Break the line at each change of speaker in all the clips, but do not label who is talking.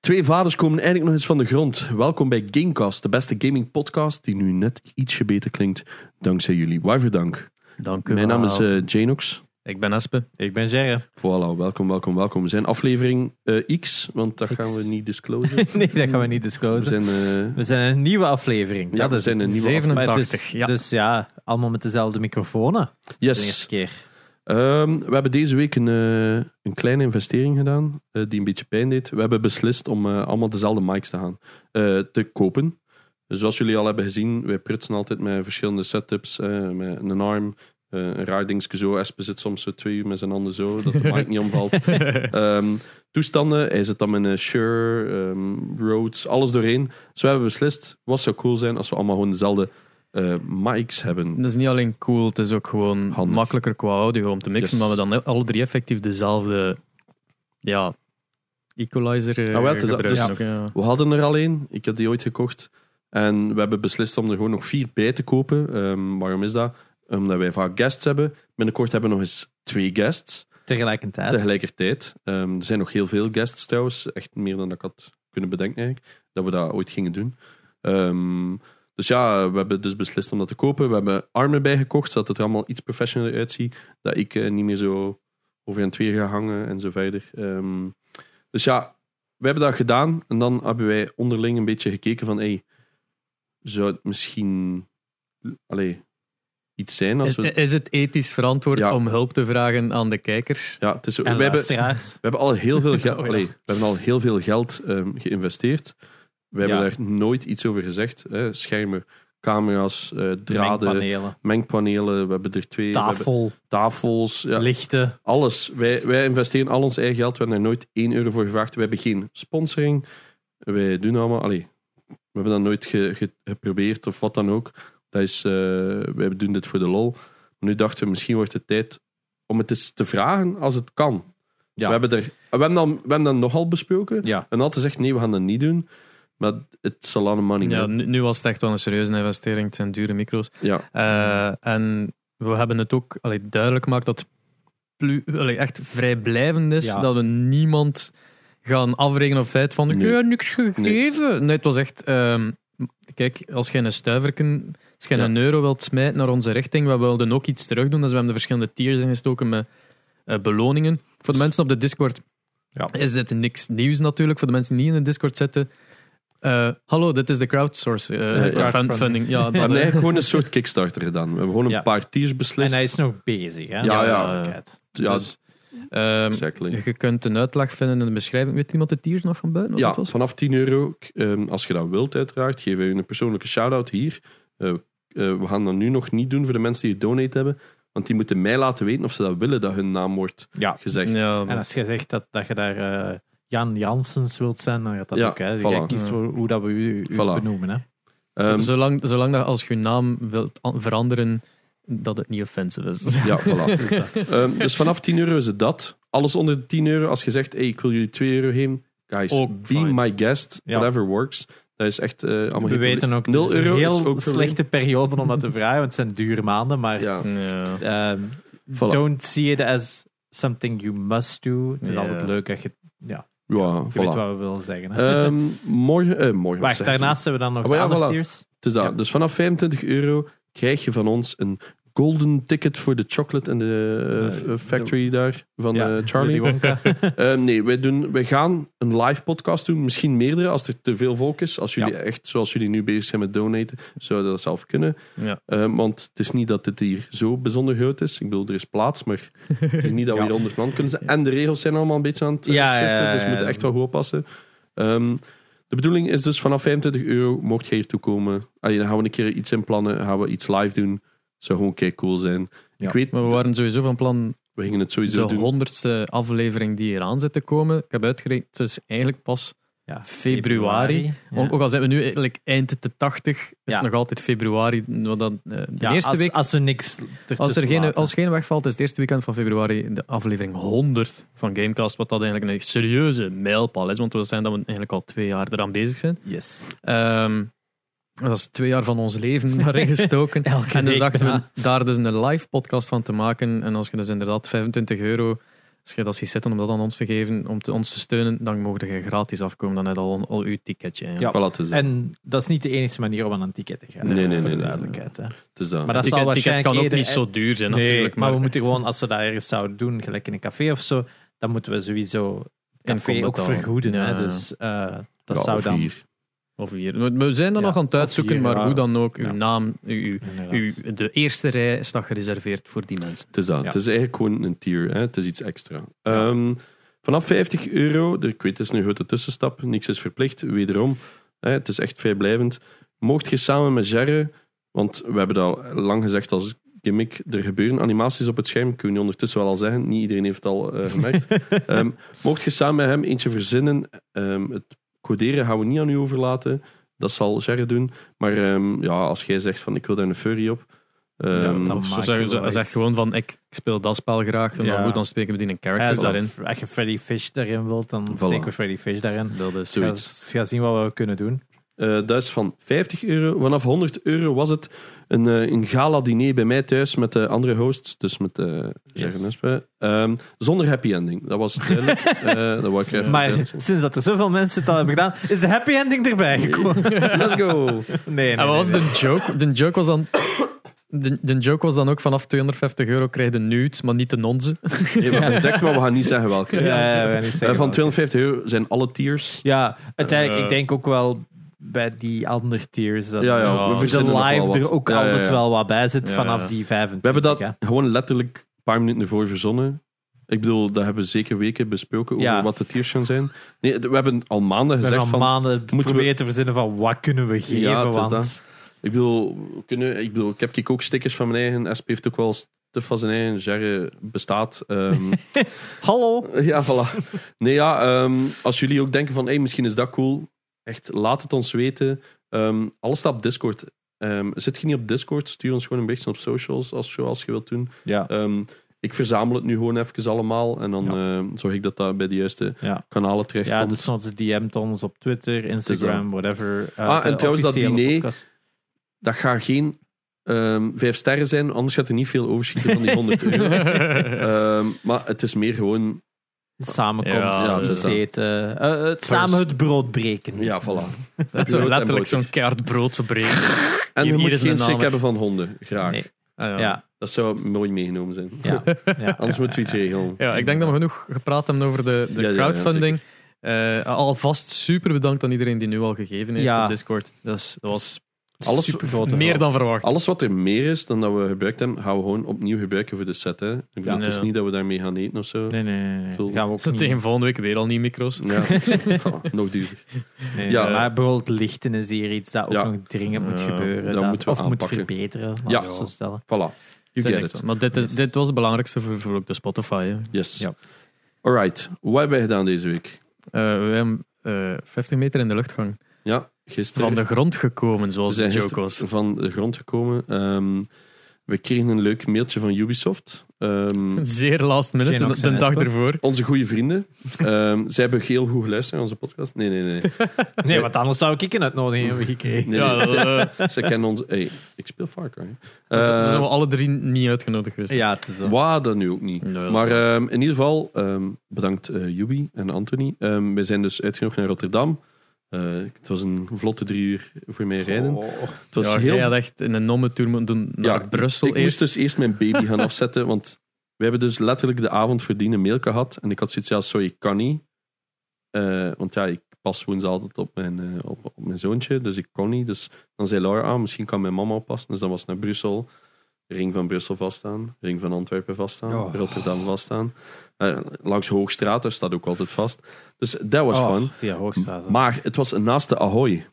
Twee vaders komen eindelijk nog eens van de grond. Welkom bij Gamecast, de beste gaming podcast die nu net ietsje beter klinkt dankzij jullie. Waarvoor dank.
Dank u
Mijn
wel.
naam is eh Janox.
Ik ben Aspe. Ik ben Gerre.
Voilà, welkom, welkom, welkom. We zijn aflevering eh, X, want dat gaan we niet disclosen.
Nee, dat gaan we niet
We
disclosen.
zijn, eh,
We zijn een nieuwe aflevering.
Ja,
dat
we
is
zijn
het.
een nieuwe
87,
aflevering.
Dus, dus ja, Dus allemaal met dezelfde microfoons. De eerste
yes.
keer.
Ehm, we hebben deze week een, eh, een kleine investering gedaan, eh, die een beetje pijn deed. We hebben beslist om eh, allemaal dezelfde mics te gaan eh, te kopen. Zoals jullie al hebben gezien, wij prutsen altijd met verschillende setups. eh, met een arm, eh, een raar dingetje zo. Espen zit soms zo twee uur met zijn handen zo, dat de mic niet omvalt. Ehm, toestanden, hij zit dan met een Shure, ehm, Rhodes, alles doorheen. Dus we hebben beslist, wat zou cool zijn als we allemaal gewoon dezelfde eh, mics hebben.
Dat is niet alleen cool, het is ook gewoon
Handig.
makkelijker qua audio om te mixen,
Yes.
maar we dan alle drie effectief dezelfde ja, equalizer eh,
Ah, wel, het is-
gebruiken
dus-
ook, ja.
We hadden er al één. Ik heb die ooit gekocht. En we hebben beslist om er gewoon nog vier bij te kopen. Ehm, waarom is dat? Omdat wij vaak guests hebben. Binnenkort hebben we nog eens twee guests
Tegelijkertijd.
tegelijkertijd. Ehm, er zijn nog heel veel guests trouwens. Echt meer dan dat ik had kunnen bedenken eigenlijk. Dat we dat ooit gingen doen. Ehm, dus ja, we hebben dus beslist om dat te kopen. We hebben armen bijgekocht, zodat het er allemaal iets professioneler uitziet. Dat ik eh, niet meer zo over een twee ga hangen en zo verder. Ehm, dus ja, we hebben dat gedaan. En dan hebben wij onderling een beetje gekeken van... Hey, zou het misschien... Allee, iets zijn als
Is, eh,
we...
is het ethisch verantwoord
Ja.
om hulp te vragen aan de kijkers?
Ja, het is, zo-
En
we hebben,
luisteraars.
we hebben al heel veel geld,
Oh, ja.
allee, we hebben al heel veel geld ehm, geïnvesteerd. We hebben
Ja.
daar nooit iets over gezegd. Hè. Schermen, camera's, eh, draden, mengpanelen.
Mengpanelen.
We hebben er twee. We hebben
Tafel.
tafels. Ja,
Lichten.
alles. Wij, wij investeren al ons eigen geld. We hebben daar nooit één euro voor gevraagd. We hebben geen sponsoring. Wij doen allemaal. Allee, we hebben dat nooit ge- ge- geprobeerd of wat dan ook. Dat is, eh, wij doen dit voor de lol. Nu dachten we, misschien wordt het tijd om het eens te vragen als het kan.
Ja.
We, hebben er, we, hebben dan, we hebben dan nogal besproken.
Ja.
En altijd gezegd, nee, we gaan dat niet doen. Maar it's a lot of money.
Ja,
man.
nu, nu was het echt wel een serieuze investering, het zijn dure micro's.
ja.
Eh, en we hebben het ook allee, duidelijk gemaakt dat het plu- allee, echt vrijblijvend is.
Ja.
Dat we niemand gaan afrekenen op het feit van ik
Nee.
heb niks gegeven. Nee. het was echt... ehm, kijk, als je een stuiverken, als je
Ja.
een euro wilt smijten naar onze richting, we wilden ook iets terug doen. Dus we hebben de verschillende tiers ingestoken met eh, beloningen. Voor de mensen op de Discord
Ja.
is dit niks nieuws natuurlijk. Voor de mensen die niet in de Discord zitten... eh, hallo, dit is de crowdsource eh,
Eh, ja.
crowdfunding. Ja,
We
dat-
hebben eigenlijk gewoon een soort Kickstarter gedaan. We hebben gewoon een
Ja.
paar tiers beslist.
En hij is nog bezig. Hè?
Ja,
ja.
kijk.
ja,
dus, ehm,
exactly.
Je kunt een uitleg vinden in de beschrijving. Weet iemand de tiers nog van buiten? wat
Ja,
het was?
vanaf 10 euro. k- ehm, als je dat wilt, uiteraard, geven wij u een persoonlijke shout-out hier. Eh, eh, we gaan dat nu nog niet doen voor de mensen die het donate hebben. Want die moeten mij laten weten of ze dat willen dat hun naam wordt
Ja.
gezegd.
Ja,
En als je zegt dat, dat je daar eh, Jan Janssens wilt zijn, dan gaat dat
Ja,
ook. Hè?
voilà.
Jij kiest voor hoe dat we u, u
Voilà.
benoemen. Hè?
Ehm,
zolang, zolang dat als je je naam wilt an- veranderen, dat het niet offensive is.
Ja, voilà. Ehm, dus vanaf 10 euro is het dat. Alles onder de 10 euro, als je zegt, hey, ik wil jullie 2 euro geven. Guys,
Ook
be
fine.
my guest.
Ja.
Whatever works. Dat is echt eh allemaal
We
geen
weten
probleem.
ook,
0
het is een
euro is
heel
ook
slechte periode om dat te vragen, want het zijn dure maanden, maar
probleem. Ja.
Ja.
ehm,
Voilà.
don't see it as something you must do. Het is
Ja.
altijd leuk dat je,
Ja,
je weet
voilà.
wat we willen zeggen. hè.
Ehm, morgen, eh, morgen
Wacht,
zeg ik.
daarnaast hebben we dan nog
Ah, maar ja,
andere
voilà.
tiers.
Het is dat.
Ja.
Dus vanaf 25 euro krijg je van ons een golden ticket voor de chocolate en de eh, f-
Eh,
eh, factory daar van
Ja,
eh, Charlie.
Willy Wonka.
Eh, nee, wij, doen, wij gaan een live podcast doen. Misschien meerdere als er te veel volk is. Als jullie
Ja.
echt, zoals jullie nu bezig zijn met donaten, zouden dat zelf kunnen.
Ja.
Eh, want het is niet dat dit hier zo bijzonder groot is. Ik bedoel, er is plaats, maar het is niet dat we
Ja.
hier 100 man kunnen zijn. En de regels zijn allemaal een beetje aan het eh,
Ja,
shiften,
ja, ja,
dus we
ja.
moeten echt wel goed oppassen. Ehm, de bedoeling is dus vanaf 25 euro, mocht je hier toe komen, allee, dan gaan we een keer iets in plannen, gaan we iets live doen. Zou gewoon kei cool zijn.
Ja.
Ik weet,
Maar we waren sowieso van plan
we gingen het
de
sowieso doen.
honderdste aflevering die eraan zit te komen. Ik heb uitgerekend, het is eigenlijk pas...
Ja,
Februari.
Ja.
Ook, ook al zijn we nu eigenlijk eind de 80, is
Ja.
het nog altijd februari. wat dan, eh, de
Ja,
eerste
als,
week,
Als er niks
als er
ertussen
geen,
laten.
als geen wegvalt, is het eerste weekend van februari de aflevering 100 van Gamecast. Wat dat eigenlijk een serieuze mijlpaal is, want we zijn dat we eigenlijk al twee jaar eraan bezig zijn.
Yes.
Ehm, dat is twee jaar van ons leven daarin gestoken.
Elke
en dus
week
dachten we
bijna.
daar dus een live podcast van te maken. En als je dus inderdaad 25 euro Als je dat ziet zitten om dat aan ons te geven, om te, ons te steunen, dan mogen je gratis afkomen. Dan heb je al, al je ticketje. Ja.
Ja.
Voilà, het is dat.
En dat is niet de enige manier om aan een ticket te gaan.
Nee, nee, nee,
Voor
nee,
de
nee.
duidelijkheid. hè.
Het is dat.
Maar dat
Ticket,
zal
tickets
waarschijnlijk
kan ook
eerder-
niet zo duur zijn,
Nee,
natuurlijk.
maar, we moeten gewoon, als we dat ergens zouden doen, gelijk in een café of zo, dan moeten we sowieso het café
Inkomen
ook
betalen.
vergoeden.
Ja,
hè.
ja.
Dus eh, dat
Ja,
zou
of
dan...
hier.
Of hier. We- We zijn er
Ja,
nog aan het
of
uitzoeken,
hier,
maar
ja.
hoe dan ook, uw
Ja.
naam, uw,
Inderdaad.
uw, de eerste rij is dan gereserveerd voor die mensen.
Het is dat.
Ja.
Het is eigenlijk gewoon een tier. Hè? Het is iets extra. Ehm, vanaf 50 euro, de- ik weet, het is een grote tussenstap. Niks is verplicht, wederom. Hè? Het is echt vrijblijvend. Mocht je samen met Jerry, want we hebben dat al lang gezegd als gimmick, er gebeuren animaties op het scherm, kun je ondertussen wel al zeggen. Niet iedereen heeft het al eh, gemerkt. Ehm, mocht je samen met hem eentje verzinnen, ehm, het coderen gaan we niet aan u overlaten. Dat zal Jerry doen. Maar ehm, ja, als jij zegt van ik wil daar een furry op. ehm,
Ja, dat
Of zo
maken
zeggen
we
ze,
wel
zeg
iets.
gewoon van, ik, ik speel dat spel graag, en
Ja.
dan, goed, dan spreken we die een
Ja,
character
dus
daarin.
Als als je Freddy Fish daarin wilt, dan
Voilà.
steken we Freddy Fish daarin.
Dat is
Ga, ga zien wat we kunnen doen.
Eh, dat is van 50 euro. Vanaf 100 euro was het een, eh, een gala-diner bij mij thuis met de andere hosts. Dus met eh Gerard Nespe. Ehm, zonder happy ending. Dat was duidelijk. Eh, dat wou ik even
maar
zeggen.
sinds dat er zoveel mensen het al hebben gedaan, is de happy ending erbij gekomen.
Let's go.
Nee, nee,
En wat was
nee, nee.
de joke? De joke was dan... De, de joke was dan ook vanaf 250 euro krijg je nudes, maar niet de onze.
Nee, maar hij zegt maar, we gaan niet zeggen welke.
Ja, ja,
Eh,
ja, we gaan niet zeggen
van
welke.
250 euro zijn alle tiers.
Ja, uiteindelijk,
Eh.
ik denk ook wel bij die andere tiers dat
Ja, ja,
we
dat de
verzinnen nog wel
live
wat.
er ook
Ja, ja,
altijd
ja.
wel wat bij zit
Ja,
vanaf
ja.
die 25.
We hebben dat
hè.
gewoon letterlijk een paar minuten ervoor verzonnen. Ik bedoel, daar hebben we zeker weken besproken over
Ja.
wat de tiers gaan zijn. Nee, we hebben al maanden
We hebben
gezegd
al
van...
maanden
we-
proberen te verzinnen van wat kunnen we geven,
het is
want...
dat. Ik bedoel, we kunnen, ik bedoel, ik heb kijk ook stickers van mijn eigen. SP heeft ook wel te van zijn eigen. Jerry bestaat. ehm.
Hallo!
ja, voilà. Nee, ja, ehm, als jullie ook denken van, hey, misschien is dat cool. Echt, laat het ons weten. Ehm, alles staat op Discord. Ehm, zit je niet op Discord, stuur ons gewoon een berichtje op socials, als, zoals je wilt doen.
Ja,
Ehm, ik verzamel het nu gewoon even allemaal. En dan ehm, zorg ik dat dat bij de juiste
Ja.
kanalen terecht
ja
komt.
dus soms DM't ons op Twitter, Instagram, whatever. eh,
Ah, en
de
trouwens, dat
officiële
diner-
podcast.
Dat gaat geen ehm, vijf sterren zijn, anders gaat er niet veel overschieten van die 100 euro. Ehm, maar het is meer gewoon.
Samenkomst,
Ja,
ja, het is
het
dat.
eten, eh, het samen het brood breken.
Ja, voilà.
Dat
Brood
is
en
letterlijk
boter.
zo'n keihard broodse break.
En je
Hier- hier
moet
is een
geen
naam,
schrik
hè.
hebben van honden, graag.
Nee,
Ah, ja.
ja,
Dat zou mooi meegenomen zijn.
ja, ja.
Anders moeten we iets regelen.
Ja, ik denk dat we genoeg gepraat hebben over de, de
Ja, ja, ja,
crowdfunding. Eh, alvast super bedankt aan iedereen die nu al gegeven heeft
Ja.
op Discord. Dat, is- dat was
Alles-
Supergrote
meer
hulp.
dan verwacht.
Alles wat er meer is dan dat we gebruikt hebben, gaan we gewoon opnieuw gebruiken voor de set. Hè. Ik bedoel,
Ja.
het is
Ja.
niet dat we daarmee gaan eten of zo.
Nee, nee, nee. nee.
Bedoel,
Gaan we ook niet-
Tegen volgende week weer al niet micro's.
Ja. Oh, nog duurder.
Nee,
Ja.
maar bijvoorbeeld lichten is hier iets dat ook
Ja.
nog dringend moet
Ja,
gebeuren.
dat
dat-
moeten we
of moet
aanpakken.
verbeteren, laten
Ja.
we het zo stellen.
Voilà. You
Zeg
get
niks
it.
aan. Maar dit, is,
Yes.
dit was het belangrijkste voor, voor ook de Spotify. hè.
Yes.
Ja.
Alright. Wat hebben wij gedaan deze week?
Eh, we hebben eh, 50 meter in de lucht gehangen.
Ja, gisteren.
Van de grond gekomen, zoals
We
de
zijn
joke was.
gisteren van de grond gekomen. Ehm, we kregen een leuk mailtje van Ubisoft. Ehm,
Zeer last minute,
Geen
de, de
Oxen
dag
Espen.
ervoor.
onze goede vrienden. Ehm, zij hebben heel goed geluisterd naar onze podcast. Nee, nee, nee.
Nee, want anders zou ik een uitnodiging hebben gekregen.
Nee,
ja,
nee.
dat, eh,
Ze kennen ons. Hey, ik speel Far Cry.
dus- dus
Eh,
zijn we alle drie niet uitgenodigd geweest.
Ja, het is zo.
Waar dat nu ook niet.
Nee, dat
maar
is
ehm, in ieder geval, ehm, bedankt eh Jubi en Anthony. Ehm wij zijn dus uitgenodigd naar Rotterdam. Eh, het was een vlotte drie uur voor mij rijden.
Oh,
Het was
ja,
heel
jij had echt in een nommentour moeten doen naar Brussel
Ik
eerst.
moest dus eerst mijn baby gaan afzetten, want we hebben dus letterlijk de avond verdien een mail gehad. En ik had zoiets, ja, sorry, ik kan niet. Eh, want ja, ik pas woensdag altijd op mijn, eh, op, op mijn zoontje, dus ik kon niet. Dus dan zei Laura, ah, misschien kan mijn mama oppassen. Dus dan was het naar Brussel. Ring van Brussel vaststaan, ring van Antwerpen vaststaan,
Oh.
Rotterdam vaststaan. Eh, langs Hoogstraat, daar staat ook altijd vast. Dus dat was
Oh,
fun.
Via Hoogstraat.
Maar het was naast de Ahoy.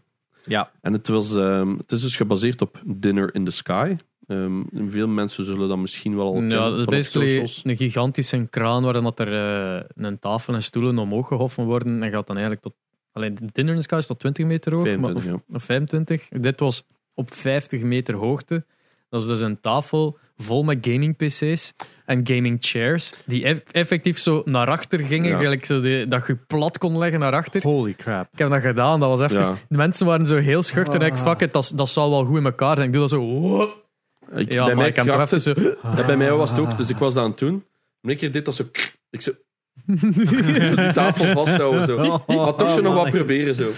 Ja,
En het, was, ehm, het is dus gebaseerd op Dinner in the Sky. Ehm, veel mensen zullen dat misschien wel al kennen
Ja, dat is
van op
basically
socials.
een gigantische kraan waarin dat er eh, een tafel en stoelen omhoog gehoffen worden. En gaat dan eigenlijk tot... Alleen de dinner in the sky is tot 20 meter hoog. maar,
25,
of,
ja.
of 25. Dit was op 50 meter hoogte. Dat is dus een tafel vol met gaming PC's en gaming chairs. Die eff- effectief zo naar achter gingen.
Ja.
gelijk zo die- dat je plat kon leggen naar achter.
holy crap.
Ik heb dat gedaan, dat was even...
Ja.
De mensen waren zo heel schuchter. En ik, fuck it, dat, dat zal wel goed in elkaar zijn. Ik doe dat zo... "Whoop."
Ik- bij
Ja, maar
mij
ik heb toch
kraakte-
even zo...
dat bij mij was het ook, dus ik was dat aan het doen. En ik keer dit als zo... Ik zo die tafel vasthouden. Zo.
Oh, oh,
maar toch zo
oh,
nog wat
manneke.
proberen. Zo.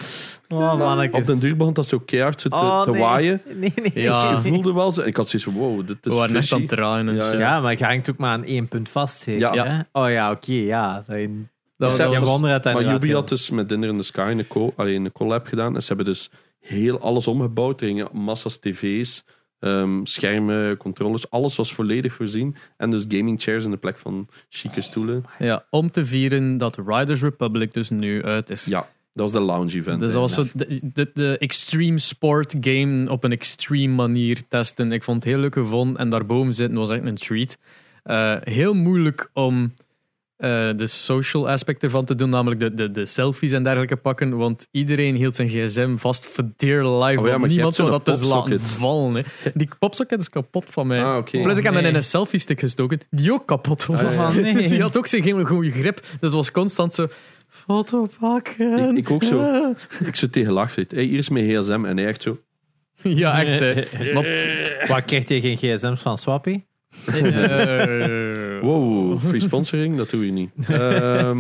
Oh, mannetjes.
Op den duur begon dat zo keihard zo te,
Oh,
te
nee.
waaien.
Nee, nee.
Ja.
Ik voelde wel zo. En ik had zoiets van, wow, dit
We
is
waren echt
fishy.
aan het draaien en
Ja,
zo.
ja.
Ja, maar je hangt ook maar aan één punt vast. zeker,
Ja.
hè? Oh ja, oké, ja. Dan-
Dat,
Ja,
dat
Je
was-
wondert het
Maar
inderdaad,
Yubi
ja.
had dus met Dinner in the Sky een, co allee, een collab gedaan. En ze hebben dus heel alles omgebouwd. Er gingen massa's tv's, ehm, schermen, controllers. Alles was volledig voorzien. En dus gaming chairs in de plek van chique stoelen.
ja, om te vieren dat Riders Republic dus nu uit is.
Ja, dat was de lounge event.
Dus dat was zo de, de, de extreme sport game op een extreme manier testen. Ik vond het heel leuk gevonden en daarboven zitten was echt een treat. Eh, heel moeilijk om eh, de social aspect ervan te doen, namelijk de, de, de selfies en dergelijke pakken, want iedereen hield zijn gsm vast voor dear life.
Oh maar je
want
hebt
niemand
zo'n
wil dat dus laten
popsocket.
vallen. Hè. Die popsocket is kapot van mij.
Ah, oké.
Plus ik heb hem
Oh, nee.
in een selfie stick gestoken, die ook kapot was.
Ah,
ja. Nee.
Dus die had ook zijn geen goede grip, dus het was constant zo... Foto pakken.
Ik- ik ook zo.
Ah.
Ik zo tegen Lars zit. Hey, hier is mijn gsm. En hij echt zo...
Ja, echt. hè. Want,
Wat krijgt je geen gsm's van Swappy?
eh,
Wow, free sponsoring? Dat doe je niet. Ehm,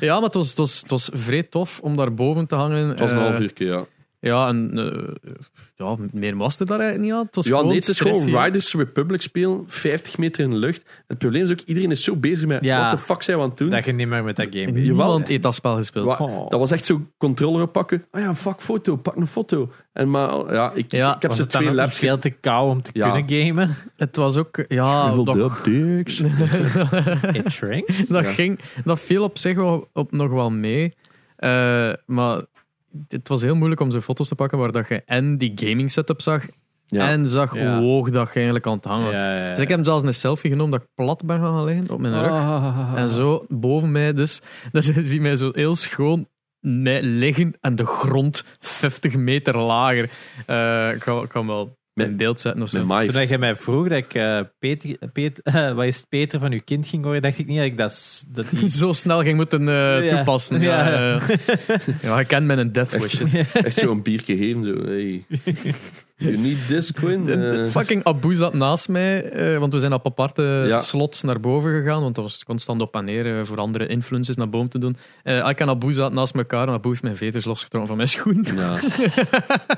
ja, maar het was, het, was, het was vrij tof om daar boven te hangen.
het was een
Eh,
half uur, ja.
Ja, en eh, ja, meer was er daar eigenlijk niet aan. Het was
Ja,
gewoon
nee, het is gewoon
stress hier.
Riders Republic spelen, 50 meter in de lucht. En het probleem is ook, iedereen is zo bezig met
Ja.
wat de fuck zijn we aan het doen.
Dat je niet meer met dat game
En
bent.
Niemand heeft dat spel gespeeld.
Wa-
Oh.
Dat was echt zo controller pakken. Ah ja, fuck foto, pak een foto. En maar ja, ik,
Ja,
ik heb
Was
ze
het dan
twee
ook niet
laps
veel te kou om te
Ja.
kunnen gamen?
Het was ook... Ja,
Hoeveel
dat,
dub dicks.
It shrinks?
dat,
Ja.
ging, dat viel op zich wel, op nog wel mee. Eh, maar het was heel moeilijk om zo foto's te pakken waar dat je en die gaming setup zag
Ja.
en zag
Ja.
hoe hoog dat je eigenlijk aan het hangen
ja,
Dus ik heb hem zelfs een selfie genomen dat ik plat ben gaan liggen op mijn rug.
Ah.
En zo boven mij dus, dan zie je mij zo heel schoon mij liggen aan de grond 50 meter lager. Eh, ik kan, kan wel
Met-
een beeld zetten of zo.
Met Maif.
Toen dat je mij vroeg dat ik eh, Peter, Peter, eh, wat is het, Peter van uw kind ging horen, dacht ik niet dat ik dat, s- dat die-
Zo snel ging moeten eh,
Ja.
toepassen. Ja,
Ja.
eh. ja, ik ken mijn death wish.
Echt zo'n biertje geven, zo. Hey. You need this, Quinn. Eh,
Fucking Abu zat naast mij, eh, want we zijn op aparte
Ja.
slots naar boven gegaan, want dat was constant op en neer eh, voor andere influencers naar boven te doen. Eh, ik en Abu zaten naast elkaar en Abu heeft mijn veters losgetrokken van mijn schoen.
ja.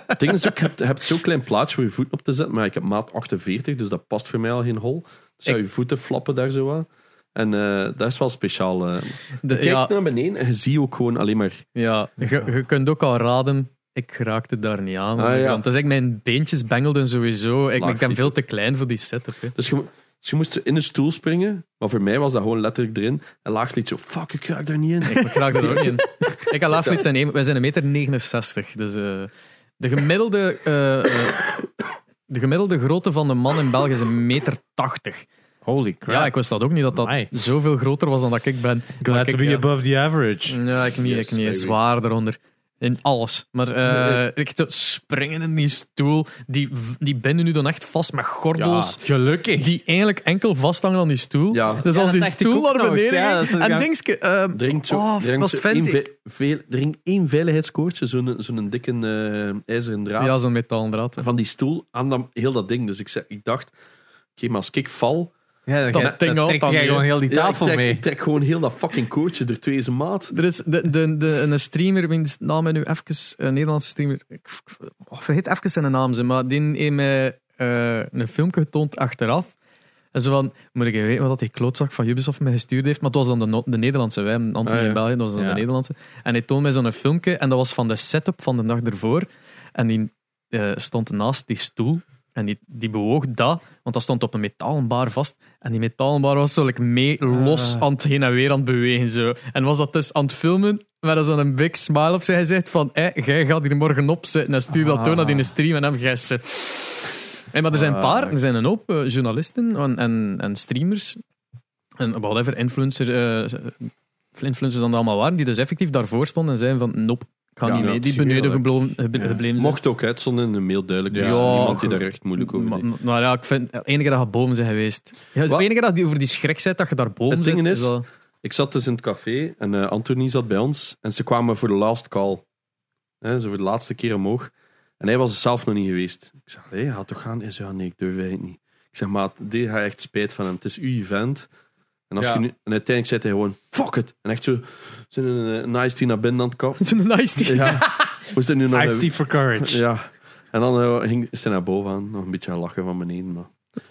Het ding is ook, je hebt, je hebt zo'n klein plaatsje voor je voeten op te zetten, maar ik heb maat 48, dus dat past voor mij al geen hol. Dus zou je voeten flappen daar zo aan. En eh, dat is wel speciaal. eh.
De-
Kijk
ja,
naar beneden en je ziet ook gewoon alleen maar...
Ja, je, je kunt ook al raden, ik raakte daar niet aan.
Ah, ja.
Want dus ik, mijn beentjes bengelden sowieso. Ik,
Laag
ik ben
vliegen.
veel te klein voor die setup. Hè.
Dus je, mo- dus je moest in een stoel springen, maar voor mij was dat gewoon letterlijk erin. En Laag liet zo, fuck, ik raak daar niet in.
Ik raakte daar ook in. Ik had laatst niet zijn, een- wij zijn een meter 69. Dus eh, de gemiddelde. eh, eh, de gemiddelde grootte van de man in België is een meter 80.
Holy crap.
Ja, ik wist dat ook niet dat dat
Amai.
zoveel groter was dan dat ik ben. Maar
Glad
ik,
to be
ja. Mm.
above the average.
Ja, ik niet.
Yes,
ik niet.
baby.
Zwaar eronder. In alles. Maar eh ik te springen in die stoel. Die, die binden nu dan echt vast met gordels.
gelukkig.
Die eigenlijk enkel vasthangen aan die stoel.
Ja.
Dus
Ja,
als
dat
die
dacht ik
stoel
ook
naar
nog.
beneden
Ja,
ging,
dat is-
En
ja.
dingske... eh,
Drinkt zo,
oh,
drinkt
dat
zo
is
één,
fancy.
ve- veel- drink één veiligheidskoordje, zo'n zo'n dikke eh, ijzeren draad
Ja, zo'n metalen draad.
van die stoel aan dat, heel dat ding. Dus ik, zei, ik dacht, oké, maar als ik val,
Ja, dan,
Dat
dan,
ding
dan
ook
trekt
dan
jij
mee.
gewoon heel die
ja, ik,
tafel
trek,
mee.
ik trek gewoon heel dat fucking koordje er twee is een maat.
Er is de, de, de, een streamer, wiens naam ik nu even... Een Nederlandse streamer... Ik ik- oh, vergeet even zijn naam, ze, maar die heeft mij eh, een filmpje getoond achteraf. En zo van, moet ik even weten wat dat die klootzak van Ubisoft mij gestuurd heeft? Maar het was dan de, No- de Nederlandse, wij hebben Antony
Ah, ja.
in België, dat was dan
Ja.
de Nederlandse. En hij toonde mij zo'n filmpje, en dat was van de setup van de dag ervoor. En die eh, stond naast die stoel, en die, die bewoog dat, want dat stond op een metalen bar vast. En die metalen bar was zo like, mee los
Ah.
aan het heen en weer aan het bewegen. Zo. En was dat dus aan het filmen, met zo'n big smile op zijn gezicht van hé, jij gaat hier morgen opzetten en stuur
Ah.
dat door naar die stream en hem gijs ze. Hey, maar er zijn een paar, er zijn een hoop eh, journalisten en, en, en streamers en whatever, influencer, eh, influencers dan dat allemaal waren, die dus effectief daarvoor stonden en zeiden van nope, ik ga
Ja,
niet
ja,
mee. Die beneden
tuurlijk.
gebleven, gebe-
Ja.
gebleven zijn.
Mocht ook uitzonden in de mail duidelijk.
Ja.
Dus
Ja,
niemand die
goed.
daar echt moeilijk over
Maar,
deed.
maar ja, ik vind het enige dat je boven zijn geweest. Ja, het
Wat?
enige dat je over die schrik bent, dat je daar boven
Het ding
zit,
is-
dat-
Ik zat dus in het café en eh Anthony zat bij ons. En ze kwamen voor de last call. Hè, zo voor de laatste keer omhoog. En hij was zelf nog niet geweest. Ik zeg, hé, gaat toch gaan? Hij zei, ja, nee, ik durf eigenlijk niet. Ik zeg, maat, dit gaat echt spijt van hem. Het is uw event. En, als
Ja.
je nu, en uiteindelijk zit hij gewoon, fuck it. En echt zo, zijn een eh, nice tea naar binnen aan het kap.
is een nice team.
Ja. Moest hij nu nog...
Ice
een-
tea for courage.
Ja. En dan eh, ging, is hij naar boven aan, nog een beetje gaan lachen van beneden. Maar.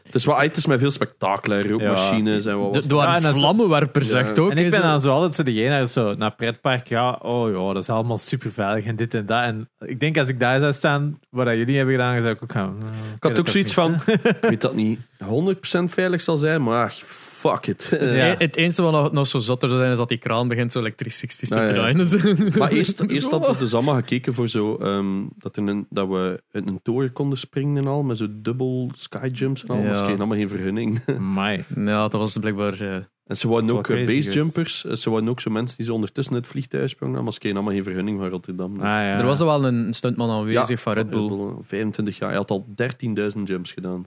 Het, is wel, het is met veel spektakel, hè, rookmachines en wat was
De, de waren
Ja, en dat is-
vlammenwerper, zegt ook.
En ik
hè,
ben
zo.
dan zo altijd zo diegene, zo naar pretpark, ja, oh ja, dat is allemaal super veilig en dit en dat. En ik denk als ik daar zou staan, wat dat jullie hebben gedaan, zou ik ook gaan. eh,
Ik had
dat
ook
is
zoiets
niks,
van, ik weet dat niet 100% veilig zal zijn, maar ach, fuck it. Eh,
Ja.
Eh, Het enige wat nog, nog zo zotter zou zijn, is dat die kraan begint zo elektricistisch te
Ja, ja.
draaien. dus- Zo.
Maar eerst, eerst hadden
Oh.
ze dus allemaal gekeken voor zo, ehm, dat, er een, dat we in een toren konden springen en al, met zo dubbel skyjumps en al. Maar ze
Ja.
kregen allemaal geen vergunning.
Amai. Ah,
Ja, dat was blijkbaar... eh,
En ze waren
is
ook
wel
eh,
crazy
basejumpers, eh, ze waren ook zo mensen die zo ondertussen het vliegtuig sprongen, maar ze kregen allemaal geen vergunning van Rotterdam. Dus-
Ah, ja.
Er was al wel een stuntman aanwezig van Red Bull.
25 eh, jaar. Hij had al 13.000 jumps gedaan.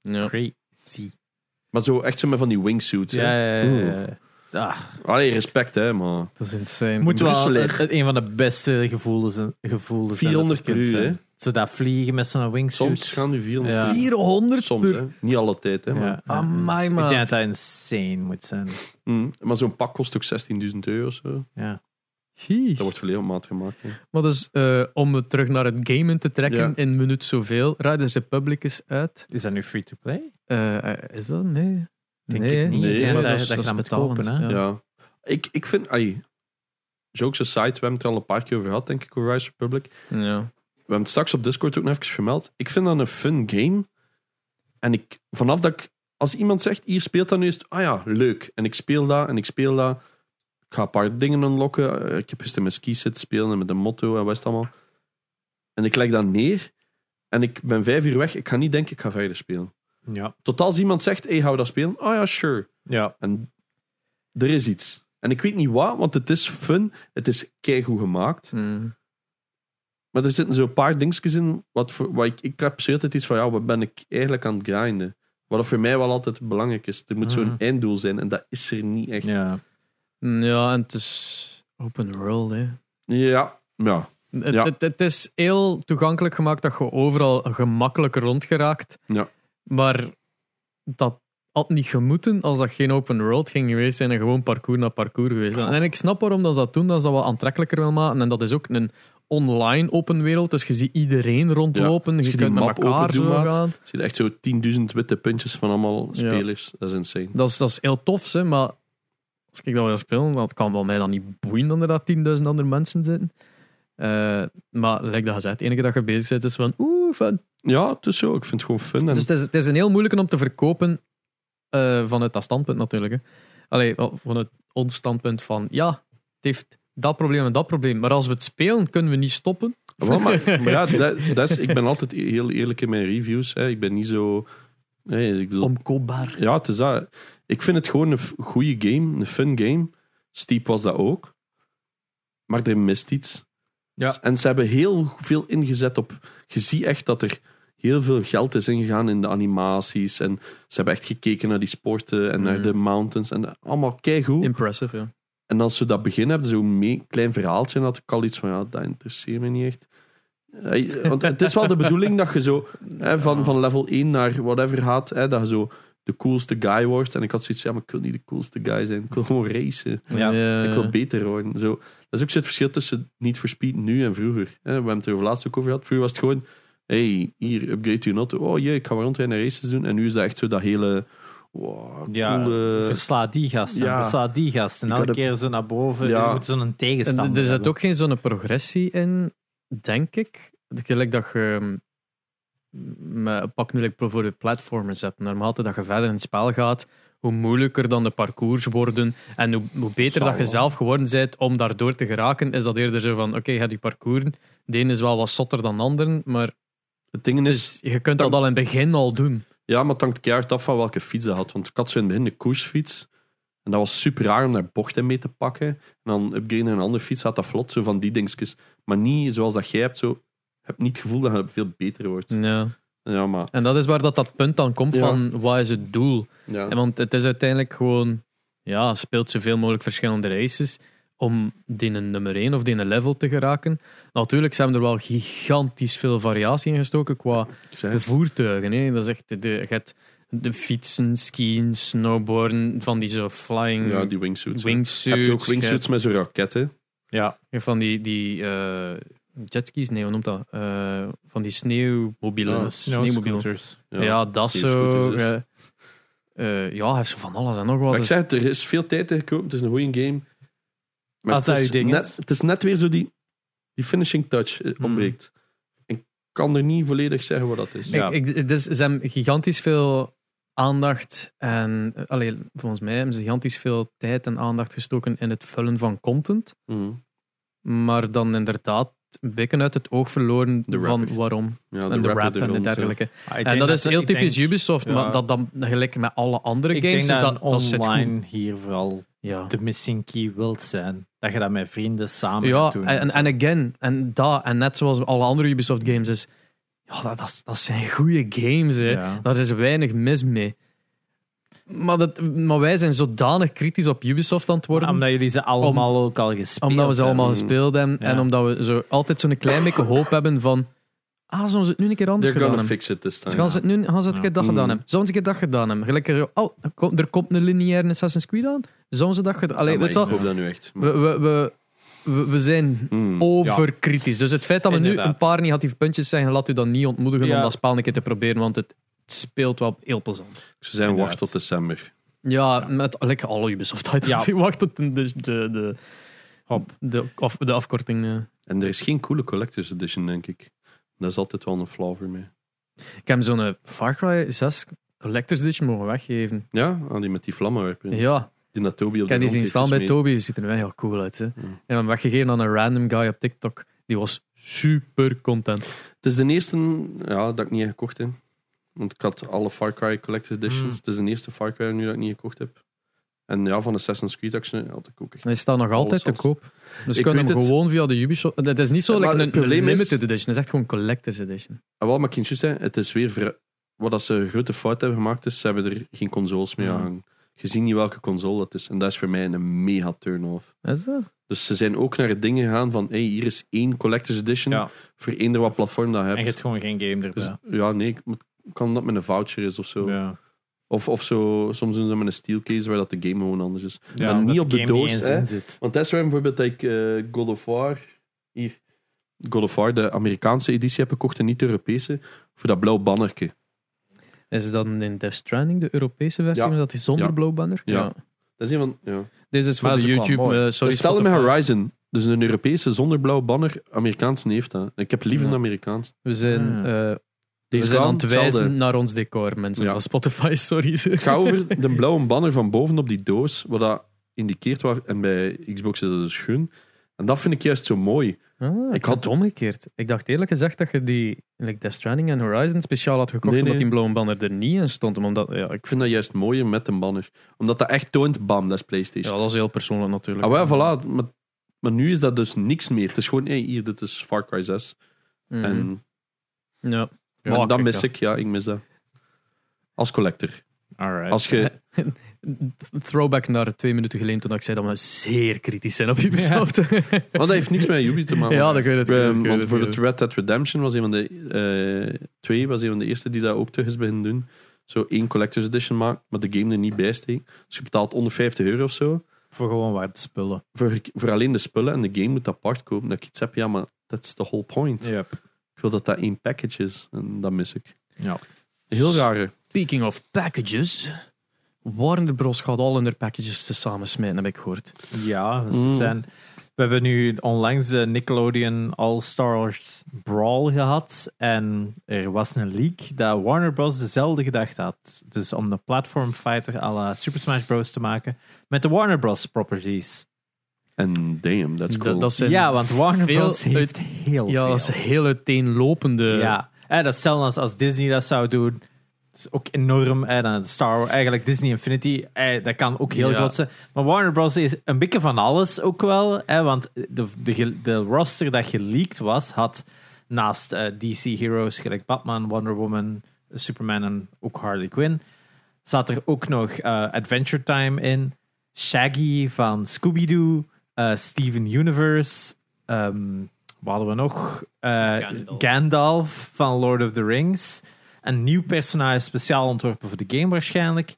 Ja.
crazy.
Maar zo echt zo met van die wingsuits. hè.
Ja, ja, ja, ja. Ah,
Allee, respect hè, maar...
Dat is insane.
moet wel
Brusseler.
het, het een van de beste gevoelens, gevoelens zijn
400
dat er
per
kunt
uur,
zijn. Zo dat vliegen met zo'n wingsuit.
Soms gaan die 400...
Ja.
400
Soms, hè. Niet alle tijd, hè.
Ja,
Maar,
ja.
Amai,
Ik denk dat
man.
dat insane moet zijn.
Mm, maar zo'n pak kost ook 16.000 euro. of Zo. Dat
Ja.
wordt volledig op maat gemaakt. hè.
Maar dus, eh, om het terug naar het gamen te trekken,
Ja.
in minuut zoveel, Riders Republic is uit.
Is dat nu free to play?
Eh, eh, is dat? Nee.
Denk
nee,
ik niet.
Nee,
hè.
maar
maar
dat-
dat je dat moet
betalend,
kopen, hè.
Ja. Ik, ik vind... Allee, jokes aside, we hebben het er al een paar keer over gehad, denk ik, over Rise Republic. We
Ja.
hebben het straks op Discord ook nog even vermeld. Ik vind dat een fun game. En ik, vanaf dat ik... Als iemand zegt, hier speelt dat nu, is het, ah ja, leuk. En ik speel dat, en ik speel dat. Ik ga een paar dingen unlocken. Eh, Ik heb gisteren met ski zitten spelen en met een motto en wat is het allemaal. En ik leg dat neer. En ik ben vijf uur weg. Ik ga niet denken, ik ga verder spelen.
Ja.
Tot als iemand zegt, hey, gaan we dat spelen? Oh ja, sure.
Ja.
En er is iets. En ik weet niet wat, want het is fun. Het is keigoed gemaakt.
Mm.
Maar er zitten zo'n paar dingetjes in. Wat voor, wat ik, ik heb zo altijd iets van, ja, wat ben ik eigenlijk aan het grinden? Wat voor mij wel altijd belangrijk is. Er moet zo'n
Mhm.
einddoel zijn. En dat is er niet echt.
ja.
Ja, en het is open world, hè.
Ja. ja.
Het,
Ja.
het, het is heel toegankelijk gemaakt dat je overal gemakkelijk rondgeraakt.
Ja.
Maar dat had niet gemoeten als dat geen open world ging geweest zijn en gewoon parcours na parcours geweest. En ik snap waarom dat ze dat doen, dat ze dat wat aantrekkelijker wil maken. En dat is ook een online open wereld, dus je ziet iedereen rondlopen,
Als
je,
je die
kunt met
map
elkaar
open doet,
zo
maat.
gaan.
Ik zie echt zo 10.000 witte puntjes van allemaal spelers. Dat is insane.
Dat is, dat is heel tof, hè, maar als ik dat wil spelen, dat kan wel mij dan niet boeien dat er daar 10.000 andere mensen zitten. Eh, maar, like dat gezegd, het enige dat je bezig bent is van oeh, van
Ja, het is zo. Ik vind het gewoon fun. En
Dus het is, het is een heel moeilijke om te verkopen eh, vanuit dat standpunt natuurlijk. Hè. Allee, wel, vanuit ons standpunt van ja, het heeft dat probleem en dat probleem. Maar als we het spelen, kunnen we niet stoppen.
Wel, maar, maar ja, dat, dat is, ik ben altijd e- heel eerlijk in mijn reviews. Hè. Ik ben niet zo. Nee, ik bedoel,
Omkoopbaar.
ja, het is dat. Ik vind het gewoon een f- goede game, een fun game. Steep was dat ook. Maar er mist iets.
Ja.
En ze hebben heel veel ingezet op. Je ziet echt dat er heel veel geld is ingegaan in de animaties. En ze hebben echt gekeken naar die sporten en naar
Mm.
de mountains. En allemaal keigoed.
Impressive, ja.
En als ze dat begin hebben, zo'n mee- klein verhaaltje, had ik al iets van, ja, dat interesseert me niet echt. Eh, Want het is wel de bedoeling dat je zo hè, van, van level 1 naar whatever gaat, hè, dat je zo de coolste guy wordt. En ik had zoiets ja, maar ik wil niet de coolste guy zijn. Ik wil gewoon racen.
Ja.
Eh,
Ik wil beter worden. Zo. Dat is ook zo het verschil tussen niet voor speed nu en vroeger. hè. We hebben het er over laatst ook over gehad. Vroeger was het gewoon, hey, hier, upgrade je auto. Oh jee, ik ga maar rondrijden en races doen. En nu is dat echt zo dat hele... Wow,
Ja,
coole...
versla die gasten,
Eh, ja.
versla die gasten.
Ik
Elke
had een-
keer zo naar boven,
Ja.
je moet zo'n
en
tegenstander
er zit
hebben.
ook geen zo'n progressie in, denk ik. Gelijk dat je... ehm, met- pak nu like, bijvoorbeeld platformers hebt. Naarmate dat je verder in het spel gaat, hoe moeilijker dan de parcours worden. En hoe, hoe beter
Zal
dat je
wel.
zelf geworden bent om daardoor te geraken, is dat eerder zo van, oké, je hebt die parcours. De ene is wel wat zotter dan de ander, maar dus
Het ding is,
je kunt dat
Dus Dan-
al in het begin al doen.
Ja, maar het hangt keihard af van welke fiets ze had. Want ik had zo in het begin de koersfiets. En dat was super raar om daar bochten mee te pakken. En dan upgraden naar een andere fiets had dat vlot. Zo van die dingetjes. Maar niet zoals dat jij hebt. Zo, je hebt niet het gevoel dat je veel beter wordt.
Ja.
Ja, maar...
En dat is waar dat, dat punt dan komt
Ja.
van, wat is het doel?
Ja.
Ja, Want het is uiteindelijk gewoon, ja, speelt zoveel mogelijk verschillende races om die een nummer 1 of die een level te geraken. Natuurlijk zijn er wel gigantisch veel variatie in gestoken qua
Ik zei het.
voertuigen. Hè. Dat is echt, de, je hebt de fietsen, skiën, snowboarden, van die zo flying
Ja, die wingsuits. hè.
wingsuits.
Heb je ook wingsuits met zo'n raketten?
Ja.
Ja, Van die, die eh, jetskis, nee, hoe noemt dat? Eh, van die sneeuwmobielen.
Ja,
sneeuwmobielen.
Ah,
Ja, dat
die
zo.
scooters dus.
eh, eh, ja, hij heeft zo van alles en nog wat.
Maar ik
Dus-
zeg, het, er is veel tijd in gekomen. Het is een goede game. Maar
Als
het,
dat
is
je ding
net,
is.
het is net weer zo die, die finishing touch eh,
Hmm.
ontbreekt. En ik kan er niet volledig zeggen wat dat is.
Ja.
Ik, ik, dus ze hebben gigantisch veel aandacht en... eh, Allee, volgens mij hebben ze gigantisch veel tijd en aandacht gestoken in het vullen van content.
Hmm.
Maar dan inderdaad bekken uit het oog verloren
De
van
rapper.
waarom.
Ja, de
en de
rapper
rap
er
en de
rond, ja.
dergelijke. En dat is heel typisch Ubisoft,
ja.
maar dat dan gelijk met alle andere
Ik denk
games
dat,
is dat, dat zit goed.
online hier vooral
Ja.
de missing key wilt zijn. Dat je dat met vrienden samen
Ja,
gaat doen.
en,
zo.
en again, en dat, en net zoals alle andere Ubisoft games is, ja, dat, dat, dat zijn goede games, hè.
Ja.
Daar is weinig mis mee. Maar, dat, maar wij zijn zodanig kritisch op Ubisoft aan het worden, omdat,
Omdat jullie ze allemaal ook al gespeeld
we ze allemaal
Mm.
gespeeld hebben en
Ja.
omdat we zo altijd zo'n klein beetje hoop hebben van ah, zullen ze het nu een keer anders
They're
gedaan
gonna
hebben?
fix it this
Dus
time.
gaan ze het nu gaan ze het een keer dag gedaan
Mm.
hebben? Zouden ze een keer dag gedaan hebben? Gelijk er, oh, er komt, er komt een lineaire Assassin's Creed aan? Zouden ze dat gedaan Allee,
Ja, maar
weet je
ik
wat?
hoop dat nu echt.
We, Oh. we, we, we, we zijn
Hmm.
overkritisch. Dus het feit dat we nu
Inderdaad.
een paar negatieve puntjes zeggen, laat u dan niet ontmoedigen om
Ja.
dat spel een keer te proberen, want het speelt wel heel plezant.
Ze zijn wacht
Inderdaad.
tot december.
Ja, met lekker alle Ubisoft titles.
Ja.
Wacht tot de, de, de,
Hop.
de, af- de afkorting. eh.
En er is geen coole collector's edition, denk ik. Dat is altijd wel een flaw voor mij.
Ik heb zo'n eh, Far Cry 6 Collector's Edition mogen weggeven.
Ja, aan die met die vlammenwerper.
Ja,
Die naar Toby op
ik heb
de
die
grond
zien
heeft
staan bij
gesmeten.
Toby. Die ziet er wel heel cool uit. Hè. En
Mm.
we hebben weggegeven aan een random guy op TikTok. Die was super content.
Het is de eerste ja, dat ik niet heb gekocht heb. Want ik had alle Far Cry Collector's Editions.
Hmm.
Mm.
Het is de eerste Far Cry nu dat ik niet gekocht heb. En ja, van Assassin's Creed Action had ik ook echt.
Hij staat nog altijd te
soms.
koop. Dus
Ik
je kunt hem
weet het.
gewoon via de Ubisoft... Het is niet zo
Ja, maar
like
het
een, een
probleem is-
limited edition. Het is echt gewoon collector's edition.
En wat Ah, ik juist zei, het is weer ver- wat dat ze een grote fout hebben gemaakt, is ze hebben er geen consoles mee
Mm.
aan hangen. Je ziet niet welke console dat is. En dat is voor mij een mega turn-off.
Is dat?
Dus ze zijn ook naar het ding gegaan van, hey, hier is één Collector's Edition
Ja.
voor eender wat platform dat je
En je
hebt.
hebt gewoon geen game
Dus,
erbij.
ja, nee, ik moet- kan dat met een voucher is of zo.
Ja.
Of, of zo, soms doen ze dat met een steelcase waar dat de game gewoon anders is.
Ja,
maar
omdat
niet op de
game niet
doos,
eens
hè.
in zit.
Want dat is waar bijvoorbeeld dat ik eh, God of War, hier, God of War, de Amerikaanse editie heb gekocht en niet de Europese, voor dat blauw bannerke.
Is het dan in Death Stranding, de Europese versie,
Ja.
maar dat is zonder
Ja.
blauw banner?
Ja. Dat is een van, ja.
Deze is voor
Maar
de
dat is ook wel
YouTube.
mooi.
eh,
Sorry,
sorry,
Stel met
Spotify.
Horizon, dus een Europese zonder blauw banner, Amerikaanse heeft dat. Ik heb liever
Ja.
een Amerikaans.
We zijn,
Hmm.
eh, we
Deze
zijn
gaan
aan het wijzen
hetzelfde.
naar ons decor, mensen
Ja.
van Spotify, sorry.
Het gaat over de blauwe banner van boven op die doos, wat dat indiqueert waar, en bij Xbox is dat dus groen. En dat vind ik juist zo mooi.
Ah, ik
Ik
had
had-
het omgekeerd. Ik dacht eerlijk gezegd dat je die like Death Stranding en Horizon speciaal had gekocht
Nee,
omdat
nee.
die blauwe banner er niet in stond. Omdat, ja, ik,
Ik vind dat juist mooier met een banner. Omdat dat echt toont, bam, dat is PlayStation.
ja, dat is heel persoonlijk natuurlijk.
Ah, wel, voilà. Maar, maar nu is dat dus niks meer. Het is gewoon, hey, hier, dit is Far Cry 6.
Mhm.
En,
ja.
en
Makkelijk,
dat mis
ja.
ik, ja, ik mis dat. Als collector.
Alright.
Als je,
Throwback naar twee minuten geleden toen ik zei dat we zeer kritisch zijn op Ubisoft. Ja,
want dat heeft niks met Ubi te maken.
dat weet ik.
Ehm,
weet ik, weet
want
ik,
voor
weet
het
ik.
Red Dead Redemption was een van de eh, twee, was een van de eerste die dat ook terug is beginnen doen. Zo één collector's edition maakt, maar de game er niet bij steekt. Dus je betaalt 150 euro of zo.
Voor gewoon wat spullen.
Voor, voor alleen de spullen en de game moet apart kopen. Dat ik iets heb, ja, maar that's the whole point.
Yep.
Ik wil dat dat één package is. En dat mis ik.
Ja.
Heel rare.
Speaking of packages. Warner Bros. gaat al hun packages te samensmijten, heb ik gehoord.
Ja, ze
Mm.
zijn, we hebben nu onlangs de Nickelodeon All-Stars Brawl gehad. En er was een leak dat Warner Bros. dezelfde gedachte had. Dus om de platform fighter à la Super Smash Bros. te maken met de Warner Bros. properties.
En damn, that's cool.
Dat, dat zijn
Ja, want Warner
veel
Bros. heeft
uit-
heel
ja,
veel.
dat is heel uiteenlopende.
Ja, hè, dat is hetzelfde als, als Disney dat zou doen. Dat is ook enorm. Hè, dan Star Wars, eigenlijk Disney Infinity, hè, dat kan ook heel
Ja.
groot zijn. Maar Warner Bros. is een beetje van alles ook wel. Hè, want de, de, ge- de roster dat geleakt was, had naast eh, DC Heroes, gelijk Batman, Wonder Woman, Superman en ook Harley Quinn, zat er ook nog eh, Adventure Time in. Shaggy van Scooby-Doo, eh, Steven Universe, ehm, wat hadden we nog? Eh,
Gandalf.
Gandalf van Lord of the Rings. Een nieuw personage speciaal ontworpen voor de game waarschijnlijk.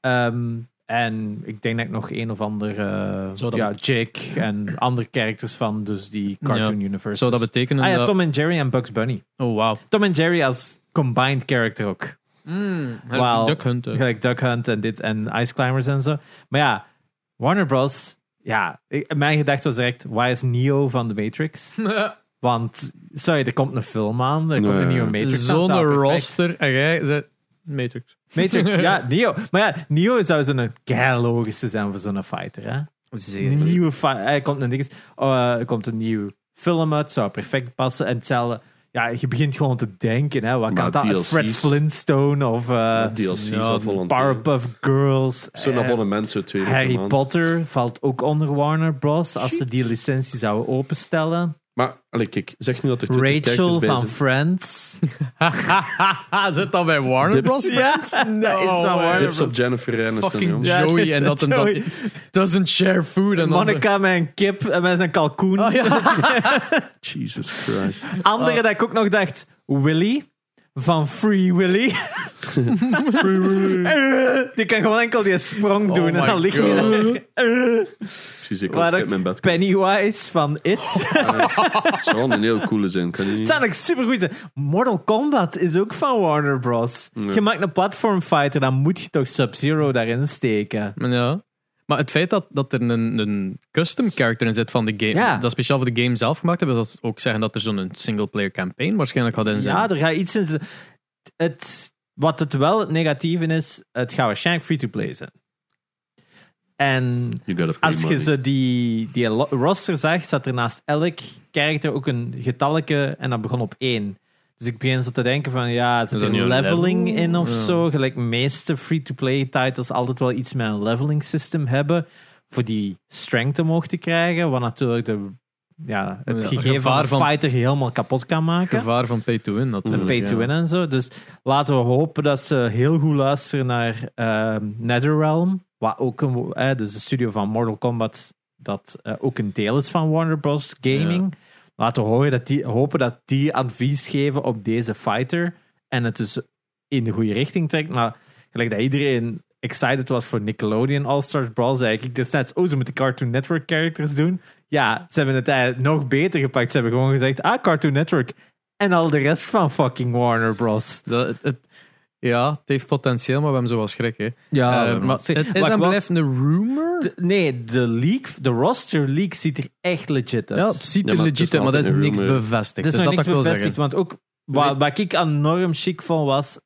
Ehm, en ik denk dat ik nog een of andere
Zou dat
ja, Jake en andere characters van dus die Cartoon Universe.
Zou dat betekenen
Ah ja,
dat-
Tom en Jerry en Bugs Bunny.
Oh, wauw.
Tom en Jerry als combined character ook. Wauw.
Duck Hunter.
Gelijk Duck Hunt en dit en Ice Climbers en zo. Maar ja, Warner Bros. Ja, ik- mijn gedachte was direct, waar is Neo van de Matrix? Want, sorry, er komt een film aan. Er komt
Nee.
een nieuwe Matrix aan,
Zo'n
zou perfect-
roster. En jij zei... Matrix.
Matrix, ja, Neo. Maar ja, Neo zou zo'n logische zijn voor zo'n fighter, hè?
Zeer.
Een nieuwe fi- Er komt een, dinges, eh, er komt een nieuw film uit, zou perfect passen. En hetzelfde, ja, je begint gewoon te denken, hè. Wat
Maar
kan dat? Een
DLC's?
Fred Flintstone of eh,
DLC
ja,
zal volgend jaar.
Powerpuff Girls.
Zo'n
eh,
abonnement, zo twee keer per
Harry
maand.
Potter valt ook onder Warner Bros. Als ze die licentie zouden openstellen.
Maar, allee, kijk, zeg nu dat er 20 kijkers
Rachel
bij
van
zijn.
Friends.
Zit Ah, dat bij Warner
Dip-
Bros?
Ja, dat is wel
Oh,
Warner
way.
Tips op Jennifer Aniston,
Fucking
jongens.
Ja, dit
Joey
is
en dat hem
Joey.
dan... Doesn't share food en dan...
Monica met een kip en met zijn kalkoen.
Oh, Jesus Christ.
Andere
Oh.
dat ik ook nog dacht. Willy. Van Free Willy. die kan gewoon enkel die sprong doen en
my
dan ligt hij
God.
daar.
Precies, Oh ik
Waar
was
ook
uit mijn bed. Oh.
Pennywise van It.
Het zou een heel coole zijn, kan je niet?
Het zijn ook supergoed. Mortal Kombat is ook van Warner Bros. Je maakt een platform fighter, dan moet je toch Sub-Zero daarin steken.
Ja. Maar het feit dat, dat er een, een custom character in zit van de game,
Ja.
dat speciaal voor de game zelf gemaakt hebben, dat ook zeggen dat er zo'n single-player campaign waarschijnlijk had in zijn.
Ja, er gaat iets in. z'n- Het, wat het wel het negatieve is, het gaat waarschijnlijk free-to-play zijn. En
You gotta pay
als je
money.
zo die, die lo- roster zag, zat er naast elk character ook een getalletje en dat begon op één. Dus ik begin zo te denken van, ja, zit
Is
er
dat niet
een
een
leveling
level?
in of
Ja.
zo? Gelijk meeste free-to-play titles altijd wel iets met een leveling system hebben voor die strength omhoog te krijgen, wat natuurlijk de, ja, het
Ja,
gegeven van
gevaar
een
van-
fighter helemaal kapot kan maken.
Gevaar van pay to win
En
natuurlijk.
pay to
Mm, ja.
win en zo. Dus laten we hopen dat ze heel goed luisteren naar ehm, Netherrealm. Wat ook een, wo- eh, dus de studio van Mortal Kombat, dat eh, ook een deel is van Warner Bros. Gaming. Laten we horen dat die, hopen dat die advies geven op deze fighter. En het dus in de goede richting trekt. Maar gelijk dat iedereen excited was voor Nickelodeon All-Stars Brawl, zei ik destijds, oh, ze moeten Cartoon Network characters doen. Ja, ze hebben het eigenlijk nog beter gepakt. Ze hebben gewoon gezegd, ah, Cartoon Network. En al de rest van fucking Warner Bros.
Dat, het, het- ja, het heeft potentieel, maar we hebben zo wel schrik. Hè.
Ja,
Eh,
maar-
maar het is
wat ik
en
wel-
blijft een rumor.
De- nee, de leak, de roster leak ziet er echt legit uit.
Ja, het ziet
Ja,
er
maar het
legit
is
uit, maar dat is
altijd een
niks
rumor.
bevestigd.
Er is
dus
nog
dat
niks
dat ik wil
bevestigd,
zeggen.
want ook wat, wat ik enorm chic vond was,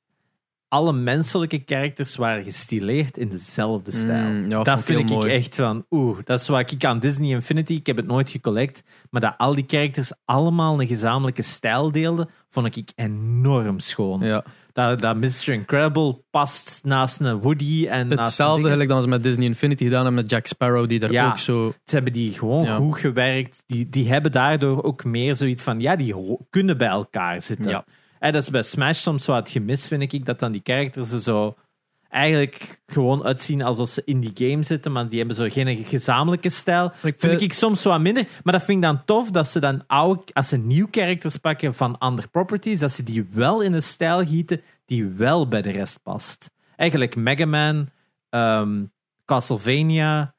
alle menselijke characters waren gestileerd in dezelfde stijl.
Mm, ja, vond
dat
ik
vind ik
heel mooi.
echt van, oeh, dat is wat ik aan Disney Infinity, ik heb het nooit gecollect, maar dat al die characters allemaal een gezamenlijke stijl deelden, vond ik enorm schoon.
Ja.
Dat, dat Mr. Incredible past naast een Woody en naast
Hetzelfde
een dinges.
eigenlijk dan ze met Disney Infinity gedaan hebben met Jack Sparrow, die daar
Ja.
ook zo...
Ze hebben die gewoon
Ja.
goed gewerkt. Die, die hebben daardoor ook meer zoiets van, ja, die ho- kunnen bij elkaar zitten.
Ja.
En dat is bij Smash soms wat gemis, vind ik, dat dan die characters er zo eigenlijk gewoon uitzien alsof ze in die game zitten, maar die hebben zo geen gezamenlijke stijl.
vind-
vind ik soms wat minder, maar dat vind ik dan tof dat ze dan oude, als ze nieuw characters pakken van andere properties, dat ze die wel in een stijl gieten die wel bij de rest past. Eigenlijk Mega Man, ehm, Castlevania,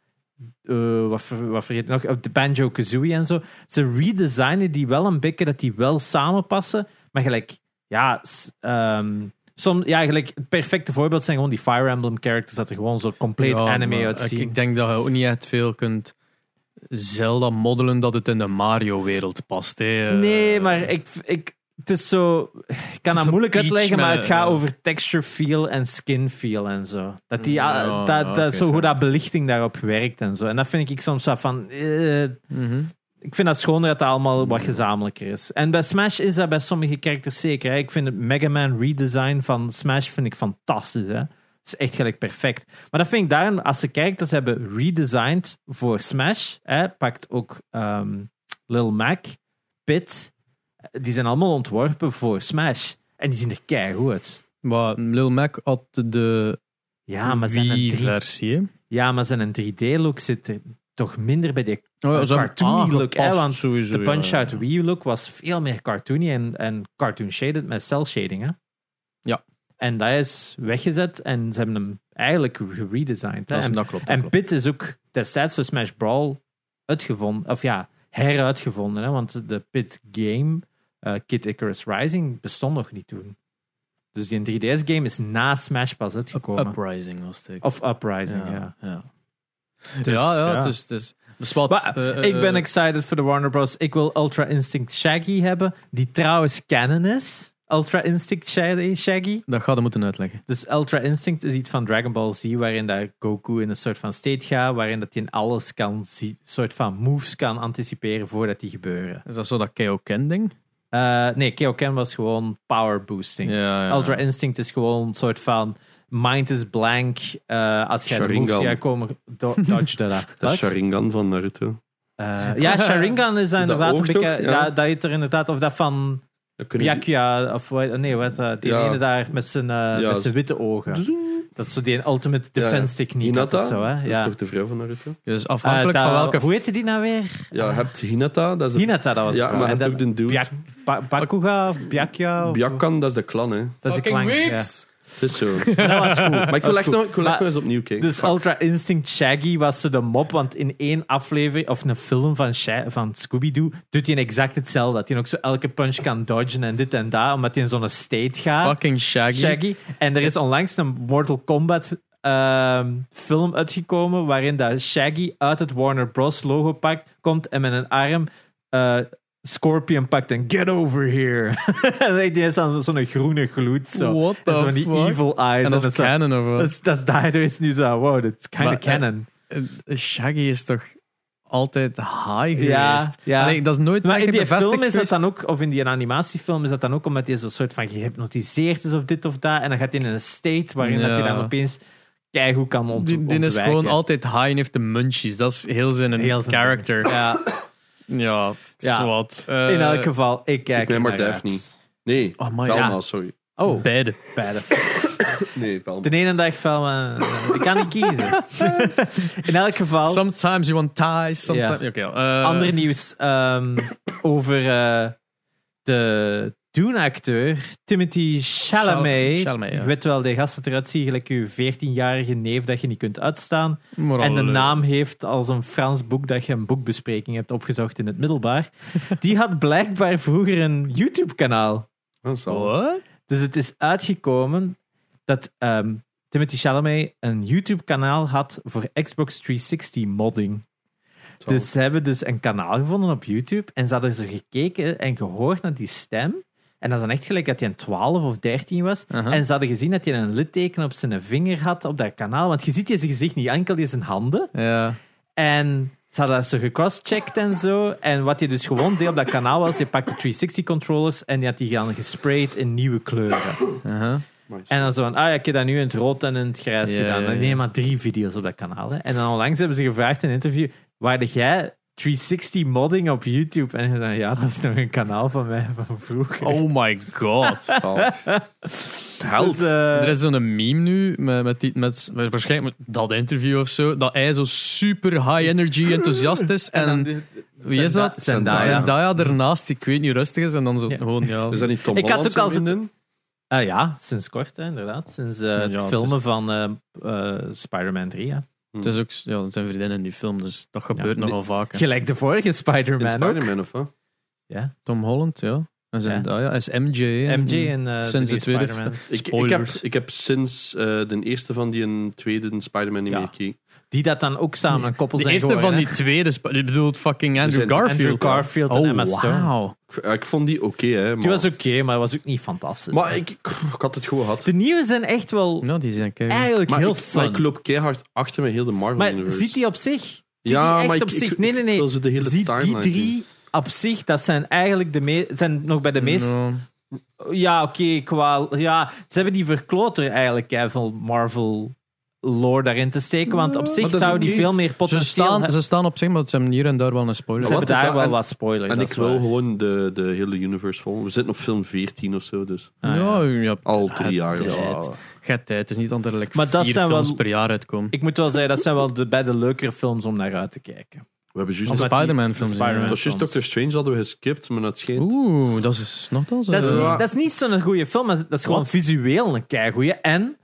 eh, wat, ver- wat vergeet ik nog? Op de Banjo Kazooie en zo. Ze redesignen die wel een beetje dat die wel samenpassen. Maar gelijk, ja, s- ehm, som, ja, gelijk het perfecte voorbeeld zijn gewoon die Fire Emblem characters. Dat er gewoon zo compleet
Ja, maar
anime
ik-
uitzien.
Ik, denk dat je ook niet echt veel kunt Zelda moddelen dat het in de Mario-wereld past. Hè.
nee,
Eh,
maar ik, ik, het is zo. Ik kan dat
zo
moeilijk
Peach
uitleggen,
met
maar
een-
het gaat over texture feel en skin feel en zo. Dat die,
Ja,
ah, dat,
ja,
dat,
oké,
zo hoe
fair.
dat belichting daarop werkt en zo. En dat vind ik soms wat van. eh,
mhm.
ik vind dat schoner dat het allemaal wat gezamenlijker is. En bij Smash is dat bij sommige characters zeker. Hè? Ik vind het Mega Man redesign van Smash vind ik fantastisch. Hè? Het is echt gelijk perfect. Maar dat vind ik daarom, als ze characters hebben redesigned voor Smash, hè, pakt ook ehm, Lil Mac, Pit, die zijn allemaal ontworpen voor Smash. En die zien er keigoed uit.
Maar Lil Mac had de
Ja, maar zijn een drie-
Wii-versie. hè. Oh,
ja, maar zijn 3D-look zit er toch minder bij die
Oh, ja, ze hebben het
cartoony look. Hè,
aangepast
want
sowieso,
De Punch-Out
ja.
Wii look was veel meer cartoony en, en cartoon shaded met cel shading. Hè?
Ja.
En dat is weggezet en ze hebben hem eigenlijk geredesigned. hè.
Dat, is,
En,
dat klopt. dat
en
klopt.
Pit is ook destijds voor Smash Brawl uitgevonden, of ja, heruitgevonden. Hè? Want de Pit game, eh, Kid Icarus Rising, bestond nog niet toen. Dus die 3DS game is na Smash pas uitgekomen.
Uprising was het.
of Uprising, ja.
ja.
Dus,
ja, ja,
ja.
het is... Het is dus wat,
Maar,
eh, eh,
ik ben excited voor de Warner Bros. Ik wil Ultra Instinct Shaggy hebben, die trouwens canon is. Ultra Instinct Shaggy- Shaggy.
Dat gaat we moeten uitleggen.
Dus Ultra Instinct is iets van Dragon Ball Z, waarin dat Goku in een soort van state gaat, waarin dat hij in alles kan zien, soort van moves kan anticiperen voordat die gebeuren.
Is dat zo dat KO-Ken-ding?
Eh, nee, Kyoken was gewoon power boosting.
Ja, ja.
Ultra Instinct is gewoon een soort van mind is blank. eh, als jij de moves
Sharingan.
gaat komen, do- dodge dat.
Dat
Wat?
is Sharingan van Naruto. Dan
Eh, ja, Sharingan is inderdaad een
oogt
beetje...
ook, ja.
Dat, dat heet er inderdaad... Of dat van
kunnen die-
Byakuya... Of wat- nee, wat, eh, die
Ja.
ene daar met zijn, eh,
Ja,
met zijn witte ogen. Dat is zo die ultimate defense techniek. had
Hinata?
of zo, hè?
Dat
Ja.
is toch de vrouw van Naruto?
Dus
Eh,
afhankelijk
dat-
van welke...
Hoe heette die nou weer?
Ja, je hebt Hinata. Dat is de-
Hinata, dat was het
Ja,
wel.
maar je
En
hebt ook
dan
de dude.
Byak- Ba- Bakuga of Byakuya? of-
Byakan, dat is de clan, hè.
Dat is de klank. ja.
Het is zo.
Dat was goed.
Maar ik wil echt nog ik wil echt nog
Maar-
eens opnieuw kijken.
Dus Ultra Instinct Shaggy was zo de mop, want in één aflevering of een film van, Sha- van Scooby-Doo doet hij exact hetzelfde. Dat hij ook zo elke punch kan dodgen en dit en dat, omdat hij in zo'n state gaat.
Fucking Shaggy.
Shaggy. En er is onlangs een Mortal Kombat ehm, film uitgekomen waarin dat Shaggy uit het Warner Bros. logo pakt, komt en met een arm eh, Scorpion pakt en get over here. en die is dan zo- zo'n groene gloed. Zo.
What the
en zo van die
fuck?
evil eyes.
En dat
en
is
zo-
canon of wat?
dat is, dat is daardoor is het nu zo, wow, dat is kind
Maar,
of
eh,
canon.
Eh, Shaggy is toch altijd high
Ja,
geweest?
ja.
Allee, dat is nooit
maar in
echt
die
bevestigd
film is dat
geweest.
dan ook, of in die animatiefilm is dat dan ook omdat hij zo soort van gehypnotiseerd is of dit of dat. En dan gaat hij in een state waarin dat hij
Ja.
dan opeens keigoed kan ont
Die, die is
ontwijken.
gewoon altijd high en heeft de munchies. Dat is heel zijn
Heel zijn
character.
Ja,
Ja,
Ja.
zwart. Eh,
in elk geval, ik kijk
ben maar
er naar
Daphne.
uit.
Nee,
Oh my-
Velma,
ja.
sorry.
Oh,
Beide.
beide.
Nee, Velma.
De ene dag van, eh, ik kan niet kiezen. in elk geval,
Sometimes you want ties, sometimes...
Ja.
Oké, eh,
ander nieuws ehm, over eh, de Dune-acteur Timothy Chalamet.
Chal- Chalamet, ja.
Je weet wel, de gast dat eruit ziet, gelijk je 14-jarige neef dat je niet kunt uitstaan.
moraal
En de
leuk.
naam heeft als een Frans boek dat je een boekbespreking hebt opgezocht in het middelbaar. Die had blijkbaar vroeger een YouTube-kanaal.
Dat zal.
What?
Dus het is uitgekomen dat ehm, Timothy Chalamet een YouTube-kanaal had voor Xbox 360 modding.
Zal.
Dus ze hebben dus een kanaal gevonden op YouTube en ze hadden zo gekeken en gehoord naar die stem. En dat is dan echt gelijk dat hij een 12 of 13 was.
Aha.
En ze hadden gezien dat hij een litteken op zijn vinger had op dat kanaal. Want je ziet je zijn gezicht niet, enkel je zijn handen.
Ja.
En ze hadden dat zo gecrosscheckt en zo. En wat hij dus gewoon deed op dat kanaal was, je pakte 360-controllers en die had die gaan gesprayed in nieuwe kleuren.
Aha.
En dan zo van, ah ja, ik heb dat nu in het rood en in het grijs
Ja,
gedaan.
ja, ja.
Nee, maar drie video's op dat kanaal. Hè. En dan onlangs hebben ze gevraagd in een interview, waar deed jij 360 modding op YouTube? En hij zei, ja, dat is nog een kanaal van mij van vroeger.
Oh my god.
Dus, eh,
Er is zo'n meme nu, met, met, die, met, met waarschijnlijk met dat interview of zo, dat hij zo super high energy enthousiast is. En,
dan dit-
wie is dat?
Zendaya.
Zendaya ernaast, die ik weet niet hoe rustig is. En dan zo
Ja.
gewoon, ja.
Is dat niet Tom
Ik had
Holland
ook al
zijn
zit-
vriendin?
Ah ja, sinds kort, hè, inderdaad. Sinds eh,
Ja,
het
het
filmen van eh, eh, Spider-Man 3. Hè.
Het is ook, ja, dat zijn vriendinnen in die film, dus dat gebeurt nogal vaker.
Gelijk de vorige
In
Spider-Man ook.
Spider-Man, of wat?
Tom Holland, ja. En Zendaya is MJ. en-
MJ en eh
Sinds
de
de tweede
Spider-Man.
film.
Ik, ik, heb,
Spoilers.
ik heb sinds eh, de eerste van die een tweede Spider-Man niet
Ja.
meer gekeken.
Die dat dan ook samen een koppel
De
zijn
eerste
geworden,
van die
hè.
tweede, sp- ik bedoel fucking Andrew
zijn-
Garfield.
Andrew Garfield en
oh,
Emma Stone.
wauw.
Ik, ja, ik vond die oké, hè. Maar,
Die was oké, maar was ook niet fantastisch.
maar ik, ik had het goed gehad.
de nieuwe zijn echt wel
Nou, die zijn kei-
eigenlijk
Maar
heel
ik,
fun.
maar ik loop keihard achter met heel de Marvel
Maar
Universe.
ziet die op zich? Ziet
Ja,
die echt
maar ik-
op zich?
ik-
nee, nee,
ik wil
nee.
ze de hele
Ziet die
timeline zien.
drie op zich, dat zijn eigenlijk de meest... Zijn nog bij de meest...
Nou,
Ja, oké, qua... Ja, ze hebben die verkloter eigenlijk hè, van Marvel lore daarin te steken, want op zich
dat is
zou die
oké.
veel meer
ze,
potentieel
staan,
hebben.
ze staan op zich, maar ze hebben hier en daar wel een spoiler.
Ze
Wat
hebben
is
daar
dat?
wel
En-
wat spoiler.
En
dat
ik
is
wil
waar.
gewoon de, de hele universe volgen. We zitten op film 14 of zo, dus
Ah, ja.
ja, ja,
al drie jaar.
tijd. Gij tijd. Het is niet dat er like,
Maar dat
vier
zijn wel-
films per jaar uitkomen.
Ik moet wel zeggen, dat zijn wel de, bij de leukere films om naar uit te kijken.
We hebben juist...
Een
Omdat
Spider-Man
die-
film.
de
zien, ja.
Dat
Spider-Man.
was juist Doctor Strange hadden we geskipt, maar dat scheen...
Oeh, dat is nogthans...
Dat is,
eh,
niet-
Ja.
dat is niet zo'n goede film, maar dat is gewoon
Wat?
visueel een keigoeie. En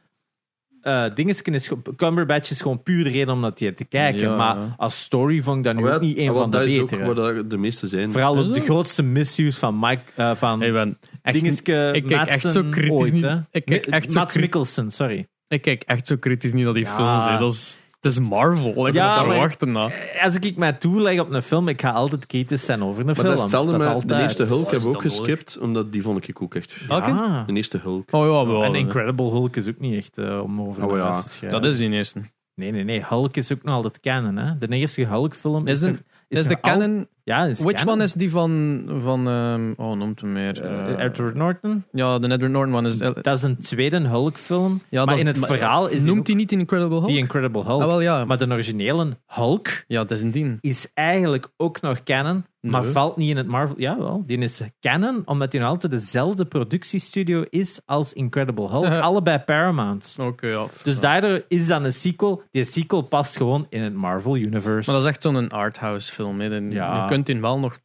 eh Dingesken is, gewoon- Cumberbatch is gewoon puur de reden om naar die te kijken.
Ja,
maar
ja.
als story vond ik dat nu
Maar
ook niet een
want
van de
ah, dat is
betere.
ook waar dat de meeste zijn.
Vooral
Is
ook de
dat?
grootste misuse van Mike... eh, van
Hey, ben, echt, niet-
Dingeske
ik kijk echt
Madsen
zo kritisch
ooit,
niet-
hè.
ik kijk
Mi-
echt zo
Mads
kritisch-
Mikkelsen, sorry.
ik kijk echt zo kritisch niet naar die
Ja.
films. hè. Dat is, dat is Marvel. Ik
Ja,
ja,
maar- Eh,
verwachten na.
Als ik mij toeleg op een film, ik ga altijd kritisch zijn over een
Maar
film.
dat is hetzelfde
Oh, is
met de
altijd.
eerste Hulk
Dat
hebben
is
we ook
dan nodig.
geskipt, omdat die vond ik ook echt...
Welke?
Ah.
De eerste Hulk.
Oh ja, wel.
En Incredible Hulk is ook niet echt eh, om over
Oh
naar
ja,
huis te schrijven.
Dat is die eerste.
Nee, nee, nee. Hulk is ook nog altijd canon, hè. De eerste Hulk-film
Is
is,
een-
nog-
Is, is de
nog al-
canon...
Ja, is
Which
canon.
one is die van... van ehm, oh, noemt hem meer.
Eh,
eh,
Edward Norton?
ja, de Edward Norton one is... eh,
Dat is een tweede Hulk-film.
ja, dat
maar
is-
in het
maar-
verhaal is
Noemt hij niet Incredible Hulk?
die Incredible Hulk.
Ah, wel, ja.
Maar de originele Hulk
ja, dat is een dien.
is eigenlijk ook nog canon, maar
Nee.
valt niet in het Marvel. Jawel, die is canon, omdat die nog altijd dezelfde productiestudio is als Incredible Hulk. Allebei Paramount.
Oké, ja.
Dus daardoor is dan een sequel. Die sequel past gewoon in het Marvel Universe.
Maar dat is echt zo'n arthouse film. Hè. Dan-
Ja.
Je kunt die wel nog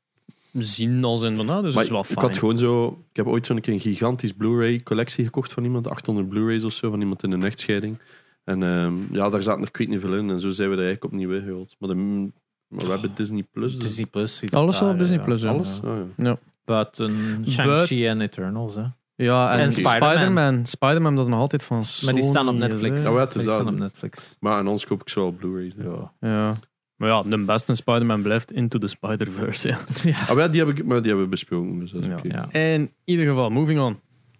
zien als een van... Nou, dus
Maar
is wel
ik
fijn.
had gewoon zo... Ik heb ooit zo'n keer een gigantisch Blu-ray collectie gekocht van iemand. 800 Blu-rays of zo, van iemand in een echtscheiding. En ehm, ja, daar zaten er kwijt niet veel in. En zo zijn we er eigenlijk opnieuw weggehaald. Maar, de, maar we hebben Disney Plus. Dus
Disney Plus. iets
Alles
op
wel op
daar,
Disney
ja.
Plus, hè.
alles. Ah, ja.
Buiten um, Shang-Chi en Eternals. eh? Hè.
Ja, en,
En Spider-Man.
Spider-Man. Spider-Man dat nog altijd van Sony
Maar die staan op
Oh, is, hè.
Netflix.
Ja, wel, het is
die
dat.
staan op Netflix.
Maar aan ons koop ik zo al Blu-rays. hè.
Ja.
Ja. Maar ja, de beste Spider-Man blijft Into the Spider-Verse. Ja.
Ah, maar ja, die heb ik, maar die hebben we besproken. Dus dat is
Ja.
oké.
Ja.
In ieder geval, moving on.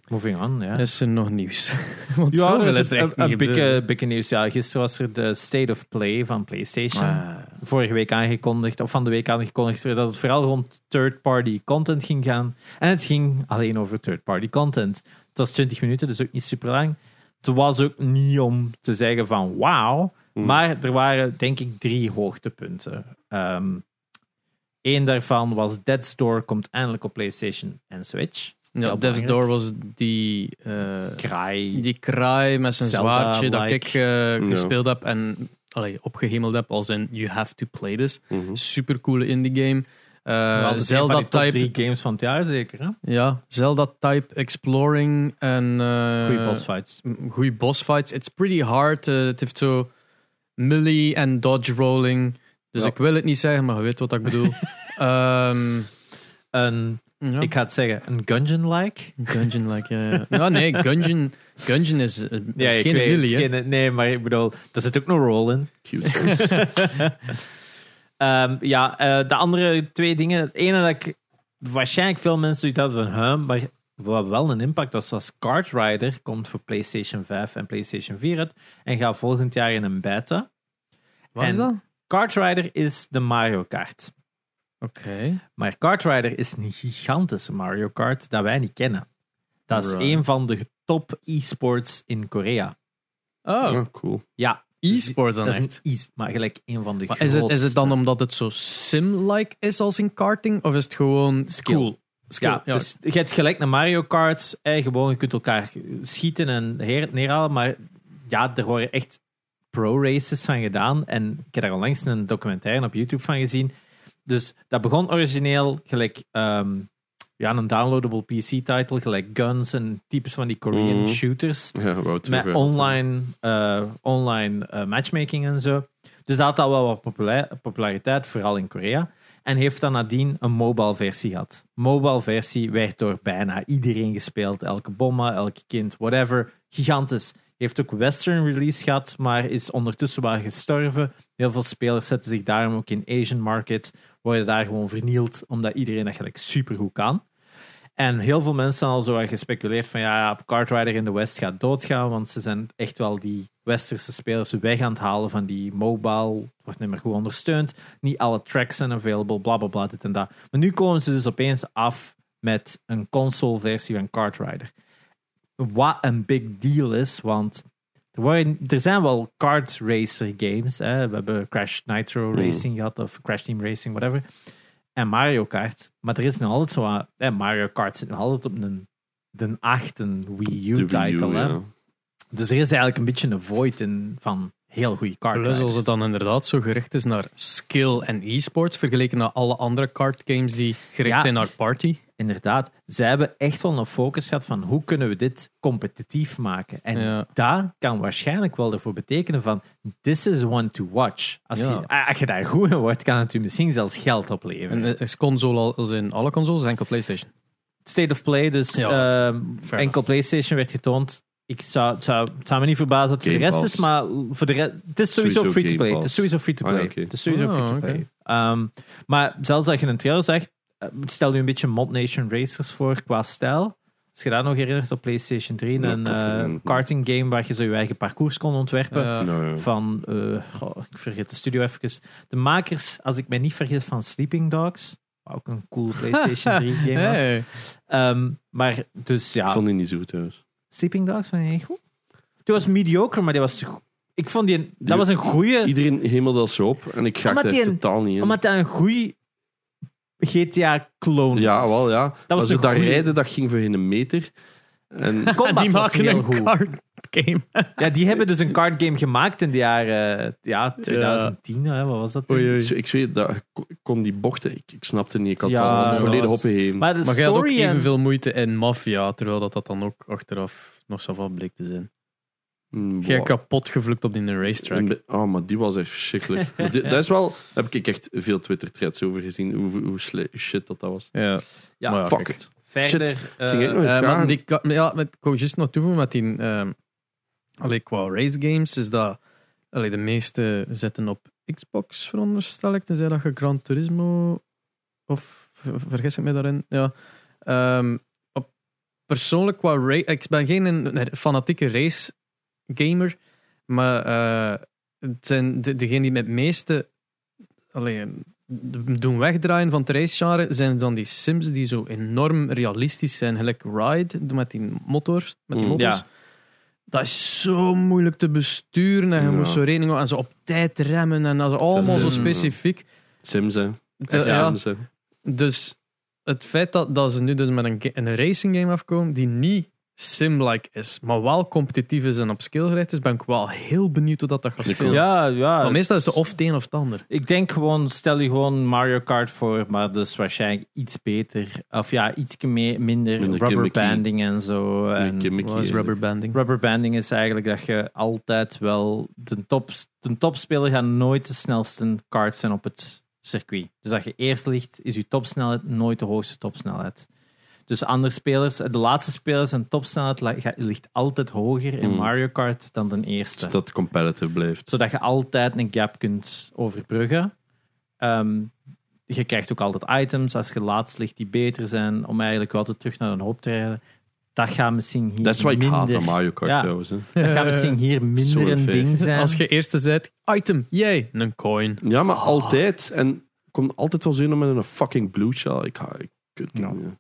Moving on, ja.
Is er nog nieuws? Want
Ja,
zoveel
er is
is er
een-
echt
een,
niet
bikke,
gebeurd.
bikke nieuws. Ja, gisteren was er de State of Play van PlayStation.
Ah.
Vorige week aangekondigd, of van de week aangekondigd, werd dat het vooral rond third-party content ging gaan. En het ging alleen over third-party content. Het was 20 minuten, dus ook niet super lang. Het was ook niet om te zeggen van wauw.
Hmm.
Maar er waren denk ik drie hoogtepunten. Eén daarvan was Dead Store komt eindelijk op PlayStation en Switch.
Ja,
Heel
Death's
eh,
Door
belangrijk.
was die, eh,
Kraai.
die kraai met zijn
Zelda,
zwaardje dat
like.
ik eh, gespeeld heb en allee, opgehemeld heb als in You Have to Play This.
Mhm.
Super coole indie game.
Wel,
Eh
dat is een van die top
Zelda-type
drie games van het jaar zeker. Hè?
ja, Zelda-type exploring en... eh,
Goeie boss fights.
goede boss fights. It's pretty hard. eh, het heeft zo melee en dodge rolling. Dus
Ja.
ik wil het niet zeggen, maar je weet wat ik bedoel. Ehm,
Een,
ja.
Ik ga het zeggen, een gungeon-like.
Gungeon, like, ja, ja. ja. nee, Gungeon, Gungeon is, eh, is
ik
geen
weet het,
melee, hè.
geen- Nee, maar ik bedoel, daar zit ook nog roll in.
Cute.
Ehm, ja, eh, de andere twee dingen. Het ene dat ik waarschijnlijk veel mensen zoiets hadden van huh, maar wat wel een impact was, was Kart Rider komt voor PlayStation 5 en PlayStation 4 uit en gaat volgend jaar in een beta.
Wat is
En
dat?
Kart Rider is de Mario Kart.
Oké.
Maar Kart Rider is een gigantische Mario Kart dat wij niet kennen. Dat is
Right.
een van de top e-sports in Korea.
Oh,
Ah, cool.
Ja,
e-sports dan
dat is
echt.
een e maar gelijk een van de
Maar is het, is het dan
grootste.
omdat het zo sim-like is als in karting? Of is het gewoon
Skill.
cool? Skill,
Ja, dus je hebt gelijk naar Mario Kart. Eh, gewoon, je kunt elkaar schieten en her- neerhalen. Maar ja, er worden echt pro-races van gedaan. En ik heb daar onlangs een documentaire op YouTube van gezien. Dus dat begon origineel gelijk ehm, ja, een downloadable PC-title. Gelijk guns en types van die Korean
Mhm.
shooters.
Ja, Wouter.
Met
verder.
online, eh, online eh, matchmaking en zo. Dus dat had al wel wat populair- populariteit, vooral in Korea. En heeft dan nadien een mobile versie gehad. Mobile versie werd door bijna iedereen gespeeld. Elke bomma, elke kind, whatever. Gigantisch. Heeft ook western release gehad, maar is ondertussen wel gestorven. Heel veel spelers zetten zich daarom ook in Asian market. Worden daar gewoon vernield, omdat iedereen dat gelijk supergoed kan. En heel veel mensen al zo aan gespeculeerd van ja, ja, Kart Rider in de West gaat doodgaan, want ze zijn echt wel die westerse spelers weg aan het halen van die mobile, het wordt niet meer goed ondersteund, niet alle tracks zijn available, bla bla bla, dit en dat. Maar nu komen ze dus opeens af met een console versie van Kart Rider. Wat een big deal is, want er, worden, er zijn wel kart racer games, hè. we hebben Crash Nitro
Hmm.
Racing gehad, of Crash Team Racing, whatever en Mario Kart. Maar er is nog altijd zo aan. eh, Mario Kart zit nog altijd op een, de achten Wii
De Wii U,
U-title.
ja.
Dus er is eigenlijk een beetje een void in van. heel goede card
Plus als
drivers.
het dan inderdaad zo gericht is naar skill en e-sports, vergeleken naar alle andere card games die gericht
Ja.
zijn naar party.
Inderdaad, zij hebben echt wel een focus gehad van hoe kunnen we dit competitief maken. En
Ja.
dat kan waarschijnlijk wel ervoor betekenen van this is one to watch. Als,
Ja.
je, ah, als je daar goed in wordt, kan het u misschien zelfs geld opleveren.
En eh, is console al, als in alle consoles, enkel PlayStation.
State of Play, dus
Ja,
ehm,
fair
enkel PlayStation werd getoond. Ik zou, het zou, het zou me niet verbazen dat het voor de
Game
rest is, maar voor de rest, het is sowieso
Sowieso
free to
Game
play. Het
Pass.
is sowieso free to
Ah,
play.
oké.
Het is sowieso
Ah,
free to
oké.
play. Ehm, maar zelfs als je een trailer zegt, eh, stel nu een beetje Mod Nation Racers voor qua stijl. Als je dat nog herinnert op PlayStation 3,
Ja,
een
dat is
eh,
een-
karting game waar je zo je eigen parcours kon ontwerpen.
Eh,
Nou,
Van, eh, goh, ik vergeet de studio even. De makers, als ik mij niet vergis, van Sleeping Dogs. Wat ook een cool PlayStation 3 game was.
hey.
Ehm, maar dus ja,
Ik vond die niet zo goed trouwens.
Sleeping Dogs vond je niet goed? Die was mediocre, maar die was... Ik vond die... dat
Die-
was een goede...
Iedereen hemelde dat zo op en ik ga
Oh,
Omdat
er
die een-
totaal niet in.
Omdat dat een goede GTA-clone
Ja,
was.
wel ja.
was
maar
een
zo dat
goeie.
rijden, dat ging voor geen een meter. En
Combat
die
was
maken
heel
een
goed.
card game.
Ja, die hebben dus een card game gemaakt in de jaren eh, ja, 2010. Hè, wat was dat toen?
Oei, oei.
ik, ik zweer, dat, ik kon die bochten, ik, ik snapte niet. Ik had
Ja,
al
dat
volledig
was-
opgegeven.
Maar de
Maar jij had ook
story en...
evenveel moeite in Mafia, terwijl dat, dat dan ook achteraf nog zo van bleek te zijn.
Mm,
Jij
wow.
kapot gevlukt op die racetrack.
Een be- Oh, maar die was echt verschrikkelijk. Maar dit- dat is wel, daar heb ik echt veel Twitter-threads over gezien, hoe, hoe sle- shit dat, dat was.
Ja.
Ja,
Maar ja,
Fuck
kijk.
it.
verder...
Shit.
eh,
Ging ik nog-
Eh,
vragen.
maar die, ka- maar ja, met, ik wou juist nog toevoegen met die... ehm, allee, qua race games is dat... Allee, de meeste zitten op Xbox, veronderstel ik. Tenzij dat je Gran Turismo... Of ver- vergis ik me daarin? Ja. Ehm, op, persoonlijk qua race... Ik ben geen een- fanatieke race gamer. Maar eh, het zijn de, degene die met het meeste... Allee, doen wegdraaien van het racegenre zijn dan die Sims die zo enorm realistisch zijn. Gelijk Ride, met die motors. Met die
Mm.
motors.
Ja.
Dat is zo moeilijk te besturen. En je
Ja.
moest zo rekening houden. En zo op tijd remmen. En dat is allemaal zo
Mm.
specifiek.
Sims, hè.
Te-
Echt
ja,
Sims, hè.
dus het feit dat, dat ze nu dus met een, ga- een racing game afkomen die niet sim-like is, maar wel competitief is en op skill gericht is, ben ik wel heel benieuwd hoe dat, dat gaat
Ik
spelen.
ook.
Ja, ja.
Maar meestal is het of het een of het ander.
Ik denk gewoon, stel je gewoon Mario Kart voor, maar dus waarschijnlijk iets beter. Of ja, iets meer, minder,
Minder
rubberbanding en zo. En
Een gimmick
Wat is
hier.
rubberbanding?
rubberbanding is eigenlijk dat je altijd wel... De, top, de topspeler gaat nooit de snelste kart zijn op het circuit. Dus dat je eerst ligt, is je topsnelheid nooit de hoogste topsnelheid. Dus andere spelers, de laatste spelers en topsnelheid li- gaat- ligt altijd hoger in
Hmm.
Mario Kart dan de eerste
Zodat het Dus competitive blijft.
zodat je altijd een gap kunt overbruggen. Ehm, je krijgt ook altijd items als je laatst ligt die beter zijn, om eigenlijk wel te terug naar een hoop te rijden. Dat gaat misschien hier
Dat is wat ik haat
minder,
aan Mario Kart,
Ja.
trouwens. Hè.
dat gaat misschien hier minder een
Zo'n
ding zijn.
Als je eerste zet, item, yay, een coin.
Ja,
Oh.
maar altijd. En ik kom altijd wel zin om met een fucking blue shell. Ik ga... Ik, kut,
Ja.
ja.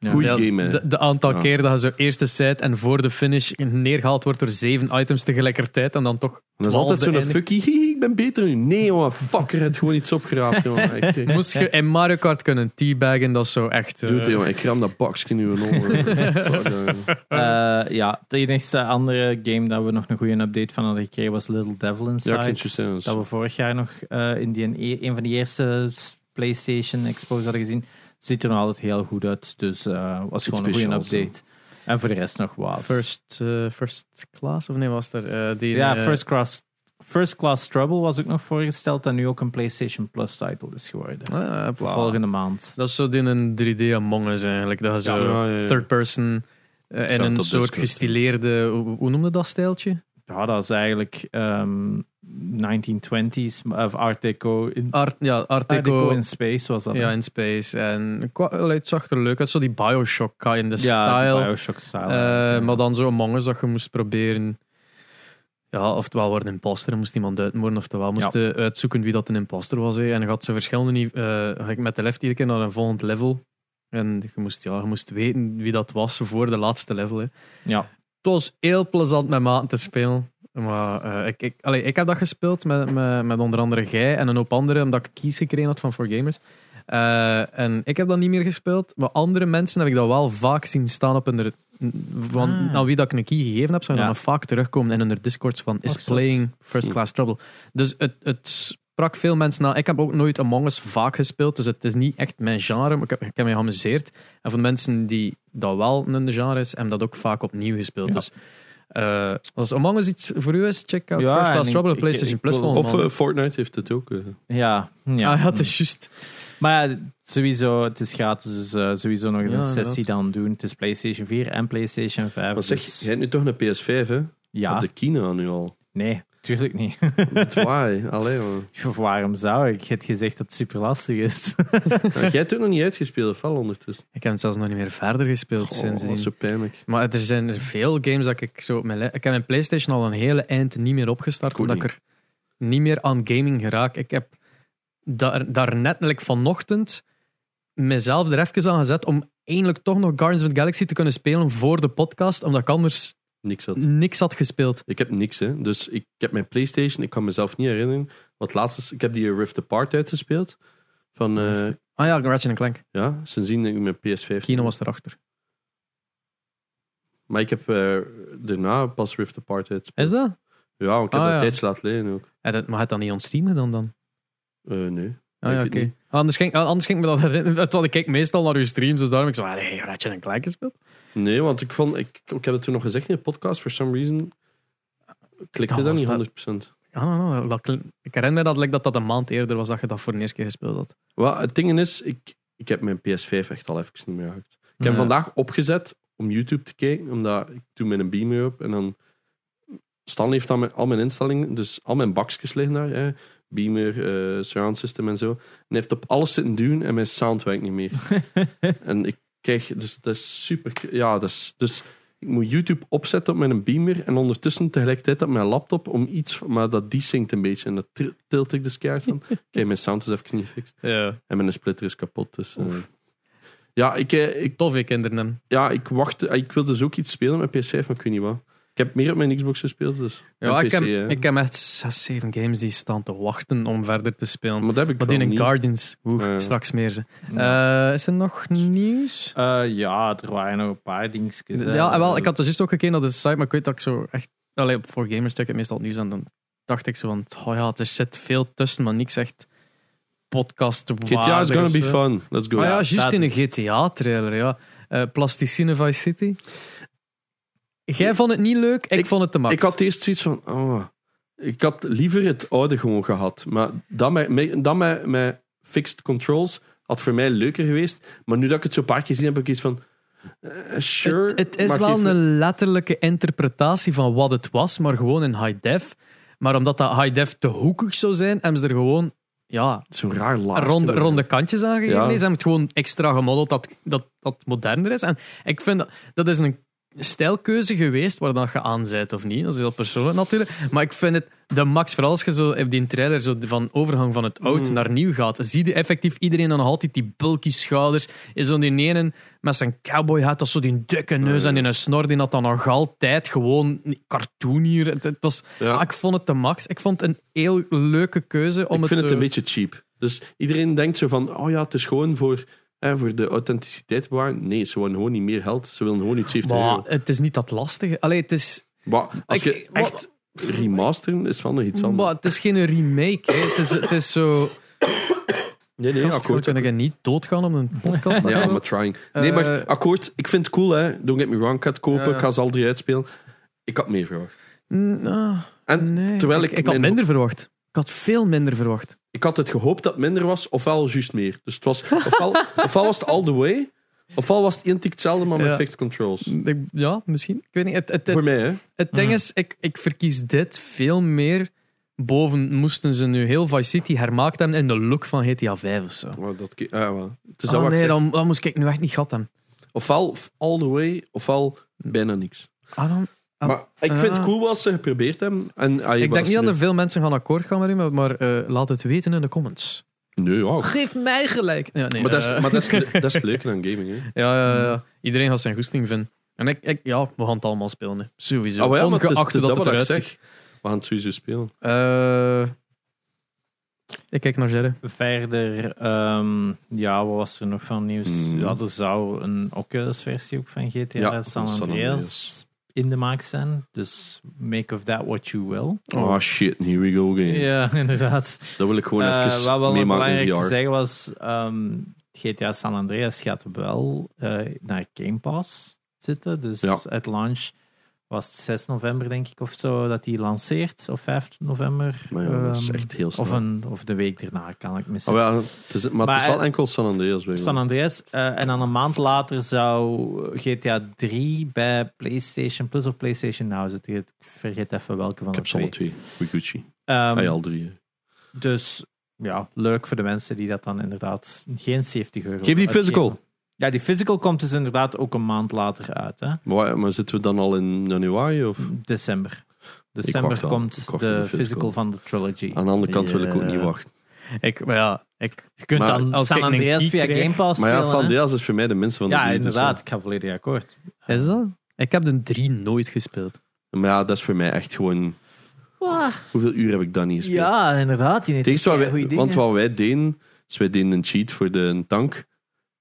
Ja.
Goeie
Ja,
game, hè. Ah.
De, de aantal
Ja.
keer dat je zo eerste set en voor de finish neergehaald wordt door zeven items tegelijkertijd en dan toch.
Dat is altijd zo'n
twaalfde eindigt.
fuckie, hi, ik ben beter nu. Nee, jongen, fucker, het gewoon iets opgeraapt, jongen. Ik, ik,
Moest je in Mario Kart kunnen teabaggen, dat is zo echt. eh,
doe het, jongen. Ik ram dat bakje nu in oor.
Eh, ja, de enige andere game dat we nog een goede update van hadden gekregen was Little Devil
Ja, ik vind het dus-
Inside.
juist, ja.
dat we vorig jaar nog eh, in die, een, een van de eerste PlayStation Expos hadden gezien. Ziet er nog altijd heel goed uit. Dus eh was gewoon een goede
speciaals, hè.
update. En voor de rest nog wat.
First, eh, first class, of nee, was er? eh, die,
Ja,
eh,
First Class, First Class Trouble was ook nog voorgesteld en nu ook een PlayStation Plus title is geworden.
ah, heb-
Volgende maand.
Dat is zo die een 3D Among Us eigenlijk. Dat je zo
Ja, ja, ja.
third person eh, in
Zou
een
dat
soort
dus
gestileerde. Hoe, hoe noemde dat stijltje?
Ja, dat is eigenlijk ehm 1920s of Art Deco in,
Art, ja, Art
Art Deco
Ah, Deco.
in Space was dat.
ja,
hè?
in space. En qua, allee, het zag er leuk uit. Zo die Bioshock kind, de
ja die
style.
Bioshock style.
Eh,
ja.
Maar dan zo Among Us dat je moest proberen. Ja, oftewel worden imposter, moest iemand uitmoorden, oftewel moest je uitzoeken wie dat een imposter was. hè. En je had zo verschillende nive- eh, gelijk met de left iedere keer naar een volgend level. En je moest, ja, je moest weten wie dat was voor de laatste level. hè.
Ja.
Het was heel plezant met maten te spelen. Maar eh, ik, ik, allee, ik heb dat gespeeld met, met, met onder andere jij en een hoop anderen, omdat ik kies gekregen had van 4Gamers. Eh, en ik heb dat niet meer gespeeld, maar andere mensen heb ik dat wel vaak zien staan op hun van
Ah.
aan wie dat ik een key gegeven heb, zijn
Ja.
dan vaak terugkomen in hun discords van is
Och, zo.
playing first class trouble. Dus het, het sprak veel mensen na. Ik heb ook nooit Among Us vaak gespeeld, dus het is niet echt mijn genre, maar ik heb, ik heb mij geamuseerd. En voor mensen die dat wel een genre is, hebben dat ook vaak opnieuw gespeeld.
Ja.
Dus eh, als Among Us iets voor u is, check out
Ja,
First
en
Class
ik-
Trouble
ik-
op PlayStation
ik
Plus
wil-
volgende
Of
maand.
eh, Fortnite heeft het ook. eh.
Ja, ja.
Ah ja, het is juist.
Maar ja, sowieso, het is gratis, dus eh, sowieso nog eens
Ja,
een
inderdaad.
sessie dan doen. Het is PlayStation 4 en PlayStation 5.
Maar zeg,
dus-
jij hebt nu toch een PS5, hè?
ja,
Op de Kina nu al.
nee, tuurlijk niet.
Why? Allee, man.
Waarom zou ik? Je hebt gezegd dat het super lastig is.
Nou, jij hebt het nog niet uitgespeeld, of wel ondertussen?
Ik heb het zelfs nog niet meer verder gespeeld
Oh, dat
sindsdien.
is zo pijnlijk.
Maar er zijn er veel games dat ik zo op mijn li- Ik heb mijn PlayStation al een hele eind niet meer opgestart,
Goed
omdat ik er niet meer aan gaming geraak. Ik heb daar, daarnet, like vanochtend, mezelf er even aan gezet om eindelijk toch nog Guardians of the Galaxy te kunnen spelen voor de podcast, omdat ik anders
Niks had.
niks had gespeeld.
Ik heb niks, hè. Dus ik, ik heb mijn PlayStation, ik kan mezelf niet herinneren. Wat laatst is, ik heb die Rift Apart uitgespeeld. Van, eh,
Rift.
Ah ja, Ratchet Clank.
ja, sindsdien heb ik mijn PS5.
Kino was erachter.
Maar ik heb eh, daarna pas Rift Apart uitgespeeld.
Is dat?
Ja, ik heb
Ah,
dat
ja.
tijds laten liggen ook.
Ja, dat- maar het dan niet onstreamen dan? dan?
Eh, nee.
Ah, ja,
Ik
oké.
weet niet.
Anders, ging, ah, anders ging ik me dat herinneren. Terwijl ik kijk meestal naar uw streams, dus daarom ik zo, ah, hey, Ratchet Clank gespeeld.
Nee, want ik vond, ik, ik heb het toen nog gezegd in de podcast, for some reason klikte
Dan
dat,
was
niet
dat-
100%.
I don't know, ah, dat klink- ik herinner me dat, like, dat dat een maand eerder was dat je dat voor de eerste keer gespeeld had.
Wel, het ding is, ik, ik heb mijn PS5 echt al even niet meer gehakt. Ik heb hem
Ja.
vandaag opgezet om YouTube te kijken, omdat ik doe mijn beamer op en dan... Stan heeft al mijn, al mijn instellingen, dus al mijn bakjes liggen daar. Hè. Beamer, eh, surround system en zo. En hij heeft op alles zitten duwen en mijn sound werkt niet meer. en ik krijg, dus dat is super... Ja, dat is, dus ik moet YouTube opzetten op mijn beamer en ondertussen tegelijkertijd op mijn laptop om iets... Maar dat desynced een beetje en dat tri- tilt ik dus keihard van. Oké, mijn sound is even niet gefixt.
Ja.
En mijn splitter is kapot. Dus, eh, ja, ik, eh, ik,
Tof, ik kinderen. hem.
ja, ik wacht. Ik wil dus ook iets spelen met PS5, maar ik weet niet wat. Ik heb meer op mijn Xbox gespeeld. Dus.
Ja,
En
ik, heb,
hè.
ik heb echt zes, zeven games die staan te wachten om verder te spelen.
Maar dat heb ik
Maar
wel
die in
niet.
Guardians, oeh,
Ja, ja.
straks meer ze.
Ja.
Eh, is er nog nieuws?
Eh, ja, er waren nog een paar dingetjes. hè.
Ja, wel, ik had dus juist ook gekeken naar de site, maar ik weet dat ik zo echt... Allee, op voor gamers check ik meestal het nieuws en dan dacht ik zo van, oh ja, er zit veel tussen, maar niks echt podcast
GTA is gonna be fun. Let's go.
Ah ja,
dat
juist in een
is het.
GTA-trailer, ja. Eh, Plasticine Vice City. Jij vond het niet leuk, ik,
Ik-
vond het te max.
ik had eerst zoiets van. Oh, ik had liever het oude gewoon gehad. Maar dat met, met- dat met, met fixed controls had voor mij leuker geweest. Maar nu dat ik het zo een paar keer zie, heb ik iets van. eh, sure.
het, het is
maar
wel
geef-
een letterlijke interpretatie van wat het was, maar gewoon in high def. Maar omdat dat high def te hoekig zou zijn, hebben ze er gewoon ja,
Zo'n raar laag.
ronde, ronde kantjes aan gegeven.
Ja.
Nee, Ze hebben het gewoon extra gemodeld dat, dat, dat moderner is. En ik vind dat, dat is een stijlkeuze geweest waar dat je aan bent of niet. Dat is heel persoonlijk natuurlijk. Maar ik vind het de max, vooral als je zo op die trailer zo van overgang van het oud
Mm.
naar nieuw gaat, zie je effectief iedereen dan nog altijd die bulky schouders. Is zo die ene met zijn cowboy hat, dat zo die dikke neus en die snor, die had dan nog altijd gewoon cartoon hier. Het, het was,
Ja.
ah, ik vond het de max. Ik vond het een heel leuke keuze om eh,
ik vind
zo...
het een beetje cheap. Dus iedereen denkt zo van, oh ja, het is gewoon voor, hè, voor de authenticiteit bewaren. Nee, ze willen gewoon niet meer geld. Ze willen gewoon iets 70
Maar
euro.
het is niet dat lastige. Allee, het is,
Maar als
Ik-
je
wa-
echt remasteren, is wel nog iets anders.
maar het is geen remake. hè. Het, is, het is zo.
nee, nee,
Gast, we
akkoord.
kunnen niet doodgaan om een podcast te
Ja,
hebben.
maar trying. Nee, maar
Eh,
akkoord. Ik vind het cool, hè. Don't get me wrong, ik ga het kopen.
Ja, ja.
Ik ga ze al drie uitspelen. Ik had meer verwacht.
Mm, ah,
En
nee.
terwijl ik
ik, had
mijn-
minder verwacht. Ik had veel minder verwacht.
ik had het gehoopt dat het minder was, ofwel juist meer. Dus het was, ofwel, ofwel was het all the way, ofwel was het één tik hetzelfde, maar met
Ja.
fixed controls.
Ik- ja, misschien. Ik weet niet. Het, het, het,
Voor mij, hè.
het ding
Mm.
is, ik, ik verkies dit veel meer. Boven moesten ze nu heel Vice City hermaakt hebben in de look van GTA 5 of zo.
Maar dat, ki- ah, wel. Het is dat
Ah,
wat ik
nee,
zeg.
dan, dan moest ik nu echt niet gat hebben.
Ofwel all the way, ofwel bijna niks.
Ah, dan, Ah,
Maar ik vind het
ah.
cool wat ze geprobeerd hebben. En, ah, je
ik denk
was
niet dat
nu-
er veel mensen gaan akkoord gaan met u, maar, maar eh, laat het weten in de comments.
Nee, ja.
Ah,
Geef mij gelijk. Ja, nee,
Maar, dat is,
eh,
maar dat, is, le- dat is het leuke aan gaming. Hè. Ah,
ja, ja, ja. iedereen gaat zijn goesting vinden. En ik, ik, ja, we gaan het allemaal spelen. hè. Sowieso.
Ah, wel, maar het is-
Ongeacht
het is
hoe dat,
dat wat
het
ik
eruit
zeg.
ziet.
We gaan het sowieso spelen.
Eh, Ik kijk naar Jerry.
Verder, ehm, ja, wat was er nog van nieuws?
Hmm.
Ja, er zou een Oculus-versie ook van GTA
Ja, van
San
San
Andreas
Andreas.
in de maak zijn. Dus make of that what you will.
Oh shit, here we go again.
Ja, inderdaad.
Dat wil ik gewoon
Eh,
even
wat wel
meemaken
belangrijk
in
te
VR.
zeggen was, ehm, GTA San Andreas gaat wel eh, naar Game Pass zitten. Dus
Ja.
uit launch was het 6 november, denk ik, of zo, dat die lanceert. Of 5 november.
Maar ja, dat is
ehm,
echt heel snel.
of, een, of de week daarna, kan ik
Oh,
missen.
ja, het is, maar, het
Maar,
is wel
eh,
enkel San Andreas. weet ik
San
wel.
Andreas. eh, en dan een maand later zou GTA 3 bij PlayStation Plus of PlayStation Now zitten. Ik vergeet even welke van
Ik heb
de
ze
twee.
alle twee. Goed Gucci.
Ehm,
Ah ja, al drie. hè.
Dus ja, leuk voor de mensen die dat dan inderdaad geen 70 euro.
Geef die
uitgeven.
physical.
Ja, die physical komt dus inderdaad ook een maand later uit, hè?
Maar, waar- maar zitten we dan al in januari? Of?
December.
wacht
December
wel.
komt
Ik
de,
wacht op de
physical.
physical. Ah,
van de trilogy.
Aan de andere kant wil ik ook
Ja.
niet wachten.
Ik, maar ja, ik,
Je kunt
Maar
dan
als
San
ik een
Andreas
key
via
krijg-
Game Pass
Maar ja, San
spelen. hè?
Andreas is voor mij de minste van de
ja,
drie. dus
inderdaad. Ik ga volledig akkoord.
is dat? Ik heb de 3 nooit gespeeld.
ja. Maar ja, dat is voor mij echt gewoon...
Wah.
Hoeveel uur heb ik dat niet gespeeld?
Ja, inderdaad. Die
Het enige wat wij-
goede
want wat wij deden, is wij deden een cheat voor de tank.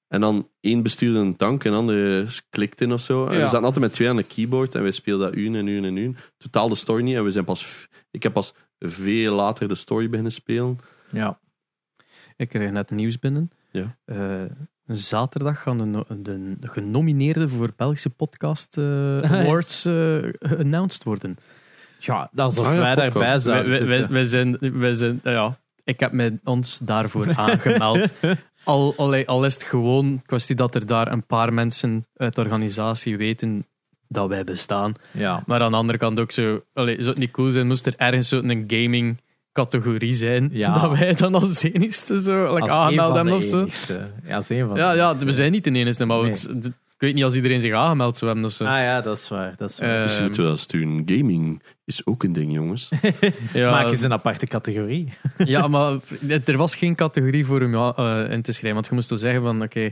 En dan één bestuurde een tank en de andere klikt in of zo. En
Ja.
we zaten altijd met twee aan de keyboard en wij speelden dat uur en uur en uur. Totaal de story niet. En we zijn pas, v- ik heb pas veel later de story beginnen spelen.
Ja.
Ik kreeg net nieuws binnen.
Ja.
Eh, zaterdag gaan de, no- de, de genomineerden voor Belgische Podcast eh,
Ah,
Awards eh announced worden.
ja, dat is of
Ah, ja,
wij
podcast.
daarbij
Wij,
zouden
wij, wij-
zitten.
wij zijn, wij zijn nou ja, ik heb mij ons daarvoor aangemeld. Al, allee, al is het gewoon kwestie dat er daar een paar mensen uit de organisatie weten dat wij bestaan.
Ja.
Maar aan de andere kant ook zo, allee, zou het niet cool zijn, moest er ergens zo een gaming categorie zijn,
Ja.
dat wij dan als enigste zo like,
Als een
aangemeld
van de
hebben of zo.
enigste. Ja, als een van de
Ja, ja,
enigste.
we zijn niet de enigste, maar
Nee.
het- het- ik weet niet als iedereen zich aangemeld zou hebben of zo.
Ah ja, dat is waar. Dat is waar.
Misschien
Ehm,
moeten we dat sturen. Gaming is ook een ding, jongens.
ja,
Maak eens een aparte categorie.
Ja, maar het- er was geen categorie voor om ja, eh, in te schrijven. Want je moest wel zeggen van, oké,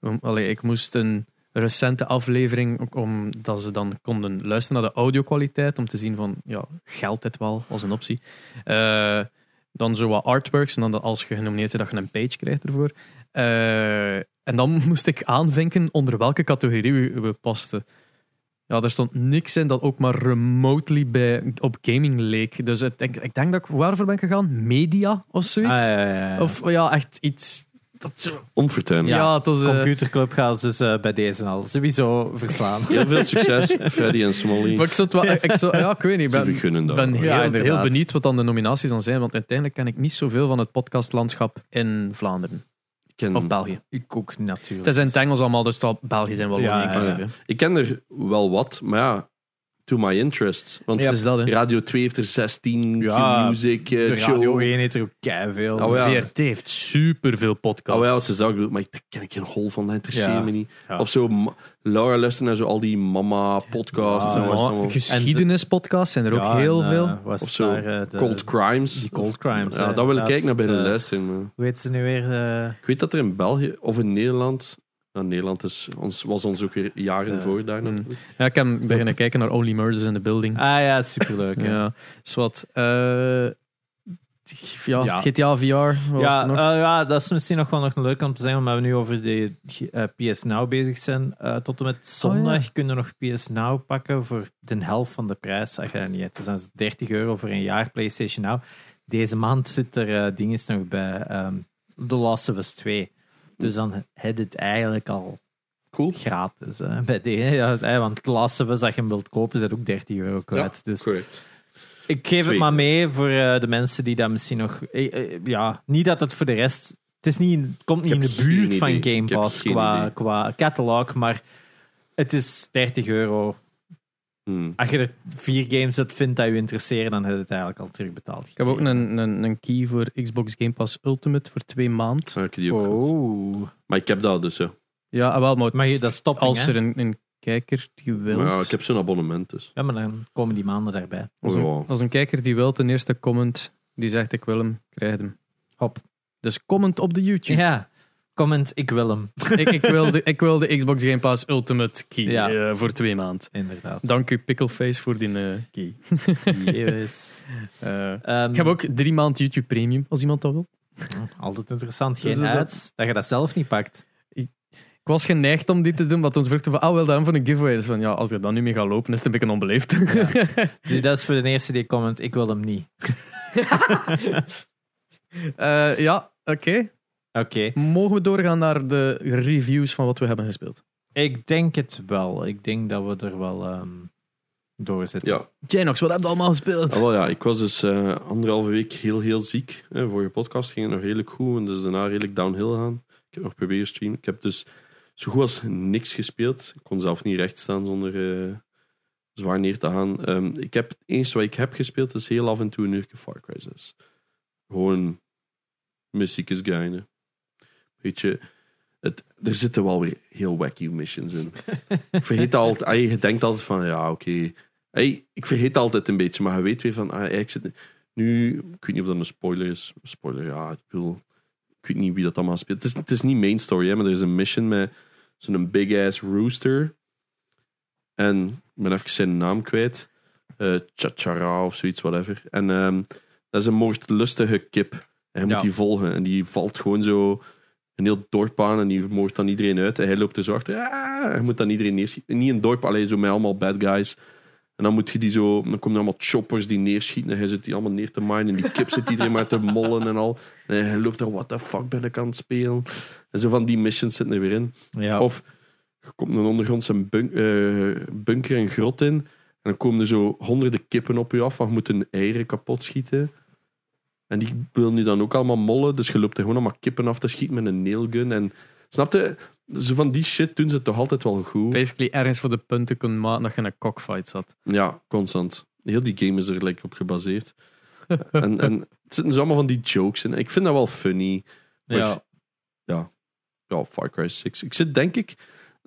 om- allee, ik moest een recente aflevering, ook omdat ze dan konden luisteren naar de audiokwaliteit, om te zien van, ja, geldt dit wel als een optie. Eh, dan zo wat artworks, en dan dat als je genomineerd bent, dat je een page krijgt ervoor. Eh, en dan moest ik aanvinken onder welke categorie we, we pasten. Ja, er stond niks in dat ook maar remotely bij, op gaming leek. Dus het- ik, ik denk dat ik waarvoor ben gegaan? Media of zoiets?
Ah, ja, ja, ja.
Of ja, echt iets. Dat zo...
Onvertuin.
ja, het was. eh,
Computerclub gaan ze dus eh, bij deze al sowieso verslaan.
Heel veel succes, Freddy en Smolly.
maar ik zou het wel. Ik zou, ja, ik weet niet. Ik
Ze
ben,
vergunnen dat.
ben heel,
Ja, inderdaad.
heel benieuwd wat dan de nominaties dan zijn. Want uiteindelijk ken ik niet zoveel van het podcastlandschap in Vlaanderen
Ik ken-
of België.
Ik ook
Het
natuurlijk.
is in het Engels allemaal, dus dat België zijn wel dus ja,
Ja, Ah, ja,
inclusief.
ja.
hè.
Ik ken er wel wat, maar ja, to my interest. Want
Dus dat, hè.
Radio 2 heeft er 16,
Ja,
Q Music, eh,
de Radio
Joe.
1 heeft er ook keiveel.
Oh, ja.
VRT heeft superveel podcasts.
Oh ja, het is dat ik bedoel, maar ik, daar ken ik geen hol van, dat interesseert
Ja.
me niet.
Ja.
Of zo, ma- Laura luistert naar zo al die mama-podcasts.
Ah, Ja,
en wat is het
Ja,
allemaal.
geschiedenispodcasts zijn er ook
Ja,
heel
en, eh,
veel.
was
Of zo,
daar, eh, de-
Cold Crimes.
Die Cold Crimes.
ja,
eh,
dat wil ik
inderdaad.
kijken naar bij de
De-
luistering. maar
Hoe heet ze nu weer? eh,
Ik weet dat er in België, of in Nederland... Nou, Nederland is ons, was ons ook weer jaren
Ja. Mm.
voor daar
Hmm.
natuurlijk.
Ja, ik heb beginnen kijken naar Only Murders in the Building.
Ah ja, superleuk. hè.
ja, is wat. eh, ja,
Ja.
GTA VR. wat was
Ja,
er nog?
eh, ja, dat is misschien nog wel nog leuk om te zeggen, omdat we nu over de eh, PS Now bezig zijn. Eh, tot
Oh,
en met zondag kunnen we nog PS Now pakken voor de helft van de prijs. Ach, ja, niet. uit. Dus dat is 30 euro voor een jaar PlayStation Now. Deze maand zit er eh dinges nog bij ehm, The Last of Us 2. Dus dan heb je het eigenlijk al
Cool.
gratis. Hè, bij die, ja, hè, want The Last of Us, dat je hem wilt kopen, zit ook 30 euro kwijt. dus
Correct.
ik geef het
Twee.
maar mee voor eh, de mensen die dat misschien nog. eh, eh, ja, niet dat het voor de rest. Het, is niet, het komt niet
Ik
in
heb
de buurt
geen
van
idee.
Game
Ik heb
Pass
geen
qua,
idee.
qua catalog, maar het is 30 euro.
Hmm.
Als je er vier games uit vindt dat je interesseren, dan heb je het eigenlijk al terugbetaald.
Ik heb ook een, een, een key voor Xbox Game Pass Ultimate voor twee maanden.
Ah, ik heb die ook gehad.
Oh.
Maar ik heb dat dus, ja.
Ja, ah, wel, maar
Maar je, dat stopt.
als er een, een kijker die wil.
Maar ja, ik heb zo'n abonnement dus.
Ja, maar dan komen die maanden daarbij.
als,
Oh,
een,
ja.
als een kijker die wil, ten eerste comment die zegt: Ik wil hem, krijg je hem.
Hop.
Dus comment op de YouTube.
Ja. Comment, ik wil hem.
ik, ik, wil de, ik wil de Xbox Game Pass Ultimate Key
Ja.
eh, voor twee maanden.
Inderdaad.
Dank u, Pickleface, voor die eh, key.
Yes.
Eh,
Ehm,
ik heb ook drie maand YouTube Premium, als iemand dat wil.
Altijd interessant, geen
Dus dat-
uit, dat je dat zelf niet pakt.
Ik was geneigd om dit te doen, want ons vroeg van, ah, wel, daarom van een giveaway. Dus van, ja, als je dat nu mee gaat lopen, is het een beetje onbeleefd.
Die- Dat is voor de eerste die comment, ik wil hem niet.
Eh, ja, oké.
Oké,
Mogen we doorgaan naar de reviews van wat we hebben gespeeld?
ik denk het wel. Ik denk dat we er wel ehm door zitten.
Ja.
Janox, wat hebben we allemaal gespeeld?
Ah, wel, ja, ik was dus eh, anderhalve week heel, heel ziek. Eh, voor je podcast ging het nog redelijk goed en dus daarna redelijk downhill gaan. Ik heb nog proberen streamen. Ik heb dus zo goed als niks gespeeld. Ik kon zelf niet recht staan zonder eh, zwaar neer te gaan. Ehm, ik heb, het enige wat ik heb gespeeld is heel af en toe een uurtje Far Cry 6. Gewoon mystiekes grinden. Weet je, het, er zitten wel weer heel wacky missions in. ik vergeet altijd, ah, je denkt altijd van ja, oké. Hey, ik vergeet altijd een beetje, maar je weet weer van, ah, ik zit nu, ik weet niet of dat een spoiler is. Spoiler, ja, ik bedoel, ik weet niet wie dat allemaal speelt. Het is, het is niet main story, hè, maar er is een mission met zo'n big ass rooster. En ik ben even zijn naam kwijt. Eh Chachara of zoiets, whatever. En ehm, dat is een moordlustige kip. En je moet
Ja.
die volgen. En die valt gewoon zo een heel dorp aan en die moordt dan iedereen uit. En hij loopt er zo achter. Ah, hij moet dan iedereen neerschieten. Niet een dorp, alleen zo met allemaal bad guys. En dan moet je die zo, dan komen er allemaal choppers die neerschieten. En hij zit die allemaal neer te minen. En die kip zit iedereen maar te mollen en al. En hij loopt er, what the fuck ben ik aan het spelen? En zo van die missions zitten er weer in.
Ja.
Of er komt een ondergrondse bun- eh, bunker en grot in. En dan komen er zo honderden kippen op je af. Want je moet hun eieren kapot schieten. En die wil nu dan ook allemaal mollen. Dus je loopt er gewoon allemaal kippen af te schieten met een nailgun. En snap je? Zo van die shit doen ze toch altijd wel goed.
Basically, ergens voor de punten kon maken dat je in een cockfight zat.
Ja, constant. Heel die game is er like, op gebaseerd. en, en het zitten zo allemaal van die jokes in. Ik vind dat wel funny. Maar
Ja.
ik- ja. Ja, Far Cry 6. Ik zit denk ik...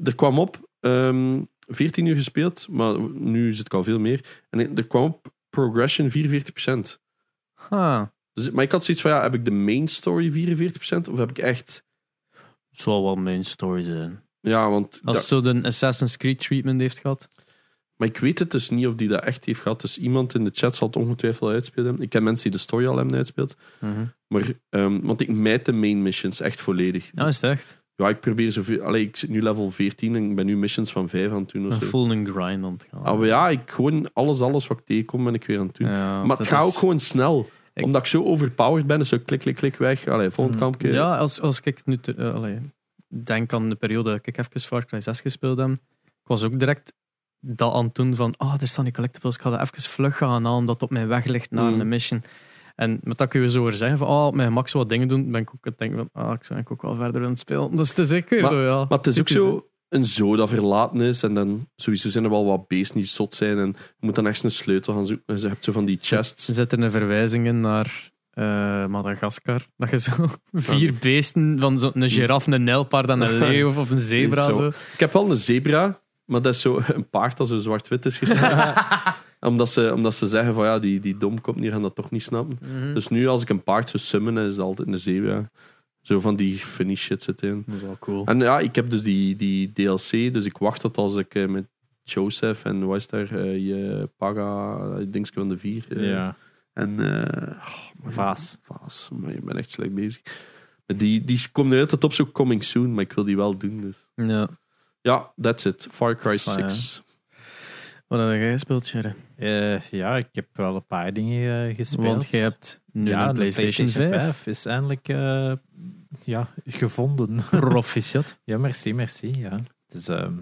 Er kwam op... ehm 14 uur gespeeld, maar nu zit ik al veel meer. En er kwam op progression 44%.
Ha,
Dus, maar ik had zoiets van, ja, heb ik de main story 44%? Of heb ik echt...
het zal wel mijn story zijn.
Ja, want...
Als
da-
het zo de Assassin's Creed treatment heeft gehad.
Maar ik weet het dus niet of die dat echt heeft gehad. Dus iemand in de chat zal het ongetwijfeld uitspelen. hebben. Ik ken mensen die de story al hebben uitgespeeld. Maar, ehm, want ik mijd de main missions echt volledig.
Nou, is het echt.
Ja, ik probeer zoveel... Allee, ik zit nu level 14 en ik ben nu missions van 5 aan het doen
Een
of zo.
full een grind aan het gaan.
Ah, maar ja, ik gewoon alles, alles wat ik tegenkom ben ik weer aan het doen.
Ja,
maar
dat
het gaat
is-
ook gewoon snel.
Ik- Mm,
Omdat ik zo overpowered ben, dus zo klik, klik, klik, weg. Allee, volgend kampje.
Ja, als, als ik nu te- eh, allee, denk aan de periode dat ik even Far Cry 6 gespeeld heb, ik was ook direct dat aan het doen van, ah, daar staan die collectibles, ik ga dat even vlug gaan halen, omdat het op mijn weg ligt naar
Mm.
een mission. En met dat kun je zo weer zeggen van, ah, op mijn max wat dingen doen, ben ik ook aan het denken van, ah, ik zou eigenlijk ook wel verder aan het spelen. Dus het is echt weer zo, ja.
Maar het is ook
Typisch,
zo een zo dat verlaten is. En dan sowieso zijn er wel wat beesten die zot zijn. En je moet dan echt een sleutel gaan zoeken. En ze hebt zo van die chests.
Ze zetten een verwijzing in naar eh, Madagaskar. Dat je zo vier beesten van zo, een giraf, een nijlpaard en een leeuw of een zebra.
Mm. Niet
Zo.
zo. Ik heb wel een zebra, maar dat is zo een paard dat zo zwart-wit is gezet. omdat, ze, omdat ze zeggen van ja, die, die domkop hier gaan dat toch niet snappen.
Mm.
Mhm.
Dus nu als ik een paard zou summen, is het altijd een zebra. Zo van die funny shit zit in.
Dat is wel cool.
En ja, ik heb dus die, die DLC, dus ik wacht tot als ik eh, met Joseph en wat is daar, eh, je Paga, het dingetje van de vier. eh,
Ja.
En eh, oh, man,
Vaas.
Vaas, maar je bent echt slecht bezig. Die, die komt er altijd op zo coming soon, maar ik wil die wel doen. Dus.
Ja.
Ja, that's it. Far Cry
Fire.
6.
Wat heb jij gespeeld, Sherry?
Eh, ja, ik heb wel een paar dingen eh, gespeeld.
Want jij hebt nu
ja,
een PlayStation, 5.
is eindelijk eh, ja, gevonden.
Proficiat.
Ja, merci, merci. Ja. Het is ehm,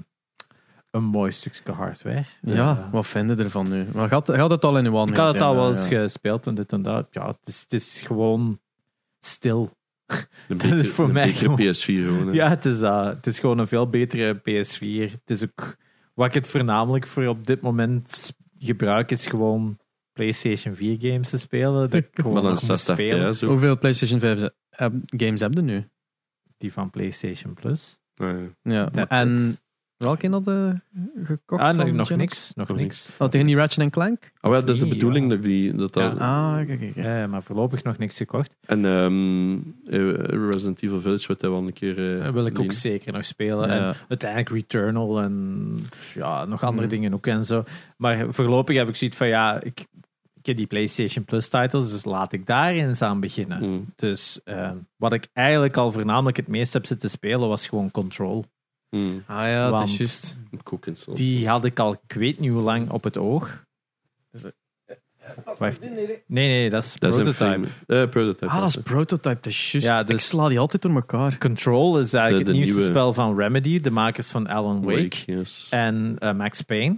een mooi stukje hardware.
Ja, wat vind je ervan nu? Maar gaat, gaat het al in uw
Eh,
handen?
ik had het al wel eens gespeeld en dit en dat. Ja, het is, het is gewoon stil.
Een
Dat is
betere-
voor
een
mij
betere
gewoon-
PS4 gewoon. hè.
Ja, het is, dat. het is gewoon een veel betere PS4. Het is ook wat ik het voornamelijk voor op dit moment s- gebruik is gewoon PlayStation 4 games te spelen. Dat ik gewoon
maar
nog
dan
moet
60
spelen.
FPS ook.
Hoeveel PlayStation 5 ze- heb- games heb je nu?
Die van PlayStation Plus.
Ja, ja.
Ja.
That's
en
it.
Welke had je gekocht?
Ah, nog,
van
nog
Genos?
niks. Nog
Nog
niks.
Oh, tegen die Ratchet Clank?
Ah, wel, dat is de
Nee,
bedoeling
ja.
dat die... Dat dat,
Ja.
Ah, kijk, kijk.
Ja, ja, Eh, maar voorlopig nog niks gekocht.
En ehm, eh, Resident Evil Village wordt hij wel een keer... eh,
Dat wil ik ook
lenen.
zeker nog spelen.
Ja.
En uiteindelijk Returnal en ja, nog andere
Mm.
dingen ook en zo. Maar voorlopig heb ik zoiets van ja, ik, ik heb die PlayStation Plus titles, dus laat ik daar eens aan beginnen.
Mm,
Dus eh, wat ik eigenlijk al voornamelijk het meest heb zitten spelen was gewoon Control.
mm.
Ah ja, dat is
Want
juist.
Ik ook in soms.
Die had ik al, ik weet niet hoe lang, op het oog. Wacht. Nee, nee, dat is
Dat is een
Prototype.
frame- eh, prototype.
Ah, dat is prototype, dat is juist.
Ja,
Ik
dus-
sla die altijd door elkaar.
Control is eigenlijk
de
het nieuwste
nieuwe-
spel van Remedy, de makers van Alan Wake,
yes.
en eh, Max Payne.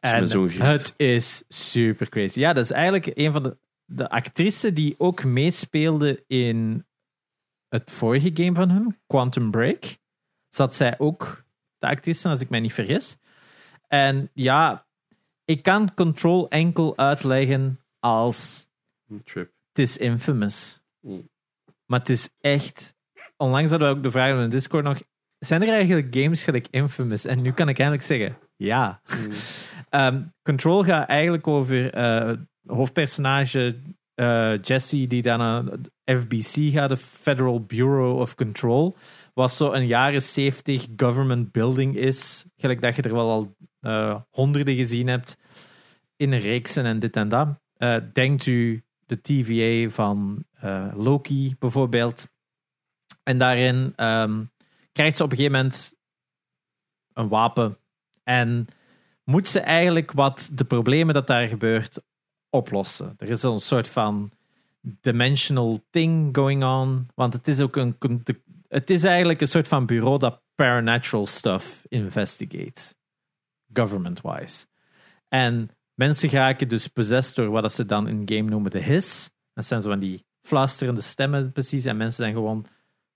is
En
met zo'n griet.
het is super crazy. Ja, dat is eigenlijk een van de, de actrice die ook meespeelde in het vorige game van hun, Quantum Break. Zat zij ook de actrice, als ik mij niet vergis. En ja, ik kan Control enkel uitleggen als
Een Trip.
het is infamous.
Mm.
Maar het is echt. Onlangs hadden we ook de vraag in de Discord nog. Zijn er eigenlijk games gelijk infamous? En nu kan ik eindelijk zeggen: ja. Ehm, Control gaat eigenlijk over eh, hoofdpersonage eh, Jesse, die dan aan het FBC gaat, de Federal Bureau of Control. Wat zo'n jaren 70 government building is. Gelijk dat je er wel al eh, honderden gezien hebt. In reeksen en dit en dat. Eh, denkt u de TVA van eh, Loki bijvoorbeeld. En daarin ehm, krijgt ze op een gegeven moment een wapen. En moet ze eigenlijk wat de problemen dat daar gebeurt oplossen. Er is een soort van dimensional thing going on. Want het is ook een. con- de- Het is eigenlijk een soort van bureau dat paranatural stuff investigates. Government-wise. En mensen geraken dus possessed door wat dat ze dan in game noemen de hiss. Dat zijn zo van die fluisterende stemmen precies. En mensen zijn gewoon,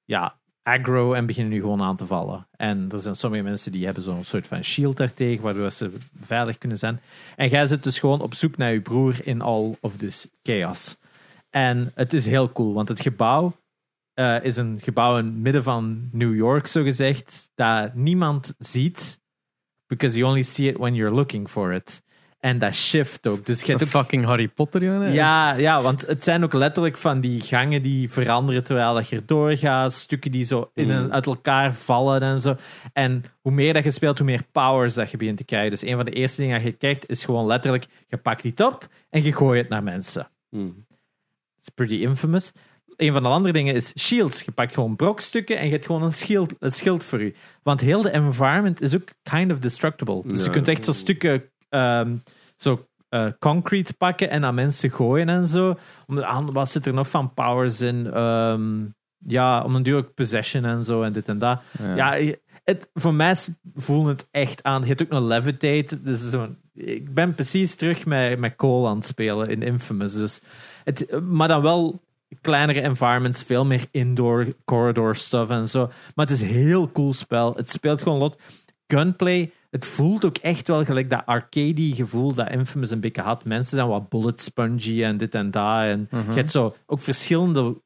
ja, aggro en beginnen nu gewoon aan te vallen. En er zijn sommige mensen die hebben zo'n soort van shield daartegen, waardoor ze veilig kunnen zijn. En jij zit dus gewoon op zoek naar je broer in all of this chaos. En het is heel cool, want het gebouw eh, is een gebouw in het midden van New York, zogezegd, dat niemand ziet, because you only see it when you're looking for it. En dat shift ook. Dus je
Is
hebt
dat
ook
fucking Harry Potter, jongen? Ah,
ja, ja, want het zijn ook letterlijk van die gangen die veranderen terwijl dat je erdoor gaat. Stukken die zo in en uit elkaar vallen en zo. En hoe meer dat je speelt, hoe meer powers dat je begint te krijgen. Dus een van de eerste dingen dat je krijgt is gewoon letterlijk: je pakt die op en je gooit het naar mensen.
Mm.
It's pretty infamous. Een van de andere dingen is shields. Je pakt gewoon brokstukken en je hebt gewoon een schild, een schild voor je. Want heel de environment is ook kind of destructible. Dus je
Ja.
kunt echt zo stukken ehm, zo, eh, concrete pakken en aan mensen gooien en zo. Om de, aan- wat zit er nog van powers in? Ehm, ja, om een duur ook possession en zo en dit en dat. Ja, je- het, voor mij s- voelde het echt aan. Je hebt ook nog Levitate. Dus zo, ik ben precies terug met, met Cole aan het spelen in Infamous. Dus het, maar dan wel kleinere environments, veel meer indoor corridor stuff en zo. Maar het is een heel cool spel. Het speelt gewoon lot. Gunplay, het voelt ook echt wel gelijk dat arcade gevoel dat Infamous een beetje had. Mensen zijn wat bullet spongy en dit en dat. En Je hebt zo ook verschillende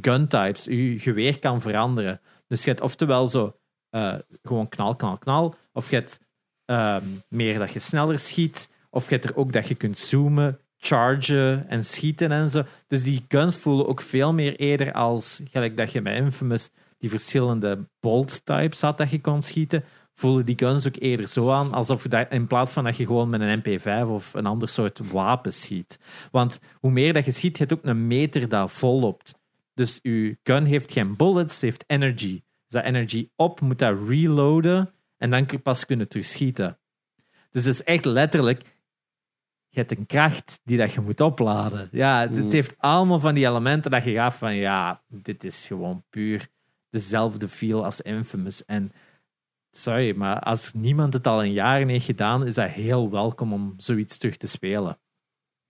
gun types. Je geweer kan veranderen. Dus je hebt oftewel zo eh, gewoon knal, knal, knal. Of je hebt ehm, meer dat je sneller schiet. Of je hebt er ook dat je kunt zoomen, chargen en schieten en zo. Dus die guns voelen ook veel meer eerder als gelijk dat je met Infamous die verschillende bolt types had dat je kon schieten. Voelen die guns ook eerder zo aan alsof je dat, in plaats van dat je gewoon met een MP5 of een ander soort wapen schiet. Want hoe meer dat je schiet, je hebt ook een meter dat volloopt. Dus uw gun heeft geen bullets, heeft energy. Is dat energy op, moet dat reloaden en dan kun je pas kunnen terugschieten. Dus het is echt letterlijk, je hebt een kracht die dat je moet opladen. Ja, het
Mm.
heeft allemaal van die elementen dat je gaat van, ja, dit is gewoon puur dezelfde feel als Infamous. En sorry, maar als niemand het al in jaren heeft gedaan, is dat heel welkom om zoiets terug te spelen.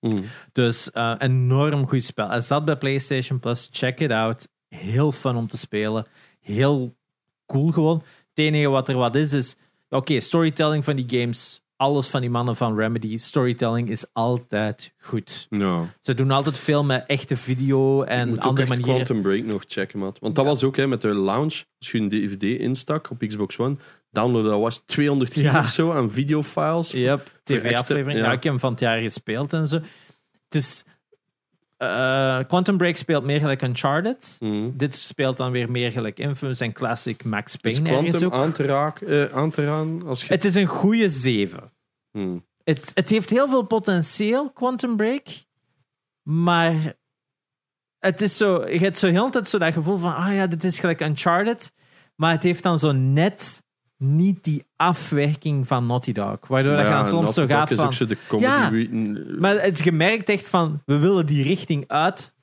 Mm.
Dus eh, enorm goed spel. Hij zat bij PlayStation Plus. Check it out. Heel fun om te spelen. Heel cool gewoon. Het enige wat er wat is, is... Oké, storytelling van die games. Alles van die mannen van Remedy. Storytelling is altijd goed.
Ja.
Ze doen altijd veel met echte video
Ik
en
moet ook
andere
echt
manieren.
Quantum Break nog checken, maat. Want dat was ook hè, met de launch. Als je een DVD instak op Xbox One, downloaden. Dat was 200 gig
Ja.
of zo aan videofiles.
Yep,
extra-
tv-aflevering. Ja.
ja.
ik heb hem van het jaar gespeeld en zo. Het is... eh, Quantum Break speelt meer gelijk Uncharted.
Mhm.
Dit speelt dan weer meer gelijk Infamous en Classic Max
Is
Payne. ergens
Dus Quantum
ook.
aan te, raak, eh, aan te raken als je...
Het is een goede zeven.
Mhm.
Het, het heeft heel veel potentieel, Quantum Break. Maar het is zo... Je hebt zo heel de tijd zo dat gevoel van... Ah ja, dit is gelijk Uncharted. Maar het heeft dan zo net niet die afwerking van Naughty Dog. Waardoor dat je
Ja,
dan soms
Naughty
zo
Dog
gaat
is
van...
ook zo de comedy.
Ja.
wie- n-
Maar het is gemerkt echt van, we willen die richting uit.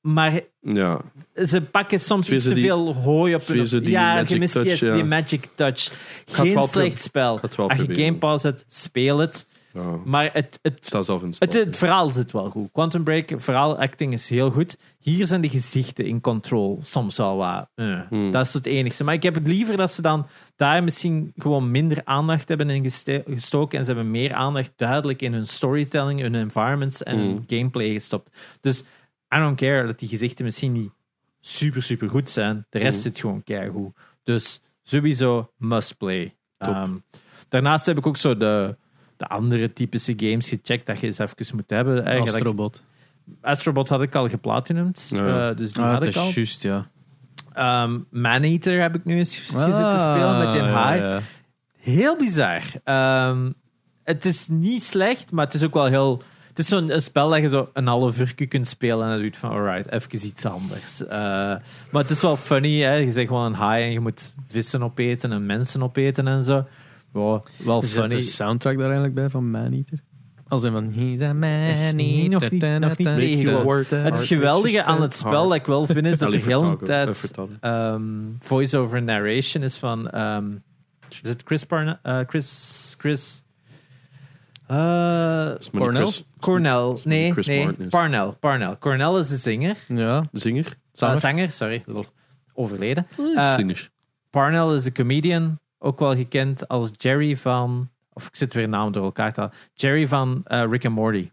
Maar
ja.
ze pakken soms
Weer
iets
ze
te
die-
veel hooi op
weer ze
de...
die
Ja,
magic
je mist
touch,
die,
ja.
die magic touch. Geen
wel
slecht
proberen.
spel.
ga het wel
Als je
proberen.
Game Pass hebt, speel het.
ja. Het
Maar het, het,
staat zelf in
het,
stand.
het verhaal zit wel goed. Quantum Break, verhaal, acting is heel goed. Hier zijn de gezichten in control soms wel wat... eh,
Hmm.
Dat is het enigste. Maar ik heb het liever dat ze dan daar misschien gewoon minder aandacht hebben in geste- gestoken. En ze hebben meer aandacht duidelijk in hun storytelling, hun environments en hun
Mm.
gameplay gestopt. Dus I don't care dat die gezichten misschien niet super, super goed zijn. De rest
Mm.
zit gewoon keigoed. Dus sowieso must play.
Top.
Ehm, daarnaast heb ik ook zo de, de andere typische games gecheckt dat je eens even moet hebben. Eigenlijk.
Astrobot.
Astrobot had ik al geplatinumd.
Ja.
eh, dus die
Ah,
had
dat
ik al.
is juist, ja.
Ehm Maneater heb ik nu eens gezeten te
Ah,
spelen met Den
ja,
Haag.
ja.
Heel bizar. Ehm, het is niet slecht, maar het is ook wel heel... Het is zo'n een spel dat je zo een half uur kunt spelen en dan doet van, alright, even iets anders. Eh, maar het is wel funny, hè? je zegt gewoon een haai en je moet vissen opeten en mensen opeten en zo. Wow, wel
Zit de
funny.
soundtrack daar eigenlijk bij van Maneater? Als in van... He's a
Echt
man-eater.
niet, nog niet- nog niet tegengekomen. Het geweldige aan het spel dat ik wel vind is dat
Allee,
er heel een
vertaal- eh,
tijd
vertaal.
ehm, voice-over narration is van. ehm, is het Chris Parna, eh, Chris. Chris. eh,
Is maar niet
Cornell?
Chris-
Cornell.
is maar niet
Nee,
Chris
nee.
Martin is.
Parnell. Parnell. Cornell is de zinger.
Ja.
Zinger?
Zanger,
Zanger.
zanger sorry. Lol. Overleden. Eh,
Zinger.
Parnell is een comedian. Ook wel gekend als Jerry van. Of ik zit weer namen door elkaar te halen. Jerry van eh, Rick and Morty.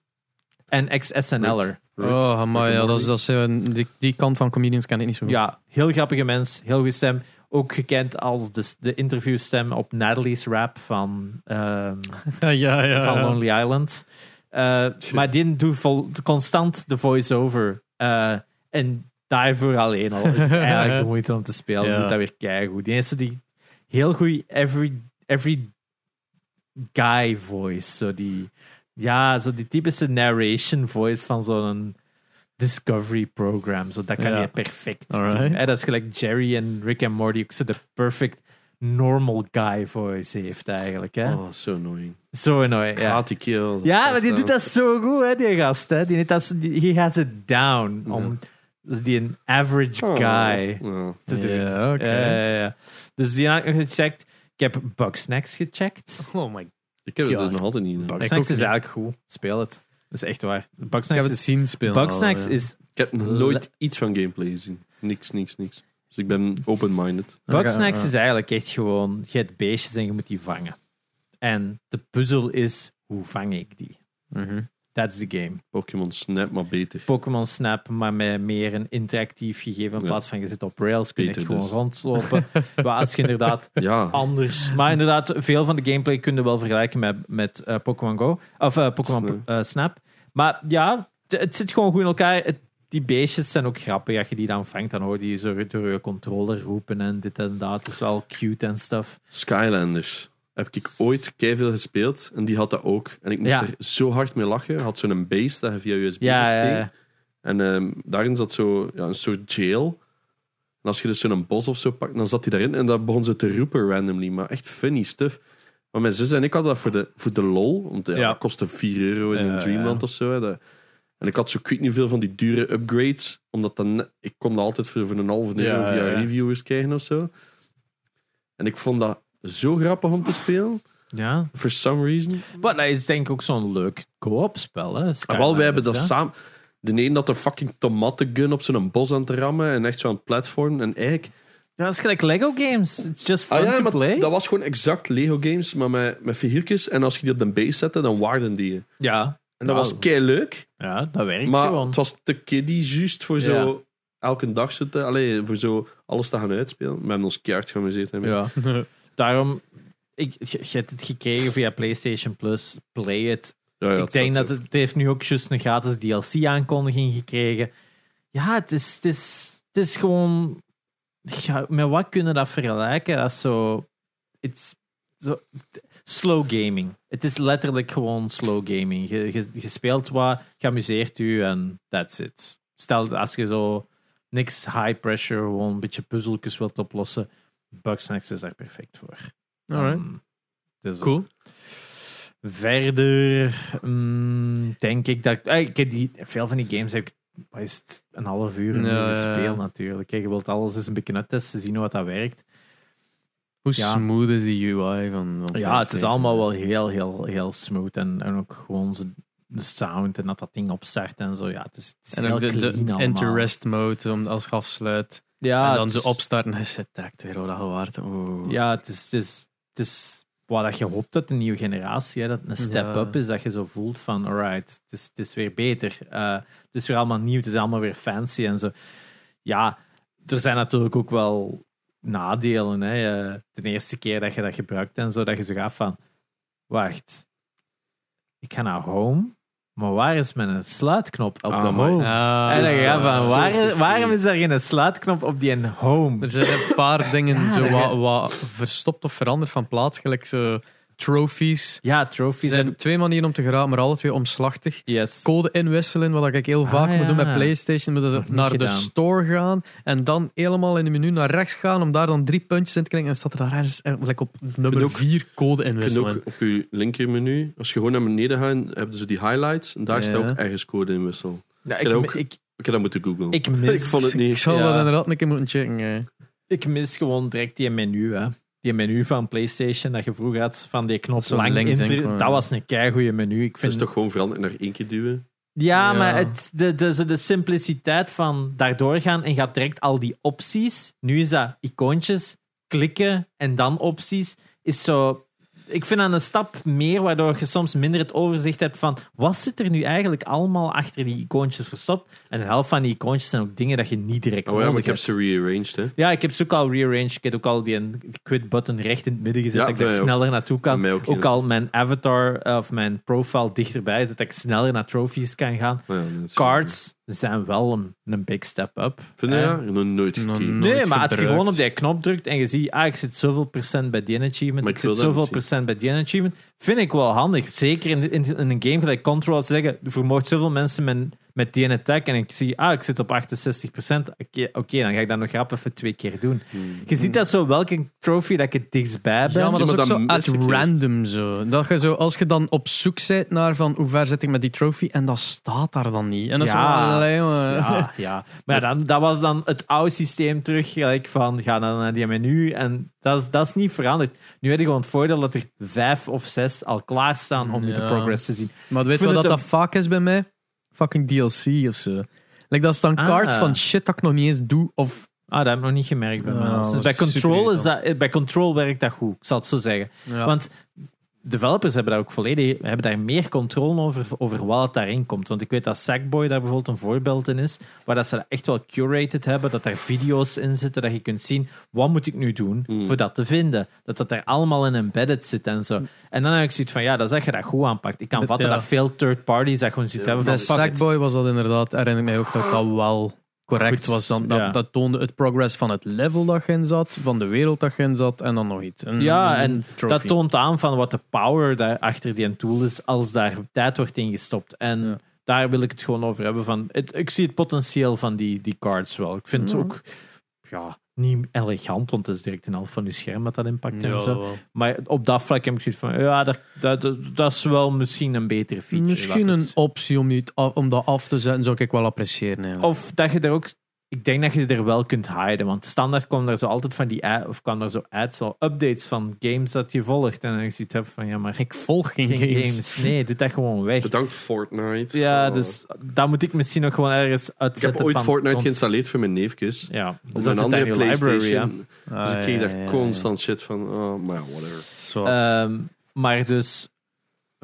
En ex-SNL'er.
Rick.
Oh, maar
Rick
ja,
and
dat is, dat is, eh, die, die kant van comedians kan ik niet zo goed.
Ja, heel grappige mens, heel goede stem. Ook gekend als de, de interviewstem op Natalie's Rap van, ehm,
ja, ja.
van
ja.
Lonely Island. Eh, maar die doet vol, constant de voice-over. Eh, en daarvoor alleen al is het eigenlijk de moeite om te spelen.
Ja.
Die doet dat weer keigoed. Die heeft zo die heel goede every, every guy voice. Zo die, ja, zo die typische narration voice van zo'n Discovery program. Zo, dat kan
Ja.
je perfect
Alright.
doen. Hè, dat is gelijk Jerry en Rick en Morty. Ook zo de perfect normal guy voice heeft eigenlijk. Hè?
Oh, zo annoying.
Zo annoying.
Ja.
Ja.
Haat die kerel. eh?
Ja, maar die
is
doet dat zo goed, hè, die gast. Hè. Die, doet dat, zo- die, he has it down. Om, dat is die een average
Oh,
guy
ja.
te doen.
Ja, oké.
Ja, ja, ja. Dus die had ik nog gecheckt. Ik heb Bugsnax gecheckt.
Oh my
Ik heb het
Ja.
nog altijd niet. hè.
ook
Bugsnax is
niet.
eigenlijk goed. Speel het. Dat is echt waar.
Ik
Bugsnax
heb het
is,
zien spelen.
Bugsnax
al, ja.
is
Ik heb nog nooit iets van gameplay gezien. Niks, niks, niks. Dus ik ben open-minded.
Bugsnax
Ja.
is eigenlijk echt gewoon: je hebt beestjes en je moet die vangen. En de puzzel is: hoe vang ik die?
Mhm.
That's the game.
Pokémon Snap, maar beter.
Pokémon Snap, maar met meer een interactief gegeven. In
Ja.
plaats van je zit op rails, kun je echt
Beter
gewoon
dus.
rondlopen. maar als je inderdaad
Ja.
anders. Maar inderdaad, veel van de gameplay kun je wel vergelijken met, met eh, Pokémon Go. Of eh, Pokémon
Snap.
eh, Snap. Maar ja, t- het zit gewoon goed in elkaar. Het- die beestjes zijn ook grappig. Als je die dan vangt, dan hoor je die zo door je controller roepen en dit en dat. Het is wel cute en stuff.
Skylanders. Heb ik ooit keiveel gespeeld en die had dat ook. En ik moest
Ja.
er zo hard mee lachen. Had zo'n base dat je via USB
Ja, eh,
moest
ja,
steken.
ja.
En ehm, daarin zat zo ja, een soort jail. En als je dus zo'n bos of zo pakt, dan zat hij daarin. En dat begon ze te roepen randomly. Maar echt funny stuff. Maar mijn zus en ik hadden dat voor de, voor de lol. Want ja,
Ja.
dat kostte 4 euro in
Ja,
een Dreamland
ja.
of zo. hè. Dat- en ik had zo kwijt niet veel van die dure upgrades. Omdat dan, net- ik kon dat altijd voor, voor een halve euro
Ja,
via
ja, ja.
reviewers krijgen of zo. En ik vond dat zo grappig om te spelen.
Ja.
For some reason.
Maar dat is denk ik ook zo'n leuk co-op spel. Hè?
Ah, wel, wij hebben dat
Skylanders, hè?
samen. De een dat een fucking tomatengun op zijn bos aan te rammen en echt zo aan het platform. En eigenlijk.
Ja, dat is gelijk Lego games. It's just fun
Ah ja,
to
maar
play.
dat was gewoon exact Lego games, maar met, met figuurtjes. En als je die op de base zette, dan waarden die je.
Ja.
En dat
Ja.
was kei leuk,
ja, dat werkt
maar
gewoon.
het was te kiddy juist voor zo elke dag zitten. Allee, voor zo alles te gaan uitspelen. We hebben ons keihard geamuseerd. daarmee.
Ja. Daarom, ik, je, je hebt het gekregen via PlayStation Plus. Play it.
Ja, ja,
ik denk
staat
dat
er.
het, het heeft nu ook juist een gratis DLC-aankondiging gekregen. Ja, het is, het is, het is gewoon. Ja, met wat kunnen we dat vergelijken? Dat is zo. It's, zo slow gaming. Het is letterlijk gewoon slow gaming. Je, je, je speelt wat, je amuseert u en that's it. Stel als je zo niks high pressure, gewoon een beetje puzzeltjes wilt oplossen. Bugsnax is daar perfect voor.
Alright.
Um, dus
Cool.
Verder mm, denk ik dat. eh, Ik heb die, veel van die games heb ik wat is het, een half uur een
Ja,
uur
ja, ja.
gespeeld natuurlijk. hè. Je wilt alles eens een beetje uittesten, zien hoe dat werkt.
Hoe
Ja.
smooth is die UI van, van
Ja, het is
PlayStation?
allemaal wel heel, heel, heel smooth. En, en ook gewoon zo de sound en dat dat ding opstart en zo. Ja, het is, het is
En
heel
ook de, de,
clean
de
allemaal.
interest mode, om, als je afsluit.
Ja,
en dan
het
zo
is-
opstarten. Hij zit direct weer wat gewaard. Oeh.
Ja, het is, het is, het is wat dat je hoopt uit de nieuwe generatie. Hè, dat het een
Ja.
step-up is, dat je zo voelt van, alright, het is, het is weer beter. Eh, het is weer allemaal nieuw, het is allemaal weer fancy en zo. Ja, er zijn natuurlijk ook wel nadelen. Hè. Eh, de eerste keer dat je dat gebruikt en zo, dat je zo gaat van, wacht, ik ga naar home, maar waar is mijn sluitknop op de
Ah,
home?
mooi.
Ah,
En dan
dat
ga
is
je van,
zo
waar, waarom
frustrerend.
is er geen sluitknop op die een home?
Er zijn een paar dingen
Ja,
zo
dat-
wat, wat verstopt of veranderd van plaats. Gelijk zo trophies.
Ja,
Er
trophies
zijn
en...
twee manieren om te geraken, maar alle twee omslachtig.
Yes.
Code inwisselen, wat ik heel vaak
Ah,
moet doen
ja.
met PlayStation. Moet dus
Nog niet
naar de
gedaan.
store gaan en dan helemaal in de menu naar rechts gaan om daar dan drie puntjes in te krijgen. En staat er daar ergens eh, like op nummer
ook-
vier code
Je kunt
inwisselen.
ook op je linkermenu, als je gewoon naar beneden gaat, hebben ze die highlights. En daar staat
Ja.
ook ergens code in wissel.
Ja,
En
Nou, ik,
ook-
ik,
Ik heb dat moeten googlen.
ik mis,
Ik vond het niet.
Ik zal
Ja.
dat inderdaad een keer moeten checken. eh.
ik mis gewoon direct die menu, hè. Die menu van PlayStation dat je vroeger had van die knop
Dat zo
lang
links
in te-
enkel, ja.
Dat was een keigoede menu. Ik
Het
vind
is toch gewoon veranderd naar één keer duwen. Ah,
Ja,
Ja.
maar het, de, de, zo de simpliciteit van daardoor gaan en gaat direct al die opties. Nu is dat icoontjes, klikken en dan opties. Is zo. Ik vind dat een stap meer, waardoor je soms minder het overzicht hebt van wat zit er nu eigenlijk allemaal achter die icoontjes verstopt. En de helft van die icoontjes zijn ook dingen dat je niet direct
Oh ja, maar
nodig
ik heb
hebt.
ze rearranged, hè.
Ja, ik heb ze ook al rearranged. Ik heb ook al die een quit button recht in het midden gezet.
Ja,
dat ik daar
mij ook.
sneller naartoe kan.
Mij ook,
ook
ja.
al mijn avatar eh, of mijn profile dichterbij zet. Dat ik sneller naar trophies kan gaan.
Maar Ah, ja, dat is-
Cards zijn wel een, een big step up.
Vind je,
Eh,
ja? Ik heb nog nooit
Nog
gekeken.
nooit.
Nee, maar als je
gebruikt.
gewoon op die knop drukt en je ziet, ah, ik zit zoveel procent bij die achievement,
Maar
ik,
ik wil
zit
dat
zoveel
niet
procent bij die achievement, vind ik wel handig. Zeker in, in, in een game gelijk Control, als ze zeggen, je vermoogt zoveel mensen met, met die attack en ik zie, ah, ik zit op 68 procent, oké, oké, dan ga ik dat nog grap even twee keer doen.
Hmm.
Je ziet dat zo, welke trophy dat ik het dichtstbij ben.
Ja, maar dat is
maar
ook zo
dan
at
mis ik eerst.
random zo. Dat je zo. Als je dan op zoek bent naar van hoe ver zit ik met die trofee en dat staat daar dan niet. En dat is
Ja.
wel allee, jongen.
Ja, ja. Maar ja, dan, dat was dan het oude systeem terug. Gelijk van, ga dan naar die menu. En dat is, dat is niet veranderd. Nu heb je gewoon het voordeel dat er vijf of zes al klaarstaan om je de
Ja.
progress te zien.
Maar weet je
vind
wat dat,
het
dat vaak is bij mij? Fucking DLC of zo. Like, dat is dan
Ah.
cards van shit dat ik nog niet eens doe. Of,
Ah, dat heb ik nog niet gemerkt bij
Ja,
mij.
dat
Dus
is
bij,
super
control is
irritant.
dat, bij Control werkt dat goed, ik zal het zo zeggen. Want developers hebben daar ook volledig hebben daar meer controle over, over wat het daarin komt. Want ik weet dat Sackboy daar bijvoorbeeld een voorbeeld in is, waar dat ze dat echt wel curated hebben, dat daar video's in zitten, dat je kunt zien, wat moet ik nu doen voor dat te vinden? Dat dat daar allemaal in embedded zit en zo. En dan heb ik zoiets van, ja, dat is dat je dat goed aanpakt. Ik kan vatten
ja.
dat veel third parties dat gewoon zoiets hebben
bij
van, fuck it.
Sackboy was dat inderdaad, herinner ik mij ook, dat dat wel correct
Goed,
was. Dan, dat,
ja.
dat toonde het progress van het level dat je in zat, van de wereld dat je in zat en dan nog iets. Een-
Ja,
een
en
trophy.
dat toont aan van wat de power daar achter die tool is als daar tijd wordt ingestopt. En
Ja.
daar wil ik het gewoon over hebben. Van, het, ik zie het potentieel van die, die cards wel. Ik vind
Ja.
het ook ja, niet elegant, want het is direct een half van je scherm dat dat impact
Ja,
en zo.
wel.
Maar op dat vlak heb ik zoiets van, ja, dat, dat, dat, dat is wel misschien een betere feature.
Misschien
laat
een
het-
optie om, niet af- om dat af te zetten zou ik wel appreciëren. ja.
Of dat je er ook. Ik denk dat je er wel kunt hiden. Want standaard kwam er zo altijd van die. ad- Of kwam er zo ads, zo updates van games dat je volgt. En dan ziet heb van ja, maar
ik volg geen,
geen games.
games.
Nee, doe dat gewoon weg.
Bedankt Fortnite.
Ja,
Oh.
dus daar moet ik misschien nog gewoon ergens
Ik
uitzetten.
heb ooit
van,
Fortnite
don't-
geïnstalleerd voor mijn neefjes.
Ja,
Op
dus dat zit daar in je library. ja.
Ah,
Dus ik kreeg
ja,
daar
ja, ja,
constant shit van. Oh, maar ja, whatever.
ja. Zwat.
Ehm, maar dus,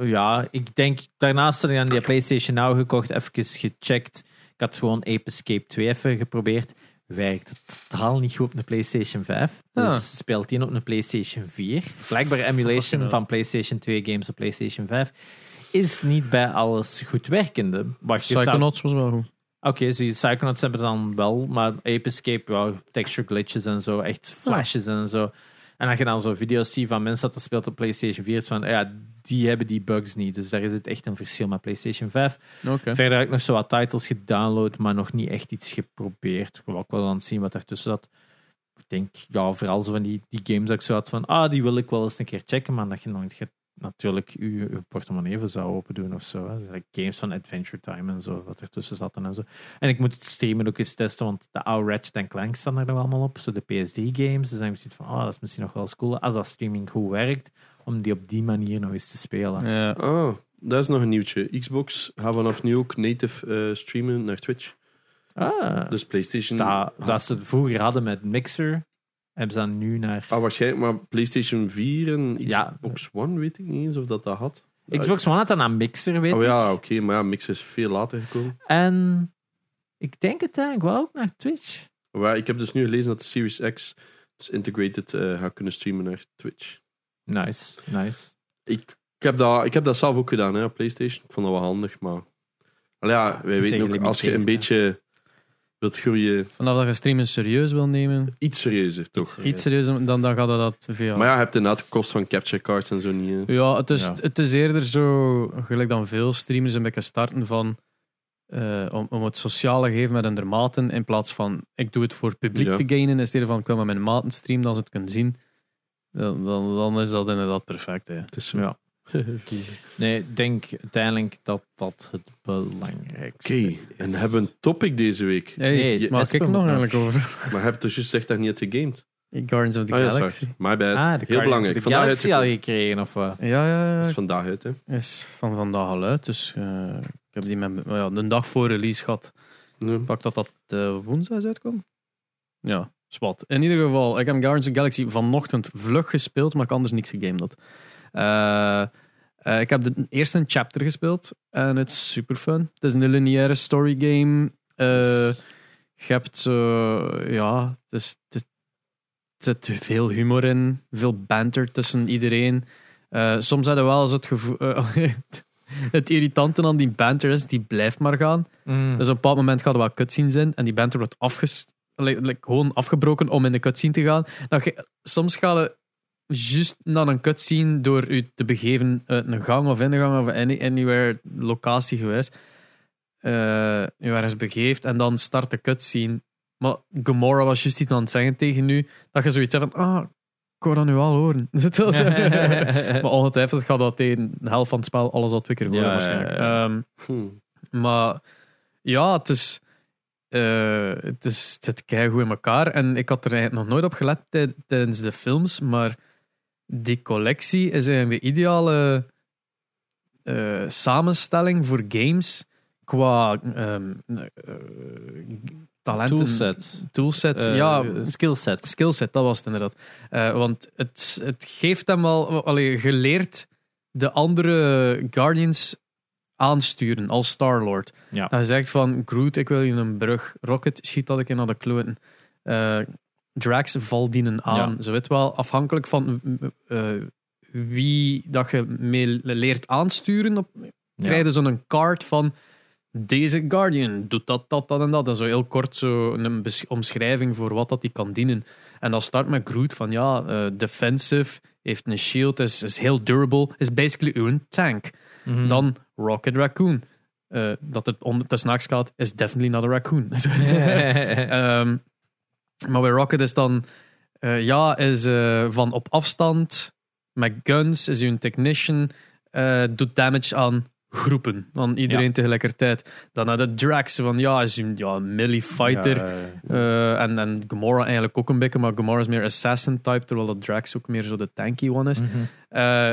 ja, ik denk, daarnaast had ik aan die PlayStation Now gekocht, even gecheckt. Ik had gewoon Ape Escape 2 even geprobeerd. werkt totaal niet goed op een PlayStation 5.
Ah.
Dus speelt die op een PlayStation 4. Blijkbaar emulation van PlayStation 2 games op PlayStation 5 is niet bij alles goed werkende. Wacht, je staat-
Psychonauts was wel goed.
Oké, dus die Psychonauts hebben het dan wel, maar Ape Escape, ja, texture glitches en zo, echt flashes en zo. En als je dan zo video's ziet van mensen dat dat speelt op PlayStation 4, is van, ja, die hebben die bugs niet. Dus daar is het echt een verschil met PlayStation 5.
Oké.
Verder heb ik nog zo wat titles gedownload, maar nog niet echt iets geprobeerd. Ik wil ook wel aan het zien wat ertussen zat. Ik denk, ja, vooral zo van die, die games dat ik zo had van, ah, die wil ik wel eens een keer checken, maar dat je nooit gaat- natuurlijk je, je portemonnee even zou open doen of zo. hè. Dus, Like games van Adventure Time en zo, wat ertussen zat en zo. En ik moet het streamen ook eens testen, want de oude Ratchet Clank staan er nog allemaal op. Zo de PS3-games. Dus dan heb ik zoiets van, ah, dat is misschien nog wel eens cool. Als dat streaming goed werkt, om die op die manier nog eens te spelen.
Ja.
Ah, dat is nog een nieuwtje. Xbox gaat vanaf nu ook native eh, streamen naar Twitch.
Ah.
Dus PlayStation.
dat, dat ze het vroeger hadden met Mixer, hebben ze dan nu naar...
Ah, waarschijnlijk, maar PlayStation 4 en
Ja.
Xbox One weet ik niet eens of dat dat had.
Xbox One had dan aan Mixer, weet
Oh ja,
ik.
oké, maar ja, Mix is veel later gekomen.
En ik denk het eigenlijk wel ook naar Twitch.
Maar ik heb dus nu gelezen dat de Series X dus integrated eh, gaat kunnen streamen naar Twitch.
Nice, nice.
Ik, ik, heb, dat, ik heb dat zelf ook gedaan hè, op PlayStation. Ik vond dat wel handig, maar. Maar ja, wij
is
weten ook,
gelimiteerd,
als je een
hè.
beetje wilt groeien,
Vanaf dat je streamen serieus wil nemen,
iets serieuzer toch?
Serieus.
iets serieus, dan, dan gaat dat dat via.
Maar ja, je hebt inderdaad de kost van capture cards en zo niet. hè.
Ja, het is,
Ja.
het is eerder zo, gelijk dan veel streamers een beetje starten van eh, om, om het sociale geven met hun maten, in plaats van ik doe het voor het publiek
Ja.
te gainen, in steeds van ik wil met mijn maten streamen, als ze het kunnen zien, dan, dan, dan is dat inderdaad perfect. Hè.
Het is zo.
Ja. nee, ik denk uiteindelijk dat dat het belangrijkste
Oké,
is.
en hebben we een topic deze week.
Hey,
Nee,
nee,
je-
maar
Espen
kijk
moet
nog
nog.
eigenlijk over
Maar heb dus juist gezegd dat je niet hebt gegamed.
Guardians of the
Ah ja,
Galaxy.
sorry. My bad.
Ah, de
Heel belangrijk.
De
Vandaag
Galaxy al
uitgekomen.
gekregen, of wat?
Ja, ja,
Dat is
ja,
vandaag uit, hè.
is van vandaag al uit, dus eh, ik heb die met, maar ja, de dag voor release gehad.
Nee.
Ik pak dat dat eh, woensdag is uitkomen. Ja, spat. In ieder geval, ik heb Guardians of the Galaxy vanochtend vlug gespeeld, maar ik heb anders niks gegamed had. Eh, eh, ik heb de eerste chapter gespeeld en het is super fun. Het is een lineaire story game. Eh, je hebt, eh, ja, het is, het, er zit veel humor in, veel banter tussen iedereen. Eh, soms hadden wel eens het gevoel. eh, het irritante aan die banter is, die blijft maar gaan.
Mm.
Dus op een bepaald moment gaat er wel cutscenes in en die banter wordt afges like- like, gewoon afgebroken om in de cutscene te gaan. Dat je, soms ga je juist naar een cutscene door u te begeven uit een gang of in de gang of any, anywhere, locatie geweest. Eh je ergens begeeft en dan start de cutscene. Maar Gamora was juist iets aan het zeggen tegen u, dat je zoiets hebt van, ah, ik hoor dat nu al horen. Zit wel zo. maar ongetwijfeld gaat dat tegen de helft van het spel alles wat twee keer horen
Ja, ja, ja,
waarschijnlijk.
ja.
Ehm,
Hm.
maar ja, het is. eh, het, is, het zit keigoed in elkaar. En ik had er eigenlijk nog nooit op gelet tij- tijdens de films. Maar die collectie is eigenlijk de ideale eh, samenstelling voor games. Qua ehm, eh, talenten.
Toolset.
toolset,
Eh,
ja.
Skillset.
Skillset, dat was het inderdaad. Eh, want het, het geeft hem wel, allee, geleerd de andere Guardians aansturen als Star-Lord.
Ja.
Hij zegt van, Groot, ik wil je een brug. Rocket, schiet dat ik in naar de kloten. Eh, Drax, val dienen aan. Zo weet wel, afhankelijk van eh, wie dat je mee leert aansturen, op,
Ja.
krijg je zo'n kaart van deze Guardian doet dat, dat, dat en dat. En zo heel kort zo een bes- omschrijving voor wat dat die kan dienen. En dat start met Groot van ja, eh, defensive, heeft een shield, is, is heel durable, is basically uw tank.
Mhm.
Dan Rocket Raccoon. Eh, dat het onder tussen haakjes gaat, is definitely not a raccoon. Ehm, maar bij Rocket is dan, eh, ja, is eh, van op afstand, met guns, is u een technician, eh, doet damage aan groepen, aan iedereen tegelijkertijd. Dan had de Drax van, ja, is u ja, een melee fighter.
Ja,
Eh, en, en Gamora eigenlijk ook een beetje, maar Gamora is meer assassin type, terwijl dat Drax ook meer zo de tanky one is.
mhm.
Eh,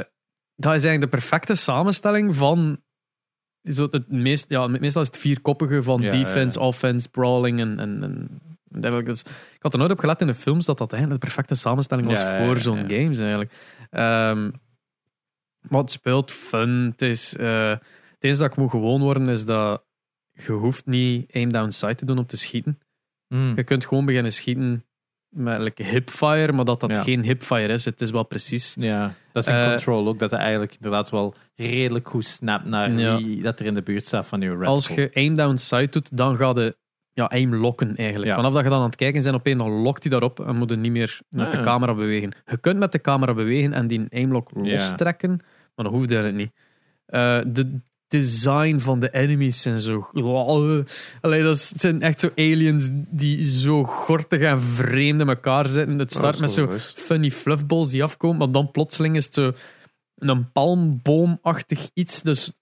dat is eigenlijk de perfecte samenstelling van. Zo het meest, ja, me- meestal is het vierkoppige van
Ja,
defense,
ja,
offense, brawling en, en, en dergelijke. Dus ik had er nooit op gelet in de films dat dat eigenlijk de perfecte samenstelling was
Ja, ja,
voor
ja,
zo'n
ja.
games eigenlijk. Ehm, maar het speelt fun. Het, is, eh, het enige dat ik moet gewoon worden is dat je hoeft niet aim down sight te doen om te schieten.
Mm.
Je kunt gewoon beginnen schieten met like, hipfire, maar dat dat
Ja.
geen hipfire is. Het is wel precies.
Ja, dat is in
Eh,
control ook. Dat hij eigenlijk inderdaad wel redelijk goed snapt naar
Ja.
wie dat er in de buurt staat van uw Red
Als je aim down sight doet, dan ga je ja, aim lokken eigenlijk.
Ja.
Vanaf dat je dan aan het kijken bent, opeens dan lokt hij daarop en moet je niet meer met
Ah,
de
ja.
camera bewegen. Je kunt met de camera bewegen en die aimlock
Ja.
lostrekken, maar dat hoeft eigenlijk niet. Eh, de design van de enemies zijn zo... Allee, dat is, het zijn echt zo aliens die zo gortig en vreemd in elkaar zitten. Het start met zo funny fluffballs die afkomen, maar dan plotseling is het zo een palmboomachtig iets. Dus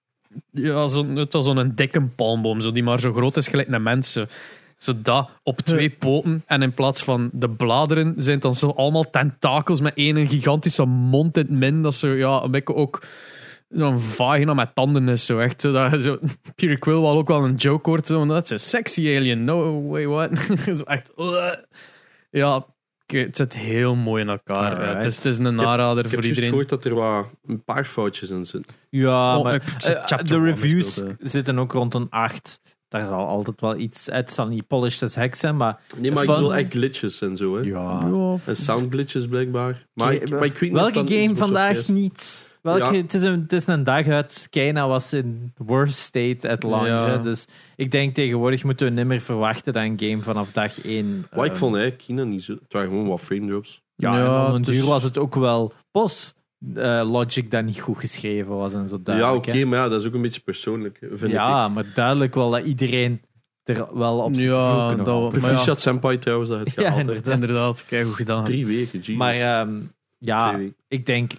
ja, zo, het was zo'n dikke palmboom, zo, die maar zo groot is gelijk naar mensen. Zo dat op twee poten. En in plaats van de bladeren zijn het dan zo allemaal tentakels met één gigantische mond in het min. Dat zo, ja, een beetje ook zo'n vagina met tanden is. Zo echt. Zo, dat, zo, Peter Quill wel ook wel een joke hoort. Zo, dat is een sexy alien. No way, what? zo echt. "Ugh." Ja, ik- het zit heel mooi in elkaar.
Alright.
Het, is, het is een
heb-
aanrader
Ik heb
voor
juist
iedereen.
gehoord dat er wat, een paar foutjes in zitten.
Ja,
Oh,
maar
ik-
eh,
chapter
de
one
reviews
gespeeld,
zitten ook rond een 8. Daar zal altijd wel iets... Het zal niet polished als hek zijn, maar...
Nee, maar
Van-
ik wil echt glitches en zo. Hè.
Ja.
En sound glitches blijkbaar. Maar, ik, maar ik weet niet of
Welke
dat
game
Xbox of
vandaag
PS
niet? Welke,
Ja.
het, is een, het is een dag uit. Skyna was in worst state at launch.
Ja.
hè. Dus ik denk tegenwoordig moeten we nimmer verwachten dat een game vanaf dag eh, 1...
Wat ik vond, hè, Kina niet zo. Het waren gewoon wat frame drops.
Ja, en om een
dus-
duur was het ook wel pas eh, Logic dat niet goed geschreven was en zo
ja,
duidelijk.
oké, maar ja, dat is ook een beetje persoonlijk. hè, Vind ik.
ja maar duidelijk wel dat iedereen er wel op zit
Ja,
te vloeken nog
dat-
altijd.
maar ja.
Proficiat Senpai trouwens, dat het
Ja,
gehaald heeft.
inderdaad.
Inderdaad, kijk hoe gedaan.
Drie weken, jeez.
Maar ehm, ja,
Twee weken.
ik denk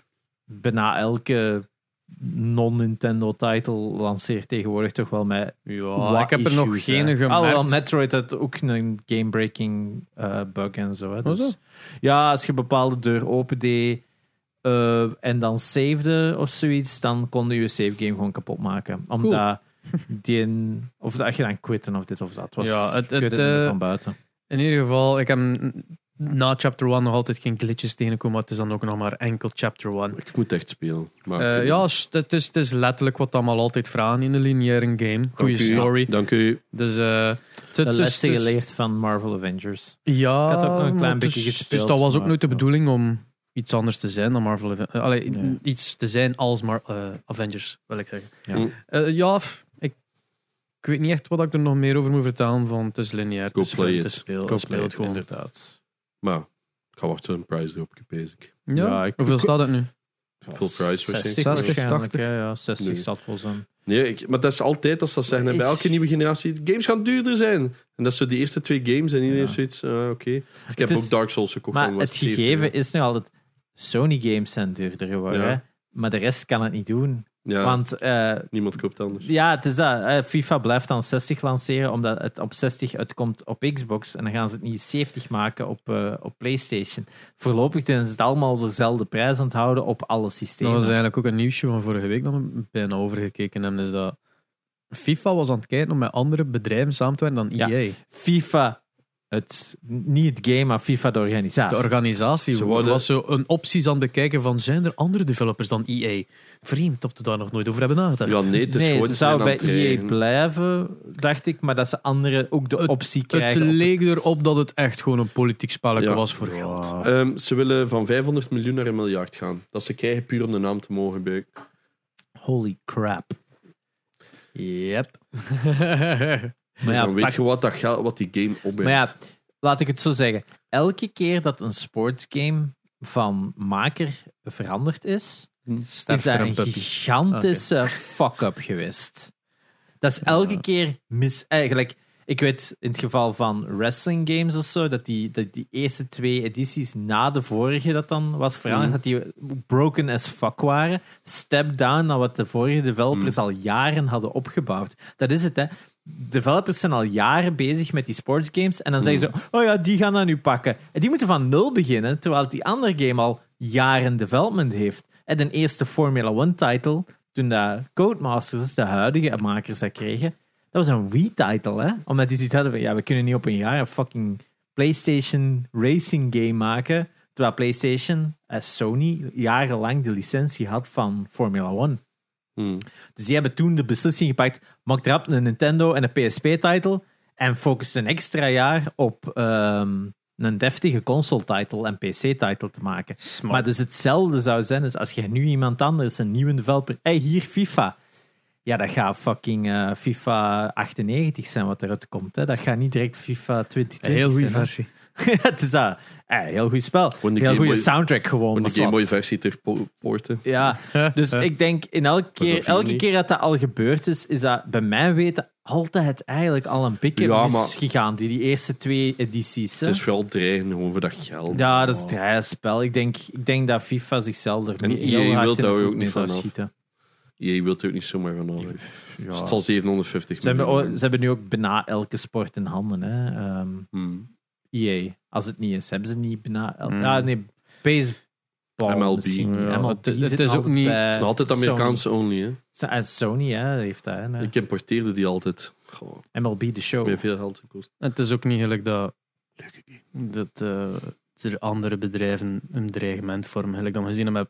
bijna elke non-Nintendo-title lanceert tegenwoordig toch wel met
Ja,
Oh,
wat
ik heb er
issues,
nog
hè.
geen gemaakt.
Alhoewel, Ah, Metroid had ook een game-breaking eh, bug en zo. Hè.
Was
Dus,
dat?
ja, als je een bepaalde deur opendeed eh, en dan savede of zoiets, dan kon je je save game gewoon kapot maken. Omdat die een- of dat je dan quitten of dit of dat was.
Ja, het-
ik weet
het,
niet meer
eh,
van buiten.
In ieder geval, ik heb na chapter 1 nog altijd geen glitches tegengekomen, maar het is dan ook nog maar enkel chapter 1.
Ik moet echt spelen. Maar
Eh, ja, st- het is, het is letterlijk wat allemaal altijd vragen in een lineaire game. Goede
Dank u.
story.
Dank u.
Dus, eh, het- het
De
is- dus-
lessen
het is-
geleerd van Marvel Avengers.
Ja,
Ik had ook nog een klein
maar het
beetje
is-
gespeeld,
Dus dat was ook
maar-
nooit de
ja.
bedoeling om iets anders te zijn dan Marvel Aven- eh, allee,
Nee.
iets te zijn als Mar- eh, Avengers, wil ik zeggen.
Ja.
Mm.
Eh, ja, f- ik, ik weet niet echt wat ik er nog meer over moet vertellen, van het is lineair, het
Go
is
play
film, het
it.
is speel,
Go
het
play
speelt
it,
gewoon.
Inderdaad.
Maar ik ga wachten op een prijs erop, bezig.
Ja,
Ja, ik-
hoeveel
ik-
staat het nu?
Full price waarschijnlijk.
60,
60,
waarschijnlijk,
80.
Ja, ja, 60
Nee.
zat wel zijn.
Nee, ik- maar dat is altijd als ze dat zeggen. hè, Bij
Ik-
elke nieuwe generatie, games gaan duurder zijn. En dat is zo die eerste twee games en iedereen
Ja.
heeft zoiets, ah, oké. Ik heb
is-
ook Dark Souls gekocht.
Maar
dan was
het gegeven is nu altijd... Sony-games zijn duurder geworden,
Ja.
hè. Maar de rest kan het niet doen.
70. Ja,
Want eh,
niemand koopt anders.
ja, het is dat. eh, FIFA blijft dan 60 lanceren, omdat het op 60 uitkomt op Xbox. En dan gaan ze het niet 70 maken op, eh, op PlayStation. Voorlopig doen ze het allemaal dezelfde prijs aan het houden op alle
Dat
systemen.
was eigenlijk ook een nieuwsje van vorige week dat we bijna overgekeken hebben. Is dat FIFA was aan het kijken om met andere bedrijven samen te werken dan E
Ja.
EA.
FIFA, het, niet het game, maar FIFA de
De
organisatie.
organisatie
Ze worden-
was zo een opties aan het bekijken van zijn er andere developers dan EA? Vreemd dat we daar nog nooit over hebben nagedacht.
Ja, nee, het is
nee,
gewoon...
ze
zijn
zou
aan
bij
het dreigen.
EA blijven, dacht ik, maar dat ze anderen ook de
Het-
optie
het
krijgen. op
leek erop dat het echt gewoon een politiek spelletje
Ja.
was voor geld.
Ja.
Ehm, ze willen van 500 miljoen naar een miljard gaan. Dat ze krijgen puur om de naam te mogen gebruiken.
Holy crap.
Yep.
Dus
ja,
dan weet
pak-
je wat, dat geld, wat die game opbrengt.
Maar ja, laat ik het zo zeggen. Elke keer dat een sportsgame van maker veranderd is,
Sterf
is dat
voor
een
puppy.
gigantische fuck-up geweest. Dat is elke keer mis... Eigenlijk, ik weet in het geval van wrestling games of zo, dat die, dat die eerste twee edities na de vorige dat dan was veranderd,
Mm.
dat die broken as fuck waren. Step down naar wat de vorige developers al jaren hadden opgebouwd. Dat is het, hè. Developers zijn al jaren bezig met die sportsgames en dan zeggen ze, oh ja, die gaan dat nu pakken. En die moeten van nul beginnen, terwijl die andere game al jaren development heeft. En de eerste Formula One title, toen de Codemasters, dus de huidige makers dat kregen, dat was een Wii-title, hè? Omdat die zoiets hadden van, ja, we kunnen niet op een jaar een fucking PlayStation racing game maken, terwijl PlayStation, eh, Sony, jarenlang de licentie had van Formula One.
Hmm.
Dus die hebben toen de beslissing gepakt, maak erop een Nintendo en een PSP-title En focust een extra jaar op ehm, een deftige console-title en PC-title te maken. Maar dus hetzelfde zou zijn als als je nu iemand anders, een nieuwe developer... Hé, hier FIFA. Ja, dat gaat fucking eh, FIFA 98 zijn wat eruit komt. Hè. Dat gaat niet direct FIFA 2020
Een heel goede
zijn, hè.
versie.
Ja, het is dat. Eh, heel goed spel.
Gewoon de
heel
Game
goede
Boy-
soundtrack gewoon.
Om de
maar
Game Boy
zwart.
versie terug po- porten.
Ja, dus
Ja.
ik denk, in elke,
een
keer,
feeling.
elke keer dat dat al gebeurd is, is dat bij mijn weten altijd eigenlijk al een pikje
Ja,
mis
maar-
gegaan, die, die eerste twee edities. hè.
Het is vooral dreigen over dat geld.
Ja, dat is het rare spel. Ik denk, ik denk dat FIFA zichzelf er
En
mee-
EA
heel hard
wilt
in de
daar
voet
ook
mee
niet
zou
van af.
schieten.
Je wilt Oh, er ook niet zomaar van over.
Ja.
Dus het zal 750
Ze hebben,
miljoen
o- ze hebben nu ook bijna elke sport in handen, hè. ehm,
Hmm.
EA. Als het niet is, hebben ze niet bijna... el-
Mm.
Ja, nee, baseball
MLB.
misschien.
Ja, het-
MLB
het
zit
is ook
altijd
niet-
bij
Het is nog altijd
Sony.
Amerikaanse only, hè.
Zo- En Sony hè, heeft dat. Hè, nou.
Ik importeerde die altijd. Goh,
MLB The Show.
meer veel geld gekost.
Het is ook niet gelijk dat, dat eh, er andere bedrijven een dreigement vormen. Gelijk dan gezien hebben,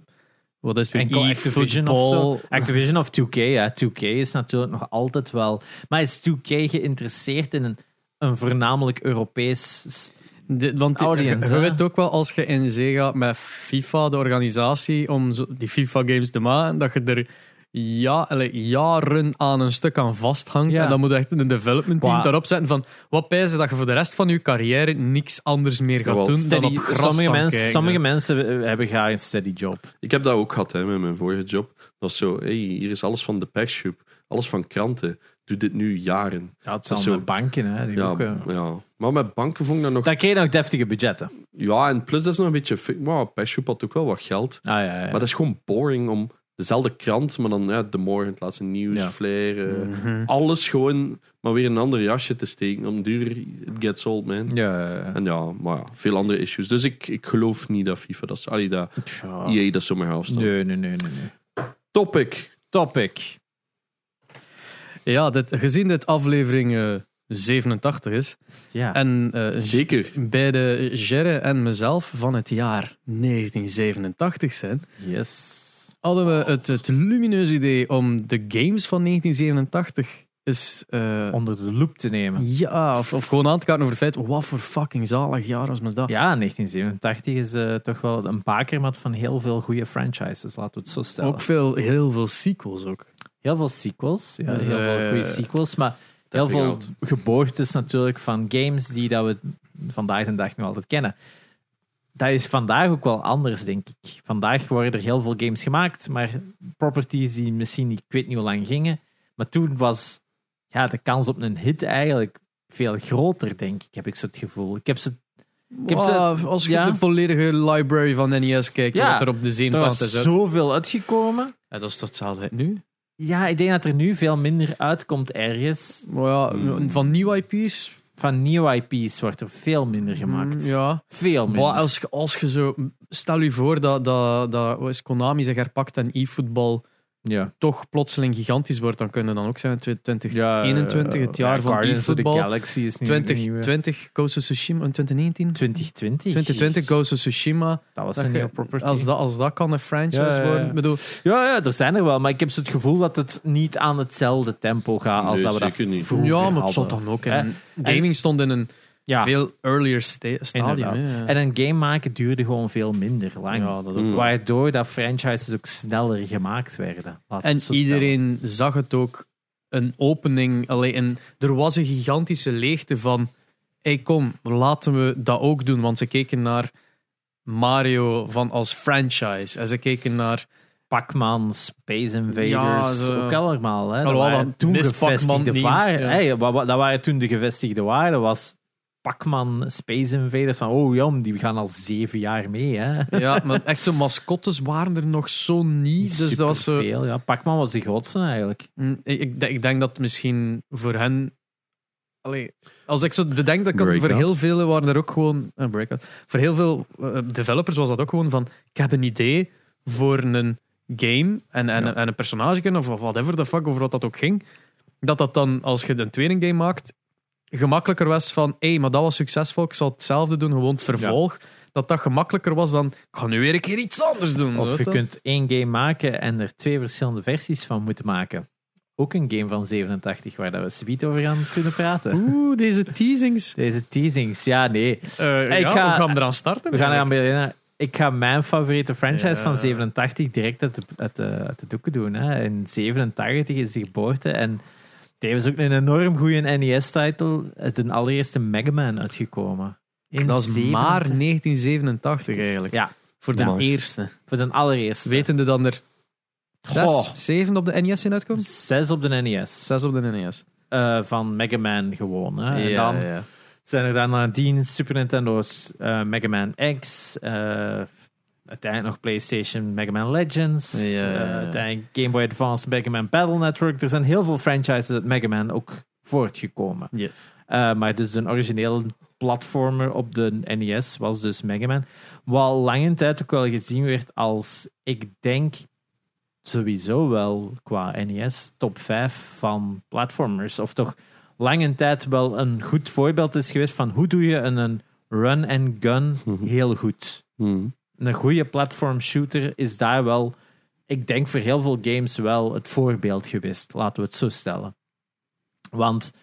wat is het weer?
Enkel Activision of
eFootball.
zo. Activision of 2K. Hè. 2K is natuurlijk nog altijd wel... Maar is 2K geïnteresseerd in een, een voornamelijk Europees... s-
De- want
Audience,
je, je
hè?
weet ook wel, als je in zee gaat met FIFA, de organisatie, om zo- die FIFA-games te maken, dat je er ja, allee, jaren aan een stuk aan vasthangt.
Ja.
En dan moet je echt een development team
Wa-
daarop zetten van wat pijzen dat je voor de rest van je carrière niks anders meer gaat
Jawel.
doen dan
Steady,
op gras
sommige,
staan
mensen,
kijken.
sommige mensen eh, hebben graag een steady job.
Ik heb dat ook gehad hè, met mijn vorige job. Dat was zo, hey, hier is alles van de persgroep, alles van kranten. Doe dit nu jaren.
Ja,
Dat
het zijn
is
allemaal
zo.
banken. Hè, die
Ja,
ook, eh.
ja. Maar met banken vond ik dat nog...
Daar kreeg je nog deftige budgetten. Ah,
Ja, en plus dat is nog een beetje... fi- Wow, persgroep had ook wel wat geld.
ja, ja, ja.
Maar dat is gewoon boring om dezelfde krant, maar dan ja, de morgen, het laatste nieuws,
Ja.
flair... eh,
Mhm.
Alles gewoon, maar weer een ander jasje te steken. Om duur, it gets old, man.
Ja, ja, ja.
En ja, maar ja, veel andere issues. Dus ik, ik geloof niet dat FIFA dat... Allee, dat
Tja.
EA dat zomaar gaat afstaan.
Nee, nee, nee, nee, nee.
Topic.
Topic.
Ja, dit, gezien dit aflevering eh, 87 is,
Ja.
en eh,
Zeker.
bij de Gerre en mezelf van het jaar 1987 zijn,
Yes.
hadden we het, het lumineuze idee om de games van 1987 eens... eh,
Onder de loep te nemen.
ja, of, of gewoon aan te kaarten over het feit, wat voor fucking zalig jaar was me dat.
Ja, 1987 is eh, toch wel een bakermat van heel veel goede franchises, laten we het zo stellen.
ook veel, heel veel sequels ook.
Heel veel sequels, ja,
Dus,
heel veel
eh,
goede sequels, maar heel
vind ik
veel
oud.
geboortes natuurlijk van games die dat we vandaag de dag nog altijd kennen. Dat is vandaag ook wel anders, denk ik. Vandaag worden er heel veel games gemaakt, maar properties die misschien niet, ik weet niet hoe lang gingen. Maar toen was ja, de kans op een hit eigenlijk veel groter, denk ik, heb ik zo het gevoel. Ik heb zo Ik heb ze-
Ah, als je
ja.
de volledige library van NES kijkt,
Ja.
wat er op de
er
87
was
is.
zoveel uitgekomen.
Ja, dat is tot hetzelfde nu.
Ja, ik denk dat er nu veel minder uitkomt ergens.
Maar ja,
Hmm.
van nieuwe IP's
Van nieuwe IP's wordt er veel minder gemaakt.
Mm, ja.
Veel minder.
Maar als, je- als je zo... Stel je voor dat, dat, dat wat is het, Konami zich herpakt en e-voetbal
ja.
toch plotseling gigantisch wordt, dan kunnen dan ook zijn 2021,
Ja,
21, het jaar van
Guardians of the
e-voetbal.
Galaxy is nu
20,
nieuwe.
20 Ghost of Tsushima, eh, 2019?
2020.
2020 Ghost of Tsushima.
Dat was
Dat
een
je-
nieuwe property.
als, dat, als dat kan een franchise
Ja, ja, ja.
worden. Ik bedoel,
Ja, ja, er zijn er wel. Maar ik heb zo het gevoel dat het niet aan hetzelfde tempo gaat als
Nee,
dat we dat
zeker niet.
vroeger
ja, maar het zat
hadden.
dan ook.
Hè?
En gaming stond in een
Ja,
veel earlier sta- stadium.
inderdaad.
hè.
En een game maken duurde gewoon veel minder lang.
Ja, dat ook
Mm.
Waardoor dat franchises ook sneller gemaakt werden. Laat
En
het zo stellen.
iedereen zag het ook. Een opening. Allee, en er was een gigantische leegte van... Hey, kom, laten we dat ook doen. Want ze keken naar Mario van als franchise. En ze keken naar...
Pac-Man, Space Invaders,
Ja, zo.
ook allemaal. Hè? Dat
Alhoewel,
waren
dan
toen
mis Pac-Man
gevestigde
niet,
waarden.
ja.
Hey, wa- wa- dat waren toen de gevestigde waarden. Was Pac-Man, Space Invaders van oh jam, die gaan al zeven jaar mee. Hè?
Ja, maar echt zo mascottes waren er nog zo niet. Dus dat was zo...
Superveel, ja. Pac-Man was de grootste eigenlijk.
Mm, Ik, ik, denk- ik denk dat misschien voor hen... Allee, als ik zo bedenk, dat kan, voor
Breakout.
heel veel waren er ook gewoon... eh, breakout. Voor heel veel eh, developers was dat ook gewoon van... Ik heb een idee voor een game en, en, en een personage of of whatever the fuck, over wat dat ook ging. Dat dat dan, als je een tweede game maakt, gemakkelijker was van... Hé, maar dat was succesvol, ik zal hetzelfde doen, gewoon het vervolg. Dat dat gemakkelijker was dan... Ik ga nu weer een keer iets anders doen.
Of
weet
je
je.
kunt één game maken en er twee verschillende versies van moeten maken. ook een game van 87 waar dat we zoiets over gaan kunnen praten.
Oeh, deze teasings.
Deze teasings, ja, nee.
Eh,
Ik
ja,
ga-
we gaan eraan starten.
We gaan eraan
eigenlijk.
beginnen. Ik ga mijn favoriete franchise
Ja.
van 87 direct uit de, uit de, uit de doeken doen. Hè. In 87 is de geboorte en tevens ook een enorm goede NES-titel. Het is de allereerste Mega Man uitgekomen. In
Dat is
87.
maar 1987 eigenlijk.
Ja,
Voor de
Ja.
eerste.
voor de allereerste.
Wetende dan er zes,
Goh.
zeven op de NES in uitkomt?
Zes op de NES.
Zes op de NES.
Eh, van Mega Man gewoon. Hè. en Ah, dan
ja.
zijn er dan nadien Super Nintendo's eh, Mega Man X. eh, uiteindelijk nog PlayStation Mega Man Legends.
Ja, ja, ja.
eh, uiteindelijk Game Boy Advance Mega Man Battle Network. Er zijn heel veel franchises uit Mega Man ook voortgekomen.
Yes.
Eh, maar dus de originele platformer op de NES was dus Mega Man. Wat lange tijd ook wel gezien werd als, ik denk sowieso wel qua NES, top 5 van platformers. Of toch lange tijd wel een goed voorbeeld is geweest van hoe doe je een, een run-and-gun heel goed.
Hmm.
Een goede platform shooter is daar wel, ik denk voor heel veel games wel het voorbeeld geweest, laten we het zo stellen. Want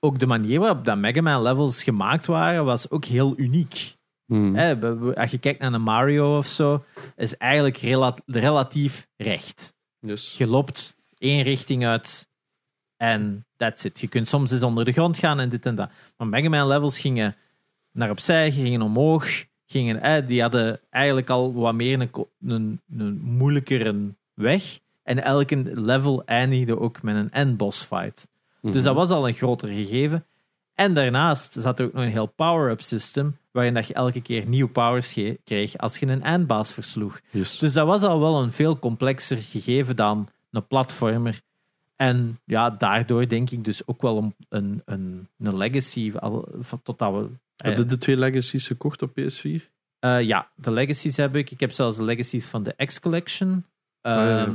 ook de manier waarop dat Mega Man levels gemaakt waren, was ook heel uniek.
Hmm.
Hè, we- we- als je kijkt naar een Mario of zo, is eigenlijk rela- relatief recht.
Yes.
Je loopt één richting uit en that's it. Je kunt soms eens onder de grond gaan en dit en dat. Maar Mega Man levels gingen naar opzij, gingen omhoog, gingen uit. Die hadden eigenlijk al wat meer een, ko- een, een moeilijkere weg. En elke level eindigde ook met een endboss fight.
Mhm.
Dus dat was al een groter gegeven. En daarnaast zat er ook nog een heel power-up systeem, waarin dat je elke keer nieuwe powers ge- kreeg als je een eindbaas versloeg.
Yes.
Dus dat was al wel een veel complexer gegeven dan een platformer. En ja, daardoor denk ik dus ook wel een, een, een, een legacy. al- van- Totdat we,
Heb je de twee Legacies gekocht op PS4?
eh, ja, de legacies heb ik. Ik heb zelfs de legacies van de X-Collection. Ehm,
Ah, ja.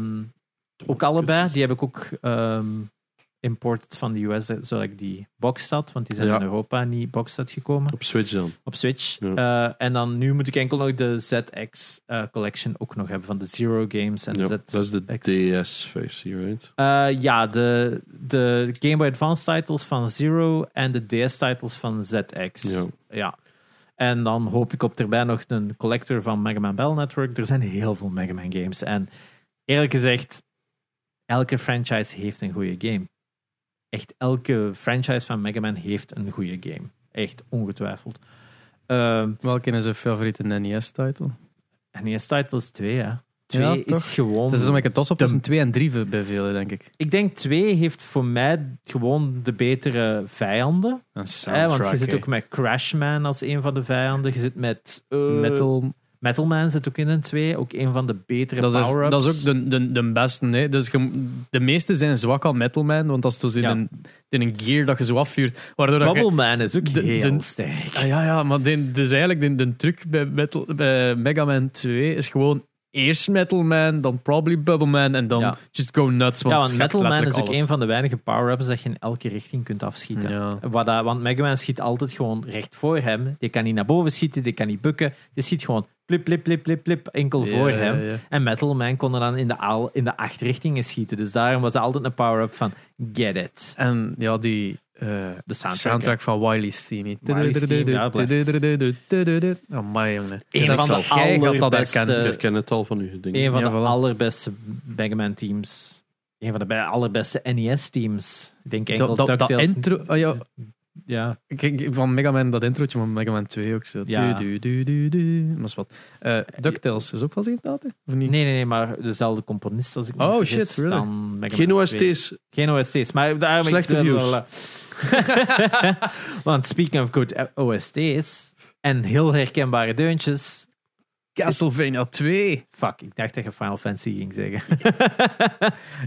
Ook allebei. Die heb ik ook ehm imported van de US, eh, zodat ik die box had. Want die zijn
Ja.
in Europa niet box gekomen.
Op Switch dan.
Op Switch.
Ja.
Eh, en dan nu moet ik enkel nog de ZX-collection ook nog hebben. Van de Zero Games en
Ja,
Z.
dat is de
X.
DS-versie, right?
Eh, ja, de, de Game Boy Advance titles van Zero en de DS titles van ZX.
Ja.
Ja. En dan hoop ik op erbij nog een collector van Mega Man Battle Network. Er zijn heel veel Mega Man games. En eerlijk gezegd, elke franchise heeft een goede game. Echt elke franchise van Mega Man heeft een goede game. Echt ongetwijfeld. Ehm
Welke is zijn favoriete E NES-titel?
NES Titles 2, hè. 2
Ja,
is
toch?
gewoon...
Het is omdat ik het tos op tussen 2 en 3 bij velen, denk ik.
Ik denk 2 heeft voor mij gewoon de betere vijanden.
Een
Hè, want je zit ook met Crashman als een van de vijanden. Je zit met eh,
Metal.
Metal Man zit ook in een 2. Ook een van de betere
Dat is,
power-ups.
dat is ook de, de, de beste. Hè. Dus je- de meeste zijn zwak al Metal Man, want dat is dus in,
Ja.
een, in een gear dat je zo afvuurt. Waardoor dat je-
Bubble Man is ook
De-
heel
de-
sterk.
Ah, ja, ja, maar de, dus eigenlijk de, de truc bij, metal, bij Mega Man 2 is gewoon eerst Metal Man, dan probably Bubble Man en dan
Ja.
just go nuts. Want het
ja, want
schept
Metal Man is
letterlijk
ook
alles.
een van de weinige power-ups dat je in elke richting kunt afschieten.
Ja.
Wat dat- want Mega Man schiet altijd gewoon recht voor hem. Die kan niet naar boven schieten, die kan niet bukken. Die schiet gewoon plip, plip, plip, plip, plip, enkel voor
Ja,
hem.
ja.
En Metal Man kon er dan in de, al, in de acht richtingen schieten. Dus daarom was er altijd een power-up van get it.
En ja, die eh,
De soundtrack,
soundtrack van Wiley's Team.
Wily's Team, ja,
Dududududududu. Amai, Oh, jongen.
Een
Dat
van de
zal- jij gaat dat
allerbeste-
Ik
herkennen.
eh,
herken het al van uw dingen.
Een van
Ja,
de
voilà.
allerbeste Mega Man teams. Een van de bij- allerbeste NES-teams. Ik denk enkel
Dat, dat, dat
DuckTales.
intro... ah, ja,
ja.
kijk, van Mega Man, dat introotje van Mega Man 2 ook zo.
Ja.
Du, du, du, du, du. Maar is wat. Eh, DuckTales is ook wel zien dat, hè? of niet?
Nee, nee, nee, maar dezelfde componist als ik me
Oh,
niet
shit,
vergis,
really?
dan Mega
Geen
Man 2.
OST's.
Geen OST's, maar daarom...
Slechte
Want speaking of good eh, OST's en heel herkenbare deuntjes...
Castlevania 2.
Fuck, ik dacht dat je Final Fantasy ging zeggen.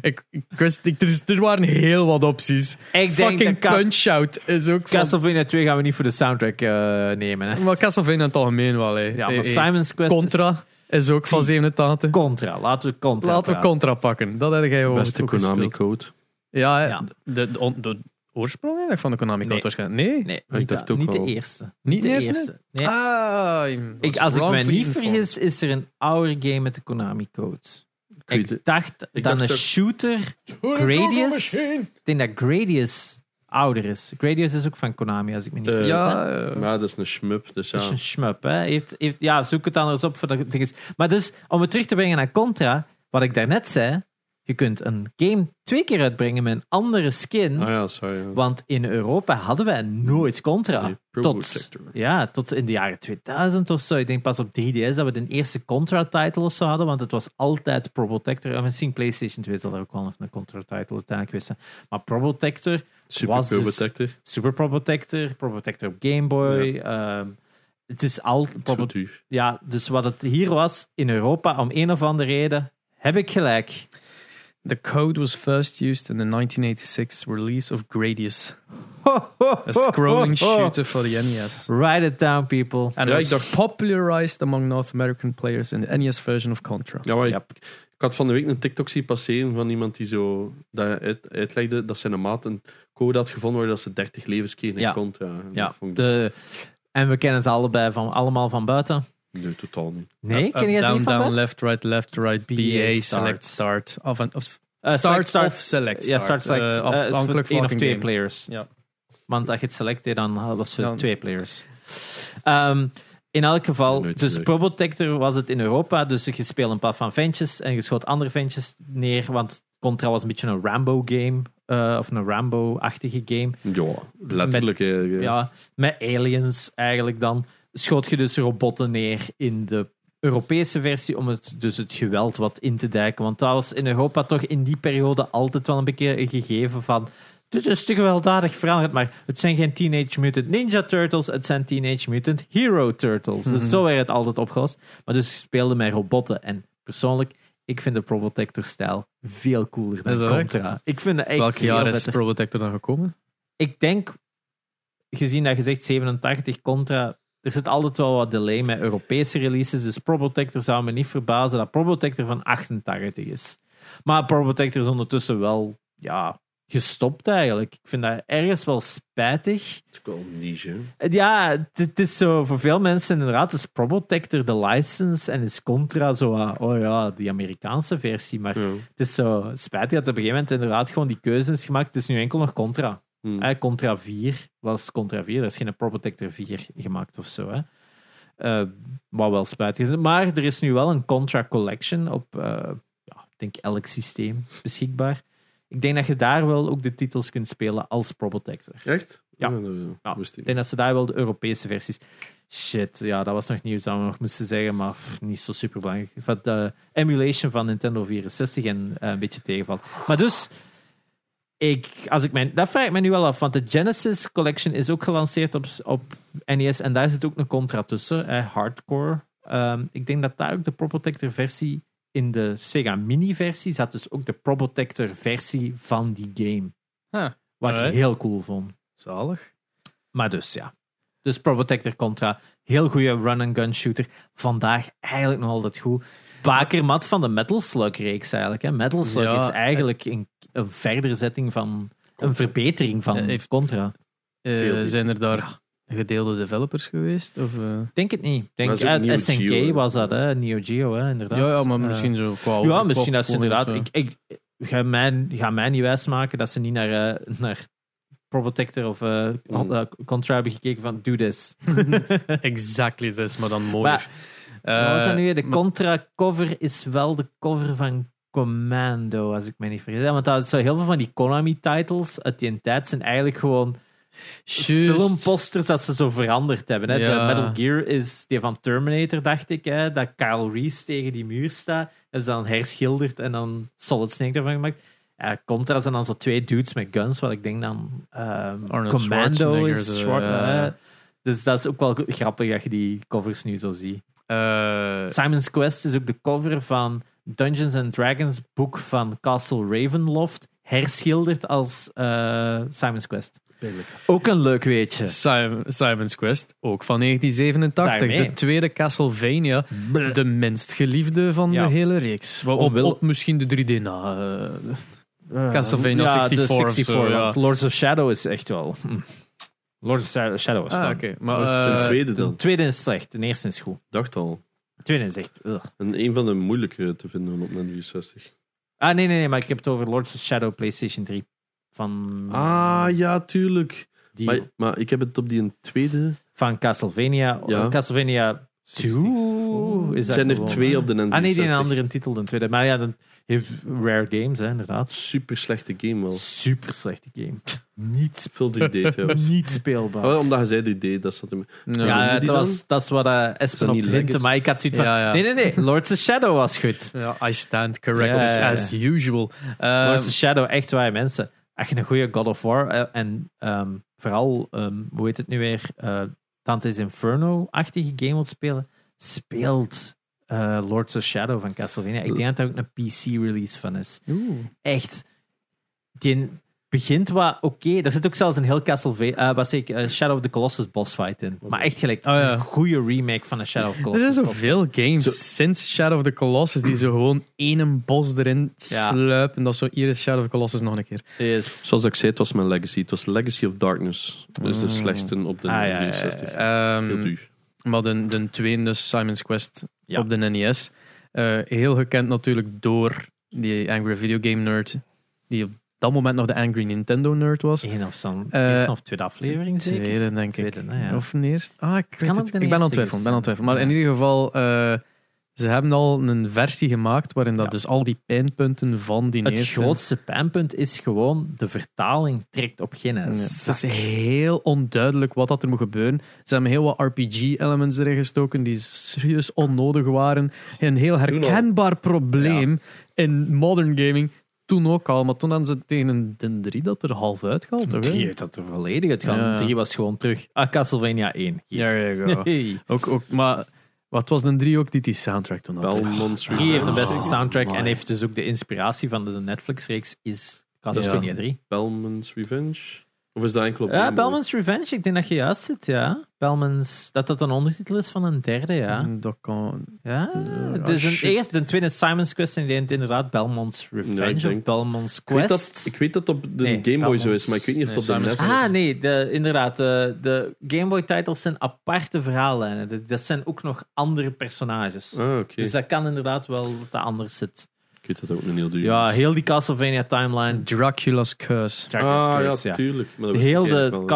Ik, ik wist, ik, er, is- er waren heel wat opties.
ik denk dat
Fucking
Cas-
Punch-Out is ook van...
Castlevania 2 gaan we niet voor de soundtrack eh, nemen. Hè.
Maar Castlevania in het algemeen wel, hè.
Ja,
Eh,
maar
eh,
Simon's Quest is
Contra is ook van 87.
Contra. Laten we Contra
Laten we
praten.
Contra pakken. Dat heb jij
Oh,
over
Beste
het ook gespeeld.
Konami-code.
Ja,
Ja.
De, de, on- de oorsprong eigenlijk van de Konami Code
Nee.
waarschijnlijk. Nee,
Nee,
Ik
niet,
dacht
de,
ook
niet de
wel.
eerste.
niet de eerste.
Nee.
Ah,
ik, als ik mij niet vergis, is er een oude game met de Konami-code.
weet het.
Ik dacht dat
dacht
een
ook-
shooter. Gradius? Ik denk dat Gradius ouder is. Gradius is ook van Konami, als ik me niet
Eh,
vergis. hè.
Ja, eh,
Maar dat is een schmup, dus
Dat is
ja.
een schmup, hè? Heeft, heeft, ja, zoek het anders op voor dat ding is. Maar dus, om het terug te brengen naar Contra, wat ik daarnet zei, je kunt een game twee keer uitbrengen met een andere skin.
Ah ja, sorry. ja.
Want in Europa hadden wij nooit Contra.
Nee, Pro
tot,
Protector.
ja, tot in de jaren 2000 of zo. Ik denk pas op 3DS dat we de eerste Contra-title of zo hadden, want het was altijd Pro Protector. En misschien PlayStation 2 zal er ook wel nog een Contra-title uiteindelijk geweest zijn. Maar Pro Protector
Super
was
Pro
dus-
Protector.
Super Pro Protector, Pro Protector op Game Boy. ehm, het is al. Pro-
Zo duur.
ja, dus wat het hier was in Europa, om een of andere reden, heb ik gelijk.
The code was first used in the 1986 release of Gradius, a scrolling shooter for the E NES.
Write it down, people.
And
Ja,
it
ik
was
dacht-
popularized among North American players in the
E
NES version of Contra.
Ja, maar ik-
Yep.
Ik had van de week een TikTok zien passeren van iemand die zo dat uit- uitlegde dat zijn maat een code had gevonden waar dat ze 30 levens kregen
Ja.
in Contra. En
Ja,
dat vond ik dus-
de, en we kennen ze allebei van, allemaal van buiten.
dus- Nee, totaal niet.
Nee,
Up,
ken
up,
jij ze
Uh, down,
niet van
down,
buiten?
left, right, left, right, BA,
BA,
select, start. Of, een- of
Eh,
start, of select,
Ja, start, select.
Eh,
eh, is voor
afhankelijk van
één of
welke
twee
game.
players.
Ja.
Want als je het select deed, dan was het voor
Dan-
twee players. Ehm, in elk geval,
Nooit
dus
leuk.
Probotector was het in Europa. Dus je speelde een paar van ventjes en je schoot andere ventjes neer. Want Contra was een beetje een Rambo-game. eh, of een Rambo-achtige game.
Ja, letterlijk. eh, ja.
Ja, met aliens eigenlijk dan. Schoot je dus robotten neer in de Europese versie om het, dus het geweld wat in te dijken. Want dat was in Europa toch in die periode altijd wel een beetje een gegeven van. Dit is te gewelddadig veranderd, maar het zijn geen Teenage Mutant Ninja Turtles, het zijn Teenage Mutant Hero Turtles.
Mhm.
Dus zo werd het altijd opgelost. Maar dus je speelde met robotten. En persoonlijk, ik vind de Probotector-stijl veel cooler dan
Is dat echt?
Contra. Ik vind het echt
Welk
veel
jaar is
vetter.
Pro Protector dan gekomen?
Ik denk, gezien dat je zegt 87 contra, er zit altijd wel wat delay met Europese releases. Dus Probotector zou me niet verbazen dat Probotector van 88 is. Maar Probotector is ondertussen wel ja, gestopt eigenlijk. Ik vind dat ergens wel spijtig.
Het is wel een niche. hè.
Ja, het- het is zo voor veel mensen inderdaad. Is Probotector de license en is Contra zo, ah, oh ja, die Amerikaanse versie. Maar
Ja.
het is zo spijtig dat op een gegeven moment inderdaad gewoon die keuze is gemaakt. Het is nu enkel nog Contra.
Hm.
Hè, Eh, Contra 4 was Contra 4. Er is geen Pro Protector 4 gemaakt of zo. Hè. Eh, wat wel spijtig is. Maar er is nu wel een Contra Collection op, eh, ja, ik denk elk systeem beschikbaar. Ik denk dat je daar wel ook de titels kunt spelen als Pro Protector.
Echt?
Ja.
dat, eh,
Ja.
wist ik
Ik
niet.
denk dat ze daar wel de Europese versies. Shit, ja, dat was nog nieuws dat we nog moesten zeggen, maar pff, niet zo super belangrijk. Van de emulation van Nintendo 64 en eh, een beetje tegenvalt. Maar dus, ik, als ik mijn, dat vraag ik me nu wel af, want de Genesis Collection is ook gelanceerd op, op NES en daar zit ook een contra tussen, hè, hardcore. Ehm, ik denk dat daar ook de Pro Protector versie in de Sega Mini versie zat, dus ook de Pro Protector versie van die game.
Huh.
Wat ik
Alright.
heel cool vond.
Zalig.
Maar dus ja. Dus Pro Protector Contra. Heel goede run-and-gun shooter. Vandaag eigenlijk nog altijd goed. Bakermat van de Metal Slug reeks eigenlijk. Hè. Metal Slug
Ja, eh,
is eigenlijk een, een verdere zetting van... Een verbetering van
Eh, heeft-
Contra.
Veel die-
Eh, zijn er daar gedeelde developers geweest? Of, eh?
Ik Denk het niet. Ik Denk,
Maar is ook
uit
Neo
SNK
Geo, hè.
was dat, hè? Neo Geo, hè? inderdaad.
ja, ja, maar
Eh,
misschien zo qua
ja, misschien dat ze
overkoppelingen
inderdaad...
of zo.
Ik, ik, ga, mij, ga mij niet wijsmaken dat ze niet naar, eh, naar Pro Protector of eh,
Mm.
eh, Contra hebben gekeken van... Do this.
Exactly this, maar dan mooier. Eh,
Maar- Wat was dat nu weer? De
maar-
Contra-cover is wel de cover van Commando, als ik me niet vergis. Ja, Want dat is zo heel veel van die Konami-titles uit die tijd zijn eigenlijk gewoon
Juist.
filmposters dat ze zo veranderd hebben. Hè?
Ja.
De Metal Gear is die van Terminator, dacht ik. Hè? Dat Kyle Reese tegen die muur staat. Hebben ze dan herschilderd en dan Solid Snake ervan gemaakt. Eh, Contra zijn dan zo twee dudes met guns, wat ik denk dan ehm,
Arnold
Commando
Schwarzenegger,
is.
de-
Schwar-
ja.
eh. Dus dat is ook wel grappig dat je die covers nu zo ziet.
Eh,
Simon's Quest is ook de cover van Dungeons and Dragons boek van Castle Ravenloft, herschilderd als eh, Simon's Quest. Ook een leuk weetje.
Simon- Simon's Quest, ook van 1987.
Daarmee.
De tweede Castlevania. De minst geliefde van
Ja. Oh, Ah.
de hele reeks. Wat op,
Omwille-
op misschien de 3D na. eh,
Ah,
Castlevania
ja,
64
de
of
64
zo, ja.
want Lords of Shadow is echt wel... hm. Lords of Shadow is
ah,
fun.
oké. Maar,
Dus
eh,
de tweede
De
dan.
tweede is slecht, de eerste is goed.
dacht al.
De tweede is echt... ugh.
En een van de moeilijkere te vinden op de 64.
Ah, nee, nee, nee, maar ik heb het over Lords of Shadow PlayStation 3. Van,
Ah, ja, tuurlijk.
die,
Maar, maar ik heb het op die een tweede.
van Castlevania.
Ja.
Castlevania 2 is
Er
dat
zijn er
gewoon,
twee
hè?
op de N64.
Ah nee, die een andere titel dan tweede. Maar ja, dan heeft Rare Games, hè, inderdaad.
Super slechte game wel.
Super slechte game. Niet,
Veel 3D trouwens.
niet speelbaar.
Oh, omdat je zei 3D, dat zat in mijn-
Ja.
Waarom
ja,
doet
dat,
die dan?
was, dat is wat eh Espen
dat
op
niet lekker?
hintte, maar ik had zoiets van...
Ja, ja.
Nee, nee, nee, Lords of Shadow was goed.
Ja, I stand corrected
Ja, ja, ja.
as usual. Eh,
Lords of Shadow, echt waar, mensen. Als je een goede God of War eh, en ehm, vooral, ehm, hoe heet het nu weer, eh, Dante's Inferno-achtige game wilt spelen, speelt eh, Lords of Shadow van Castlevania. Ik denk dat dat ook een PC-release van is. Echt, die begint wat oké. Er zit ook zelfs een heel Castlevania, eh, wat zeg ik, eh, Shadow of the Colossus boss fight in. Maar echt gelijk,
Oh, ja.
een goede remake van de Shadow of the
er
Colossus
zijn
boss
zoveel games sinds Shadow of the Colossus die zo gewoon één bos erin
Ja.
sluipen. Dat is zo, hier is Shadow of the Colossus nog een keer.
is.
Zoals ik zei, het was mijn legacy. Het was Legacy of Darkness. Dat is de slechtste op de
Ah, ja, ja, ja,
63.
Ehm,
Heel duur.
maar de, de tweede, dus Simon's Quest
Ja.
op de NES. Eh, heel gekend natuurlijk door die Angry Video Game Nerd, die op dat moment nog de Angry Nintendo Nerd was.
Eén of, zo'n
Eh,
eerste of tweede aflevering, zeker?
Tweede, denk ik.
Tweede, nou ja.
Of een eerste. Ah, ik, weet
kan
het.
ook
ik
de
ben aan het
eerste
twijfelen. ben
zijn.
aan het twijfelen. Maar in
Ja.
ieder geval, eh, ze hebben al een versie gemaakt waarin dat
Ja.
dus al die pijnpunten van die
Het
eerste...
grootste pijnpunt is gewoon de vertaling trekt op geen
Ja,
zak.
Het is heel onduidelijk wat dat er moet gebeuren. Ze hebben heel wat RPG-elements erin gestoken die serieus onnodig waren. Een heel
al.
herkenbaar probleem in modern gaming. Toen ook al, maar toen hadden ze tegen een Den 3 dat er half uitgehaald. toch, hè?
Drie heeft dat er volledig uit
Ja.
gaan. Drie was gewoon terug. Ah, Castlevania 1.
Ja, ja, ja.
Hey.
Ook, ook, maar wat was Den 3 ook die die soundtrack toen had?
Belmont's
Ah,
Drie heeft de
Revenge.
beste soundtrack en heeft dus ook de inspiratie van de Netflix-reeks is Castlevania
Ja.
3.
Belmont's Revenge? Of is dat enkel op
Ja,
Rainbow?
Bellman's Revenge, ik denk dat je juist zit, ja. Bellman's, dat dat een ondertitel is van een derde,
Mm.
ja.
Dat kan...
Ja,
ah,
dus een
shit.
eerste, de tweede is Simon's Quest en die heet inderdaad Bellman's Revenge
ik
of
denk-
Bellman's
Ik weet,
Quest.
dat, ik weet dat op de
Nee,
Game Boy zo is,
Belmont's-
maar ik weet niet of
nee,
dat op de E
Simon's
NES
Quest.
is.
Ah, nee, de, inderdaad. De, de Game Boy-titles zijn aparte verhaallijnen. Dat- Dat zijn ook nog andere personages.
Ah, oké.
Dus dat kan inderdaad wel dat dat anders zit.
Ik weet dat ook nog heel duur.
Ja,
is.
heel die Castlevania-timeline.
Dracula's Curse.
ah, ja, tuurlijk. Maar dat wist
Heel
ik eigenlijk
de
eh,
wel.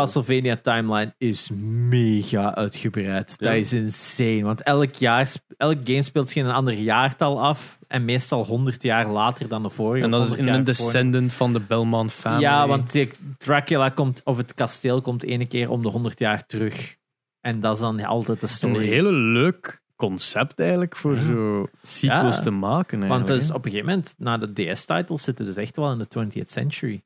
Castlevania-timeline is mega uitgebreid.
Ja.
Dat is insane. Want elk, jaar, sp- elk game speelt zich in een ander jaartal af. En meestal 100 jaar later dan de vorige.
En
of
dat is in
100
een
jaar voor.
descendant van de Belman family.
Ja, want die Dracula komt, of het kasteel komt ene keer om de 100 jaar terug. En dat is dan altijd de
Een
story.
hele leuk concept eigenlijk voor zo sequels
Ja.
te maken.
Want
eigenlijk,
dus
hè.
op een gegeven moment, na de DS-titles zitten we dus echt wel in de 20th century.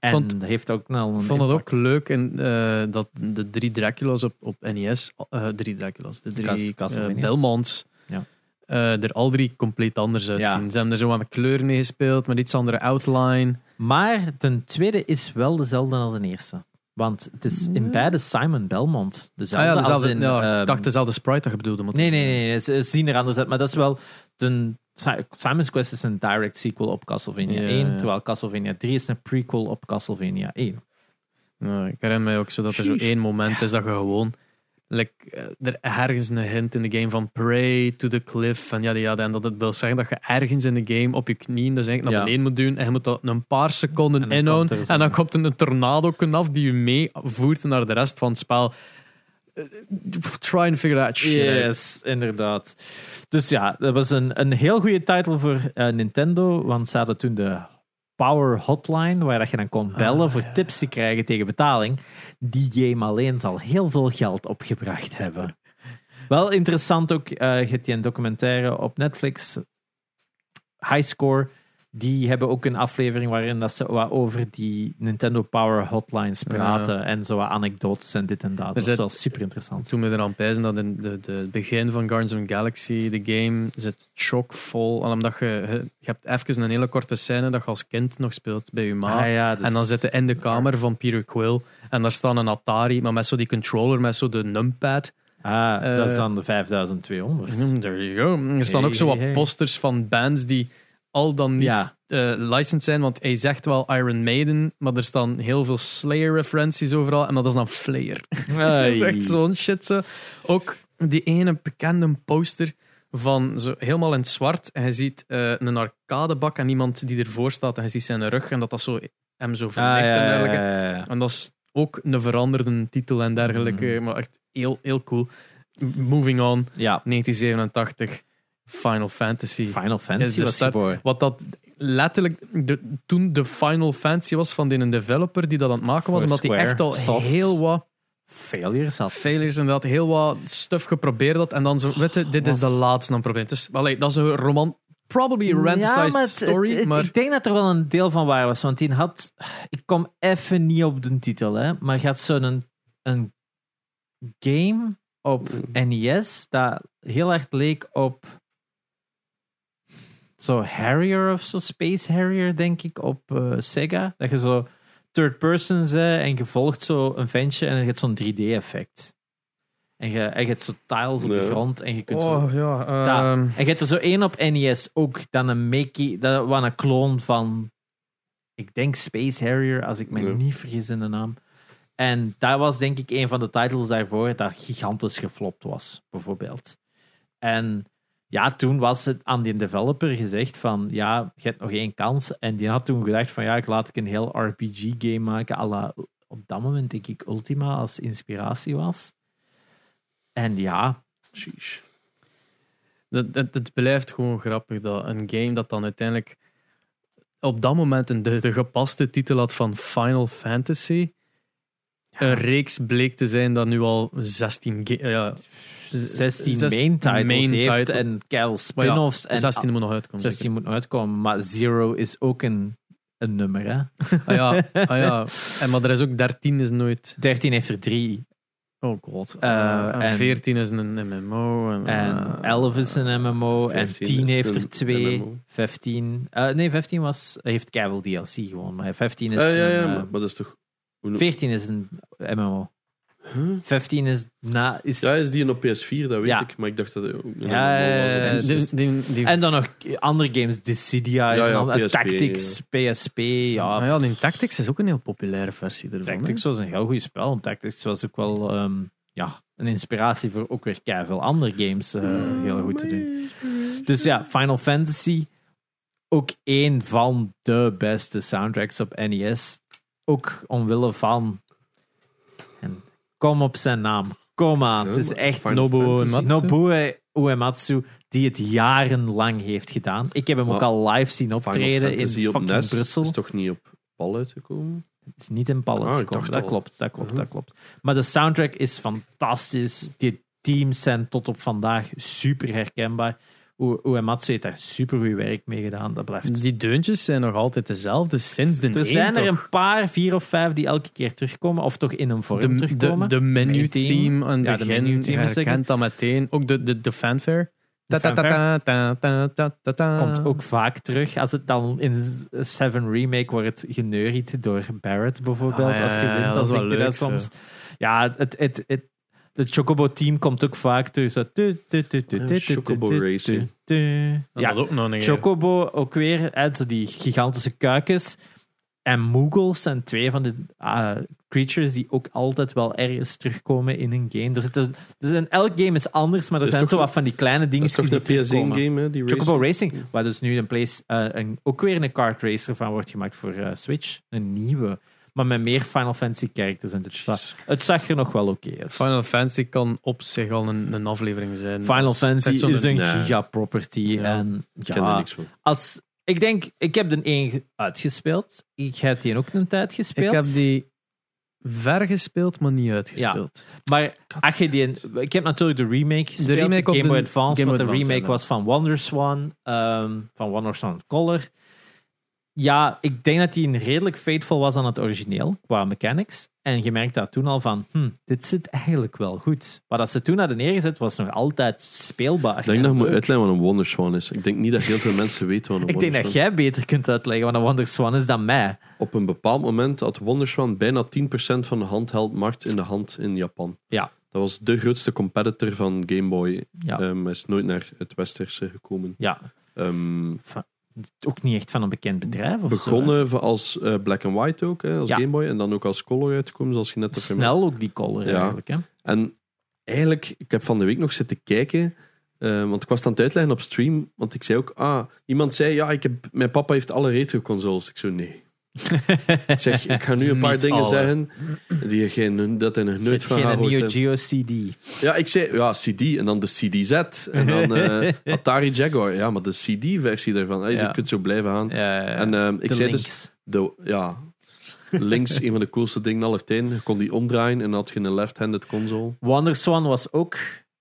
En
Vond-
dat heeft ook nou een
ik vond het ook
impact.
leuk en, eh, dat de drie Dracula's op, op NES, eh, drie Dracula's, de drie
Cas- Castlevania's.
eh, Belmonts,
Ja.
eh, er al drie compleet anders uitzien.
Ja.
Ze hebben er zo wat met kleuren in gespeeld, met iets andere outline.
Maar ten tweede is wel dezelfde als een eerste. Want het is in beide Simon Belmont.
Ah
Dezelfde
ja,
als
dezelfde,
in...
ja,
ehm,
ik dacht dezelfde sprite dat je bedoelde. maar-
Nee, nee, nee. Ze ze zien er anders uit. Maar dat is wel... Ten, Si- Simon's Quest is een direct sequel op Castlevania
Ja,
1.
ja.
Terwijl Castlevania 3 is een prequel op Castlevania 1.
Ja, Nou, ik herinner mij ook zo dat er zo
Sheesh.
één moment is dat je gewoon. Like, eh, er ergens een hint in de game van pray to the cliff en ja, ja, en dat het wil zeggen dat je ergens in de game op je knieën dus eigenlijk naar
Ja.
beneden moet doen en je moet dat een paar seconden
En dan
inhouden
komt er
en dan
zo'n-
komt er een tornado af die je meevoert naar de rest van het spel. Eh, Try and figure that shit out.
Yes, inderdaad. Dus ja, dat was een, een heel goede titel voor eh, Nintendo, want ze hadden toen de Power Hotline, waar dat je dan kon bellen voor tips te krijgen tegen betaling. Die game alleen zal heel veel geld opgebracht hebben. Wel interessant ook, eh je hebt die een documentaire op Netflix, Highscore. Die hebben ook een aflevering waarin dat ze wat over die Nintendo Power Hotlines praten. En zo wat anekdotes en dit en dat. Dat is
zit-
wel super interessant.
Toen we eraan pijzen dat in de, de het begin van Guardians of the Galaxy, de game, zit chockvol. Al omdat je, je hebt even een hele korte scène dat je als kind nog speelt bij je ma.
Ah ja, dus-
En dan zitten in de kamer van Peter Quill. En daar staan een Atari, maar met zo die controller, met zo de numpad.
Ah,
Eh,
dat is dan de 5200.
Mm, There you go. Er staan
Hey,
ook zo wat
hey, hey.
posters van bands die al dan niet
Ja.
eh, licensed zijn. Want hij zegt wel Iron Maiden, maar er staan heel veel Slayer-referenties overal. En dat is dan Flair.
Ai.
Dat is echt zo'n shit. Zo. Ook die ene bekende poster van zo helemaal in het zwart. En je ziet eh, een arcadebak en iemand die ervoor staat. En je ziet zijn rug en dat dat zo hem zo
Ah,
verlicht
ja,
en
ja,
dergelijke.
ja, ja.
En dat is ook een veranderde titel en dergelijke.
Mhm.
Maar echt heel, heel cool. M- Moving on,
Ja,
1987, Final Fantasy.
Final
Is
Fantasy
de
was
start-
geboren.
Wat dat letterlijk de, toen de Final Fantasy was van die developer die dat aan het maken was.
Voor
Omdat hij
Square,
echt al
Soft.
heel wat
Failures had.
failures en dat heel wat stuff geprobeerd had. En dan zo, weet je, dit is de
was-
laatste dan probleert. Dus allee, dat is een roman, probably a
Ja,
romanticized
maar het-
story,
het- het-
maar...
Ik denk dat er wel een deel van waar was, want die had... Ik kom even niet op de titel, hè, maar je had zo'n een game op NES dat heel erg leek op zo Harrier of zo, Space Harrier, denk ik, op eh, Sega. Dat je zo third person bent en je volgt zo een ventje en je hebt zo'n 3D-effect. En je, en je hebt zo tiles op
Nee.
de grond en je kunt zo
Oh, ja.
ja.
ehm,
En je hebt er zo één op NES ook, dan een Mickey, dat was een kloon van, ik denk Space Harrier, als ik me
Ja.
niet vergis in de naam. En dat was denk ik een van de titles daarvoor dat gigantisch geflopt was, bijvoorbeeld. En ja, toen was het aan die developer gezegd van, ja, je hebt nog één kans. En die had toen gedacht van, ja, ik laat ik een heel RPG-game maken, à la, op dat moment denk ik Ultima als inspiratie was. En ja,
Sheesh.
Dat, dat- het blijft gewoon grappig dat een game dat dan uiteindelijk op dat moment een- de, de gepaste titel had van Final Fantasy. Een reeks bleek te zijn dat nu al 16 ga- eh, ja,
16
zes-
main titles
main
heeft
title.
en keil
Maar ja,
spin-offs. en
16 moet nog uitkomen.
16 moet nog uitkomen, maar Zero is ook een, een nummer. Hè?
zeker. Ah, ja, ah, ja. En, maar er is ook 13 is nooit.
13 heeft er 3
Oh god.
Eh, en-
14 is een MMO. En, eh,
en 11 is een MMO en
15
10
Ah, is
heeft
een
er 2.
MMO.
15, eh, nee, 15 was, heeft Keil DLC gewoon, maar 15 is.
Ja, ja,
een,
ja,
eh,
maar, maar dat is toch... hoe noem-
14 is een MMO.
Huh?
15 is na. Is,
Ja, is die een op PS4, dat weet
Ja.
ik. Maar ik dacht dat het ook een
Ja,
MMO was.
ja, ja,
Dus-
ja.
eh, die, die, die,
en dan nog andere games, Dissidia, is
Ja,
een
ja,
ander-
PSP,
Tactics, PSP. Ja,
Ah ja, die Tactics is ook een heel populaire versie ervan. hè.
Tactics was een heel goed spel. want Tactics was ook wel ehm, ja, een inspiratie voor ook weer veel andere games eh, heel goed te doen. Dus ja, Final Fantasy. Ook een van de beste soundtracks op NES. Ook omwille van. En kom op zijn naam. Kom aan. Het is
maar
echt
Final
Nobuo
Fantasy.
Uematsu.
Nobuo Uematsu die het jarenlang heeft gedaan. Ik heb hem ook
Maar
al live zien
Final
optreden in
Fantasy
fucking
op NES
Brussel.
is toch niet op pal uitgekomen?
Het is niet in pallet
Ah, ik
gekomen.
dacht
Dat
al. Uh-huh.
klopt, dat klopt, dat klopt. Maar de soundtrack is fantastisch. Die teams zijn tot op vandaag super herkenbaar. Oe- Uematsu heeft daar super goed werk mee gedaan. Dat blijft.
Die deuntjes zijn nog altijd dezelfde sinds de
er
één
zijn er
toch?
een paar, vier of vijf, die elke keer terugkomen. Of toch in een vorm
de, de,
terugkomen.
de menu
Main
theme aan het
Ja, de
begin,
menu
je
theme is zeker.
herkent dat meteen. Ook de, de, de fanfare.
De
Ta- ta- ta- ta- ta- ta- ta- ta.
Komt ook vaak terug. Als het dan in Seven Remake wordt geneuried door Barrett bijvoorbeeld.
Ah, ja,
als je
ja,
wint,
ja, dat
dan
is wel
zingt hij dat
leuk,
soms. Ja, het, het, het, de Chocobo team komt ook vaak terug. Zo. tu, tu, tu, tu,
Ja,
tu, tu,
Chocobo
tu, tu,
Racing.
tu.
Dat had
Ja,
ook nog een keer.
Chocobo ook weer. hè, zo die gigantische kuikens. En Moogles zijn twee van de ah, creatures die ook altijd wel ergens terugkomen in een game. Er zitten, er zijn, elk game is anders, maar er
Dat is
zijn zo
toch-
wat van die kleine
Dat is
dingen
toch
die
de
terugkomen.
PS1-game, hè? Die
Chocobo
race?
Racing, waar dus nu een place, eh, een, ook weer een kart racer van wordt gemaakt voor eh, Switch. Een nieuwe. Maar met meer Final Fantasy characters. En het, zag, het zag er nog wel oké uit.
Final Fantasy kan op zich al een, een aflevering zijn.
Final
Dat is echt
Fantasy
zo'n-
is een
Nee.
giga-property. En
Ik ken er
ja,
niks van.
als, ik denk, ik heb de 1 uitgespeeld. Ik heb die ook een tijd gespeeld.
Ik heb die ver gespeeld, maar niet uitgespeeld.
Maar als je die, ik heb natuurlijk de remake gespeeld, de
remake op
Game Boy
de
Advance,
Game
want
Boy
de
Advance,
remake
ja,
was van WonderSwan, ehm van WonderSwan Color. Ja, ik denk dat die een redelijk faithful was aan het origineel, qua mechanics. En je merkt daar toen al van, hm, dit zit eigenlijk wel goed. Maar dat ze toen hadden neergezet, was nog altijd speelbaar.
Ik denk dat je moet
Leuk.
uitleggen wat een Wonderswan is. Ik denk niet dat heel veel mensen weten wat een
Ik denk dat
Wonderswan is.
jij beter kunt uitleggen wat een WonderSwan is dan mij.
Op een bepaald moment had Wonderswan bijna 10% van de handheldmarkt in de hand in Japan.
Ja.
Dat was de grootste competitor van Game Boy.
Ja.
Ehm, hij is nooit naar het westerse gekomen.
Ja,
Ehm,
ook niet echt van een bekend bedrijf. Of zo, hè.
begonnen van als eh, Black and White ook, hè, als
Ja. Dus,
Game Boy. En dan ook als Color uitkomen, zoals je net al
Snel ook die color
Ja.
eigenlijk. Hè?
En eigenlijk, ik heb van de week nog zitten kijken Eh, want ik was het aan het uitleggen op stream, want ik zei ook, ah, iemand zei, ja, ik heb, mijn papa heeft alle retro-consoles. Ik zo, nee. ik zeg, ik ga nu een paar
Niet
dingen
alle.
zeggen die je geen, dat hij nog nooit van
geen
gehoord
Neo
hebt.
Geo CD.
Ja, ik zei, ja, CD en dan de CDZ en dan eh, Atari Jaguar. Ja, maar de CD-versie daarvan, hey,
Ja.
je kunt zo blijven gaan.
Ja,
En ehm, ik
de
zei dus,
links.
de, ja, links een van de coolste dingen aller tijden. Je kon die omdraaien en dan had je een left-handed console.
WonderSwan was ook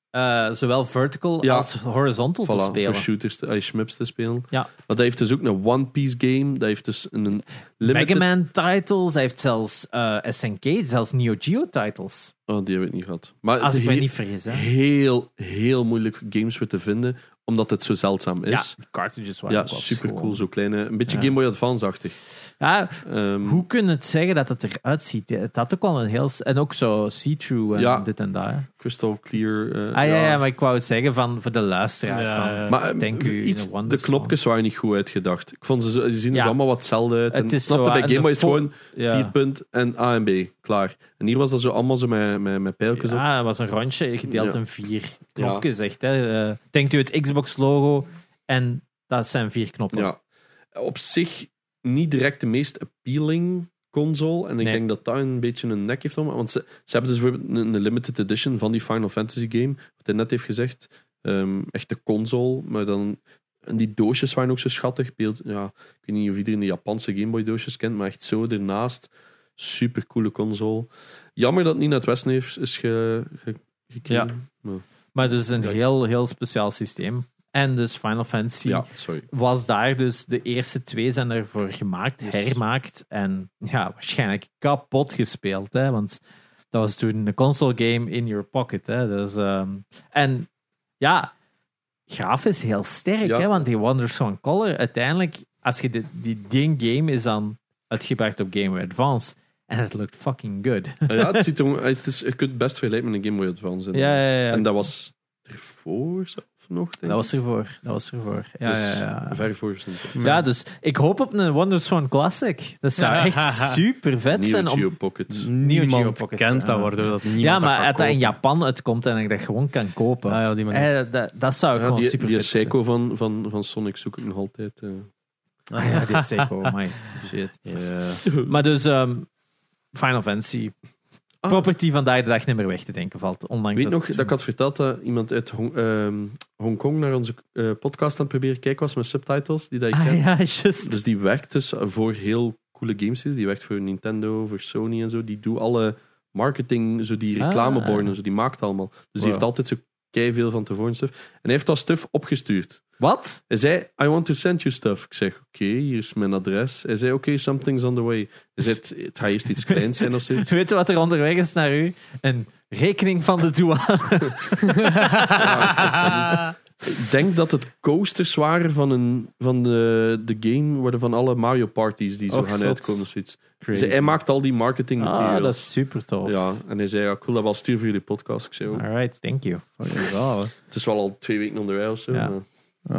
eh, zowel vertical
Ja.
als horizontal te
Voilà, voor
spelen.
shooters, te, eh, shmups te spelen.
Ja.
Maar dat heeft dus ook een One Piece game. Dat heeft dus een
Mega
limited...
Man titles, hij heeft zelfs eh, SNK, zelfs Neo Geo titles.
Oh, die heb ik niet gehad. Maar
Als ik me
he-
niet vergis. Hè.
heel, heel moeilijk games voor te vinden, omdat het zo zeldzaam
Ja,
is.
de cartridges
Ja,
waren ook wel
super cool.
schoon.
Zo kleine, een beetje
Ja.
Game Boy Advance-achtig.
Ja,
Ehm,
hoe kun je het zeggen dat het eruit ziet? Het had ook wel een heel... En ook zo see-through en
Ja.
dit en dat. hè. Ah
Crystal Clear. eh,
ja. ja, maar ik wou het zeggen van, voor de luisteraars.
Ja,
van,
ja.
Maar, eh,
Denk u in
iets,
een Wonder
de knopjes waren niet goed uitgedacht. Ik vond ze, zo- ze zien
Ja.
er allemaal wat hetzelfde uit. En
Het is
snapte,
zo,
bij
en
Game
de
Boy is
vo-
gewoon
ja.
vierpunt en A en B, klaar. En hier was dat zo allemaal zo met, met, met pijltjes op.
Ja, het was een rondje gedeeld
Ja.
in vier knopjes. Echt, hè. Eh, denkt u het Xbox-logo en dat zijn vier knoppen.
Ja. Op zich niet direct de meest appealing console. En ik
Nee.
denk dat daar een beetje een nek heeft om. Want ze, ze hebben dus bijvoorbeeld een, een limited edition van die Final Fantasy game. Wat hij net heeft gezegd. Ehm, echt de console. Maar dan... En die doosjes waren ook zo schattig. Beeld, ja, ik weet niet of iedereen de Japanse Game Boy doosjes kent. Maar echt zo ernaast. Super coole console. Jammer dat het niet naar het westen heeft, is ge, ge- gekregen.
Maar dus een
Ja.
heel, heel speciaal systeem. En dus Final Fantasy
Ja, sorry.
was daar dus de eerste twee zijn ervoor gemaakt,
Dus-
hermaakt en ja, waarschijnlijk kapot gespeeld. Hè? Want dat was toen een console game in your pocket. Hè? Dus, ehm, en ja, grafisch heel sterk,
Ja.
hè? want die Wonderswan Color, uiteindelijk, als je de, die, die game is dan uitgebracht op Game Boy Advance. En het lukt fucking good.
Ah ja, het ziet er, gewoon- het is, je kunt het best vergelijken met een Game Boy Advance.
Ja, ja, ja.
En dat was ervoor zelf nog, denk ik.
Dat was ervoor. Dat was ervoor. Ja,
Dus
ja, ja.
ver voor zijn tijd.
Ja, dus ik hoop op een Wonderswan Classic. Dat zou
Ja.
echt super vet zijn.
Neo
Om... Mm,
Geo Pocket.
Neo Geo
Niemand
Pocket,
kent
ja.
dat, waardoor dat niemand
Ja,
dat
maar
kan
dat dat in
kopen.
Japan uitkomt en ik dat gewoon kan kopen.
Ah, ja, op die manier.
Eh, dat, dat zou ik
Ja,
gewoon
die
super
die
vet vinden.
Seiko van, van, van Sonic zoek ik nog altijd. eh.
Ah, ja, die is Seiko. oh my shit. Maar dus, ehm, Final Fantasy.
Ah.
Property vandaag de dag niet meer weg te denken valt. Ondanks
Weet nog
het-
dat ik had verteld dat iemand uit Hong, ehm, Hongkong naar onze eh, podcast aan het proberen kijken was met subtitles die dat ik
Ah,
ken.
ja, just.
Dus die werkt dus voor heel coole games. dus Die werkt voor Nintendo, voor Sony en zo. Die doet alle marketing, zo die
Ah.
reclameborden, en zo, die maakt allemaal. Dus die
Wow.
heeft altijd zo kei veel van tevoren stuff. En hij heeft dat stuff opgestuurd.
Wat?
Hij zei, I want to send you stuff. Ik zeg, oké, hier is mijn adres. Hij zei, oké, something's on the way. Hij zei, het- het gaat eerst iets kleins zijn of zoiets.
Dus Weet je wat er onderweg is naar u? Een rekening van de douane.
Ah. Ik denk dat het coasters waren van, een, van de, de game, waar de- van alle Mario parties die zo
Och,
gaan
zot.
uitkomen of zoiets. Hij zei, hij maakt al die marketing materials.
Ah, dat is super tof.
Ja, en hij zei, ja, cool, dat wel stuur voor jullie podcast. Ik zei, oh,
Alright, thank you.
het is wel al twee weken onderweg of zo.
Ja.
maar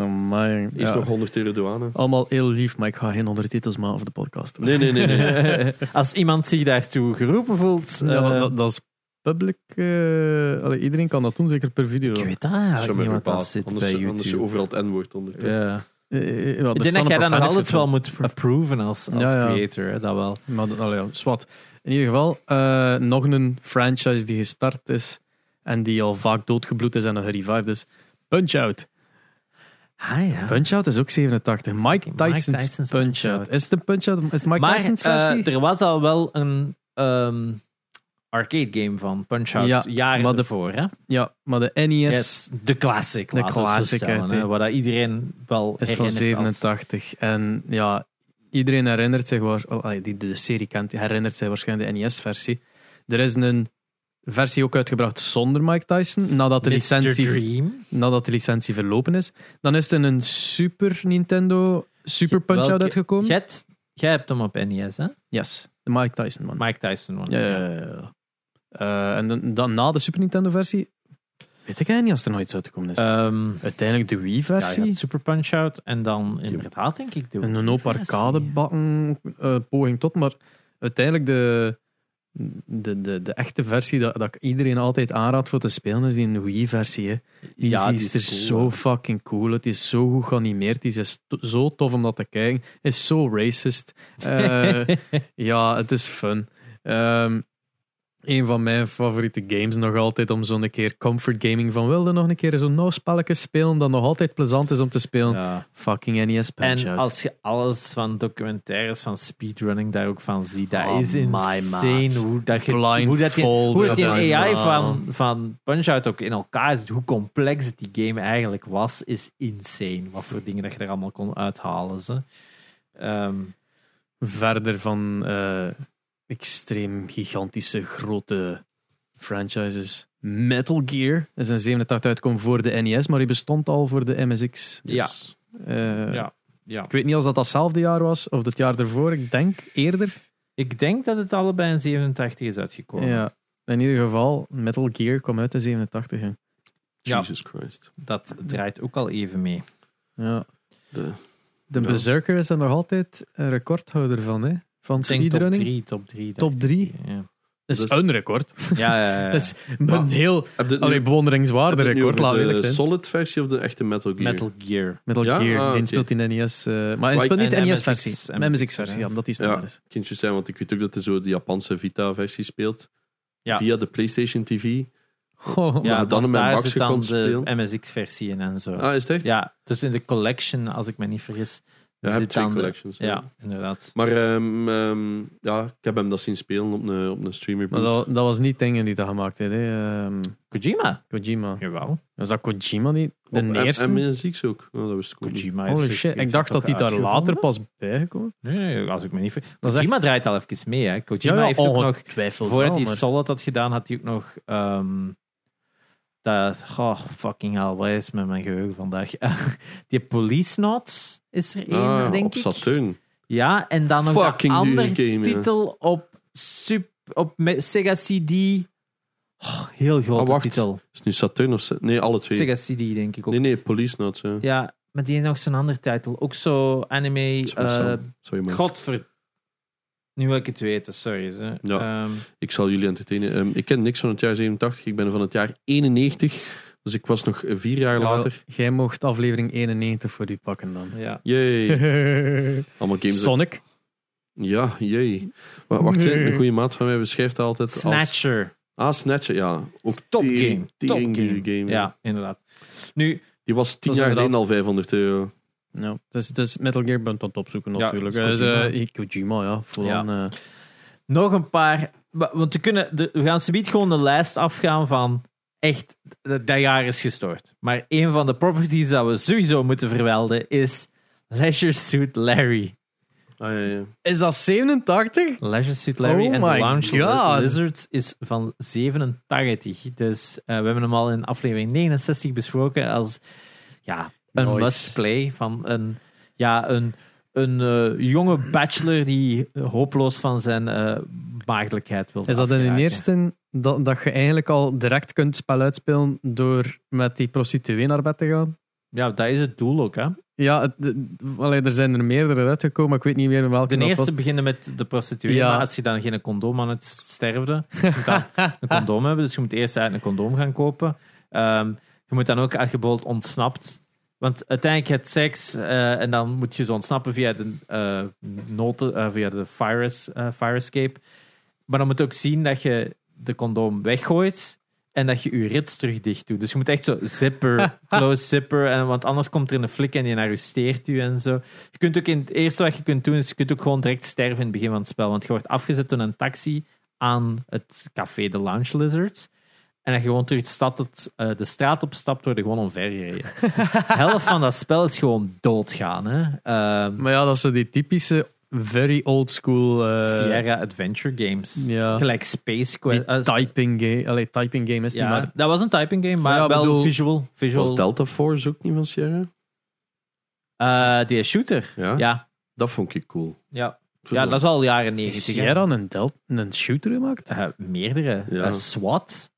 Oh, maar,
Eerst
ja.
nog 100 euro douane.
Allemaal heel lief, maar ik ga geen ondertitels maken voor de podcast.
Nee, nee, nee. nee.
Als iemand zich daartoe geroepen voelt.
Ja,
eh,
want dat, dat is public. eh, allee, iedereen kan dat doen, zeker per video.
ik
Eh,
weet dat eigenlijk
Zo
niet
met
wat dat
verbaal.
zit
Anders,
bij
anders
YouTube.
overal het N-woord onder.
Ja.
eh, ja,
Ik
er
denk
staan
dat
een paar
jij dan nog altijd
fanfics
wel
van.
moet approven als, als
Ja, ja.
creator. Hè, dat wel.
Maar dat- allee, ja, zwart. In ieder geval, eh, nog een franchise die gestart is en die al vaak doodgebloed is en een revived is. Punch-Out.
Ah ja.
Punch-Out is ook 87. Mike
Mike
Tyson's,
Tyson's
Punch-Out.
Punch-Out.
Is het een Punch-Out? Is het Mike
maar
Tyson's
eh,
versie?
er was al wel een ehm, arcade game van Punch-Out. dus
Ja,
jaren
maar de-
ervoor. Hè?
ja, maar de E NES
Yes. De classic.
De
laten we het zo
classic
stellen,
uit,
hè,
hè.
Waar dat iedereen wel
is van
herinnert als-
87. En ja, iedereen herinnert zich, waar, oh, allee, die de serie kent, herinnert zich waarschijnlijk de NES-versie. Er is een versie ook uitgebracht zonder Mike Tyson, nadat de,
Mr.
licentie,
Dream.
nadat de licentie verlopen is. Dan is er een Super Nintendo Super Punch-Out
Welke-
uitgekomen.
Jij hebt- jij hebt hem op NES, hè?
Yes, de Mike Tyson man.
Mike Tyson. one.
Ja, ja, ja, ja. Eh, en dan, dan na de Super Nintendo-versie, weet ik eigenlijk niet als er nog iets uit te komen is.
Ehm,
Uiteindelijk de
Ja, je
Wii-versie.
had Super Punch-Out en dan inderdaad, denk ik. de
En een
Wii
hoop
versie.
arcadebakken eh, poging tot, maar uiteindelijk de, de, de, de echte versie dat, dat ik iedereen altijd aanraad voor te spelen, is die Wii-versie. hè. Die,
Ja,
is,
die is
er
cool,
zo
hè.
fucking cool. Het is zo goed geanimeerd. Die is to- zo tof om dat te kijken. Is zo racist. Eh, ja, het is fun. Ehm, een van mijn favoriete games nog altijd om zo'n keer comfort gaming van wilde nog een keer zo'n no-spelletje spelen dat nog altijd plezant is om te spelen.
Ja.
Fucking E NES Punch
En als je alles van documentaires, van speedrunning daar ook van ziet, dat
Oh
is
my
insane
maat.
hoe dat je hoe dat je hoe dat die
Blindfolded.
AI
Ja.
van, van Punch-Out ook in elkaar zit, hoe complex het die game eigenlijk was, is insane. Wat voor dingen dat je er allemaal kon uithalen. Ze. Ehm,
verder van eh, extreem gigantische grote franchises. Metal Gear is een 87 uitkomen voor de NES, maar die bestond al voor de MSX.
Yes.
Eh,
Ja, ja.
Ik weet niet of dat datzelfde jaar was of het jaar ervoor. Ik denk eerder.
ik denk dat het allebei in 87 is uitgekomen.
Ja. In ieder geval, Metal Gear kwam uit in 87. hè.
Ja.
Jesus Christ.
Dat draait ook al even mee.
Ja.
De,
De
Ja.
Berserker is er nog altijd een recordhouder van, hè? Van
Ik denk top
speedrunning.
3, top 3.
Top 3
Ja,
is
Dat is-
een record.
ja, ja, ja, ja.
Dat is een heel
heb je het nu-
allee,
heb je
bewonderingswaardig
het nu
record, laat
over
eerlijk
de
zijn.
solid versie of de echte Metal Gear?
Metal Gear.
Metal
Ja?
Gear,
Ah,
die
oké.
speelt in de NES. eh, maar hij
Maar
speelt niet
ik-
de
en
NES-versie.
MSX,
MSX-versie, ja, E omdat die sneller
Ja.
is.
kindjes zijn, want ik weet ook dat er zo die Japanse Vita-versie speelt.
Ja.
Via de PlayStation TV.
Goh,
Ja,
Ja,
dan
dan
met
daar
Max
zit dan
gekomen
de
spelen.
MSX-versie in en zo.
Ah, is het echt?
Ja, dus in de collection, als ik me niet vergis.
Ja, je
zit
hebt twee
dan de-
collections. ja.
Ja, inderdaad.
Maar ehm, ehm, ja, ik heb hem dat zien spelen op een, op een streamer.
Maar dat, dat was niet Tengen die dat gemaakt heeft, hè. ehm,
Kojima.
Kojima.
Jawel.
Was dat Kojima niet? De
Op- en-
eerste?
En muziek ook. Oh, dat wist ik ook niet.
Kojima is
Holy
er-
shit,
heeft
ik dacht
toch
dat die daar
uitgevonden?
later pas bijgekomen.
Nee, nee, als ik me niet vergis.
Dat is oh,
Kojima draait al even mee. Hè. Kojima heeft ook nog...
twijfel
Voordat hij Solid had gedaan, had hij ook nog... ehm, dat, goh, fucking hell, wat is met mijn geheugen vandaag? die Police Knots is er één,
Ah,
denk
op
ik.
Saturn.
Ja, en dan nog een
Fucking dure
andere
game, ja.
titel op, sup, op me- Sega CD. Oh, heel
Ah,
grote
wacht.
titel.
Is het nu Saturn of... Sa- Nee, alle twee.
Sega CD, denk ik ook.
Nee, nee, Police Notes. Ja.
Ja, maar die heeft nog zo'n andere titel. Ook zo anime.
Sorry,
eh
Sam. Sorry, man.
Godver... Nu wil ik het weten, sorry. Ze.
Ja.
Ehm,
Ik zal jullie entertainen. Ehm, ik ken niks van het jaar 87. Ik ben van het jaar 91. Dus ik was nog vier jaar later.
Jij mocht aflevering 91 voor u pakken dan.
ja.
Yay. Allemaal games.
Sonic.
Ja, jee. Wa- Wacht, hè, een goede maat van mij beschrijft dat altijd als...
Snatcher.
Ah, Snatcher, ja. Ook
Top
tering-
game. Top
tering
game.
dure game, ja.
Ja, inderdaad. Nu,
Die was tien
Dat is
jaar
inderdaad-
geleden al 500 euro.
Ja, dus, dus Metal Gear bent aan het opzoeken
Ja,
natuurlijk.
dat is
Dus, eh, Kojima, ja. Vooral, eh,
nog een paar... wa- Want we, kunnen, de- we gaan subiet gewoon de lijst afgaan van... Echt, dat dat jaar is gestoord. Maar een van de properties dat we sowieso moeten vermelden is... Leisure Suit Larry.
Ah, ja, ja.
Is dat 87?
Leisure Suit Larry
Oh
en
my
The Lounge
God.
Lizards is van 87. Dus eh, we hebben hem al in aflevering 69 besproken als ja, een
Nice.
must-play van een, ja, een, een eh, jonge bachelor die hopeloos van zijn eh maagdelijkheid wil
Is dat in de eerste dat, dat je eigenlijk al direct kunt spel uitspelen door met die prostituee naar bed te gaan?
Ja, dat is het doel ook. Hè?
Ja, het, de- allee, er zijn er meerdere uitgekomen, maar ik weet niet meer welke
De
dat
eerste
was.
beginnen met de prostituee,
Ja.
maar als je dan geen condoom aan het sterfde, je moet dan een condoom hebben. Dus je moet eerst uit een condoom gaan kopen. Ehm, je moet dan ook, als je bijvoorbeeld ontsnapt, want uiteindelijk heb je seks eh, en dan moet je ze ontsnappen via de eh, noten, eh, via de virus, eh, fire escape. Maar dan moet je ook zien dat je de condoom weggooit en dat je je rits terug dicht doet. Dus je moet echt zo zipper, close zipper, en, want anders komt er een flik en die arresteert u en zo. Je kunt ook in het eerste wat je kunt doen, is je kunt ook gewoon direct sterven in het begin van het spel. Want je wordt afgezet door een taxi aan het café de Lounge Lizards. En dat je gewoon terug de, stad tot, eh, de straat opstapt, worden gewoon omvergereden. Dus de helft van dat spel is gewoon doodgaan. Hè? Ehm,
Maar ja, dat is zo die typische very old school eh,
Sierra Adventure Games.
ja.
Gelijk Space
die
Quest. eh,
typing game. Allee, typing game is
ja,
niet, maar
dat was een typing game, maar
Ja,
wel
bedoel-
visual.
Was
visual
Delta Force ook niet van Sierra?
Eh, die shooter.
Ja?
Ja,
Dat vond ik cool.
ja.
Ik vond
ja, dat is al jaren
heeft
90. hè.
Sierra een, del- een shooter gemaakt?
Eh, meerdere.
Ja.
Eh, SWAT.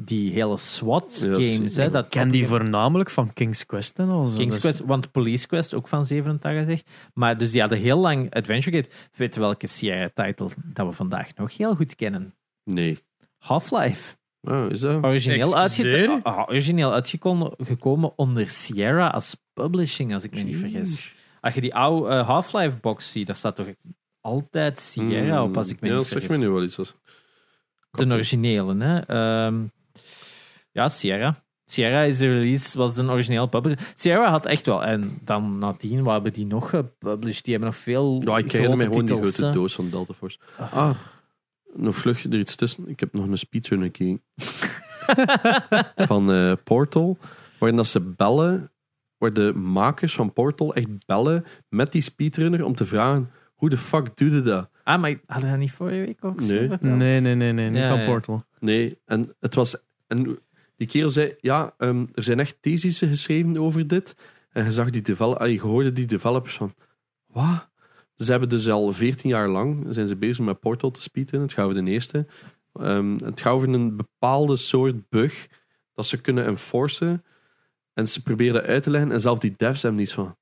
die hele SWAT-games.
Yes.
hè, dat
ken die voornamelijk van King's Quest en al. zo,
King's
dus-
Quest, want Police Quest ook van 87. Maar dus die hadden heel lang adventure games. Weet je welke Sierra-title dat we vandaag nog heel goed kennen?
Nee.
Half-Life.
Ah, is
Oh,
dat?
Origineel,
Excuseer?
uitge ah, origineel uitgekomen gekomen onder Sierra als publishing, als ik me niet vergis. Als je die oude eh, Half-Life box ziet, daar staat toch altijd Sierra op, als ik
Hmm.
me
Mm, ja,
niet
zeg
vergis.
me nu wel iets. als-
De originele, hè. Ehm, ja, Sierra. Sierra is de release, was een origineel publisher. Sierra had echt wel, en dan nadien, wat hebben die nog gepublished? Die hebben nog veel
Ja, ik herinner me
grote
gewoon die
titels,
grote
hè.
doos van Delta Force. Ah, nog vlug er iets tussen. Ik heb nog een speedrun gekeken. van eh, Portal. Waarin dat ze bellen, waar de makers van Portal echt bellen met die speedrunner om te vragen, hoe de fuck doe je dat?
Ah, maar hadden we dat niet vorige week ook zo
Nee.
verteld?
Nee, nee, nee, nee, niet
Ja,
van
ja.
Portal.
Nee, en het was... En die kerel zei, ja, ehm, er zijn echt thesissen geschreven over dit. En je zag die develop, allee, je hoorde die developers van, wat? Ze hebben dus al 14 jaar lang, zijn ze bezig met Portal te speedrunnen. Het gaat over de eerste. Ehm, het gaat over een bepaalde soort bug dat ze kunnen enforcen. En ze proberen dat uit te leggen. En zelf die devs hebben niets van,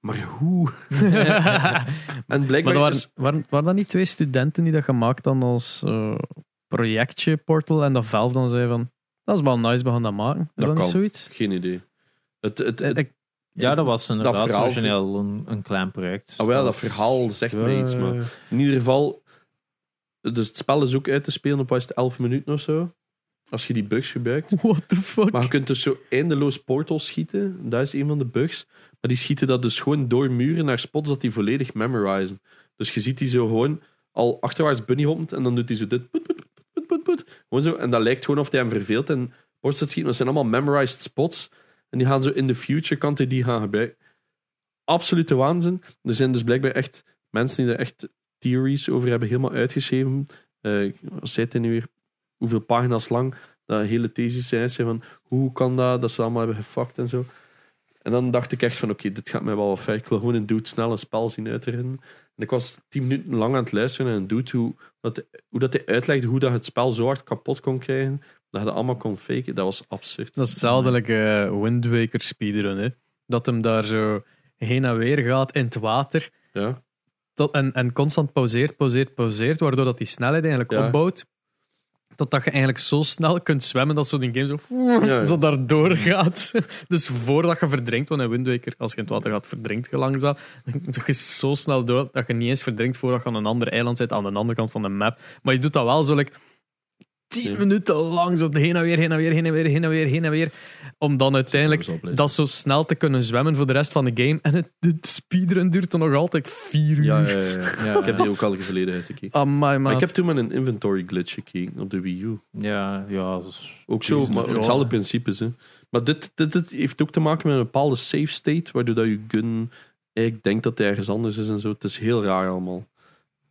maar hoe? En
Maar
blijkbaar
er waren,
is-
waren, waren dat niet twee studenten die dat gemaakt hadden als eh, projectje Portal en dat Valve dan zei van dat is wel nice, we gaan dat maken. Is dat,
Dat
niet
kan.
zoiets?
Geen idee. Het, het, het,
Eh, Ik-
Ja, dat was inderdaad
verhaal-
origineel een, een klein project.
ah, wel, dat verhaal zegt me iets, maar... In ieder geval, dus het spel is ook uit te spelen op wat is het, 11 minuten of zo. Als je die bugs gebruikt.
What the fuck?
Maar je kunt dus zo eindeloos portals schieten. Dat is een van de bugs. Maar die schieten dat dus gewoon door muren naar spots dat die volledig memorizen. Dus je ziet die zo gewoon al achterwaarts bunnyhoppend en dan doet hij zo dit. Poet, poet, poet, poet, poet, poet. Gewoon zo. En dat lijkt gewoon of hij hem verveelt en portals schieten. Maar het zijn allemaal memorized spots. En die gaan zo in de future, kan hij die gaan gebruiken. Absolute waanzin. Er zijn dus blijkbaar echt mensen die er echt theories over hebben helemaal uitgeschreven. Eh wat zei het nu weer? Hoeveel pagina's lang? Dat hele thesis zijn, zijn van hoe kan dat, dat ze allemaal hebben gefakt en zo. En dan dacht ik echt van, oké, dit gaat mij wel wat ver. Ik wil gewoon een dude snel een spel zien uitrennen. En ik was tien minuten lang aan het luisteren naar een dude hoe dat, hoe dat hij uitlegde hoe dat het spel zo hard kapot kon krijgen, dat je dat allemaal kon faken. Dat was absurd.
Dat is hetzelfde like, eh, Wind Waker speedrun, hè. Dat hem daar zo heen en weer gaat in het water
Ja.
tot, en, en constant pauzeert, pauzeert, pauzeert, waardoor dat die snelheid eigenlijk
Ja.
opbouwt. Totdat je eigenlijk zo snel kunt zwemmen dat zo'n game zo,
ja.
zo daardoor gaat. Dus voordat je verdrinkt, want in Wind Waker, als je in het water gaat, verdrinkt je langzaam. Dan je zo snel door dat je niet eens verdrinkt voordat je aan een ander eiland zit, aan de andere kant van de map. Maar je doet dat wel zo like, 10
Ja.
minuten lang, zo heen en weer, heen en weer, heen en weer, heen en weer, heen en weer. Om dan uiteindelijk
zou blijven.
dat zo snel te kunnen zwemmen voor de rest van de game. En het, de speedrun duurt dan nog altijd 4 uur.
Ja, ja, ja, ja.
Ja.
Ik heb die ook al geleden uitgekeken.
Amai,
Maar
maat.
ik heb toen met een inventory glitch gekeken op de Wii U.
Ja, ja. dat is-
Ook zo, maar hetzelfde principes. Hè. Maar dit, dit, dit heeft ook te maken met een bepaalde safe state, waardoor dat je gun eigenlijk denkt dat hij ergens anders is en zo. Het is heel raar allemaal.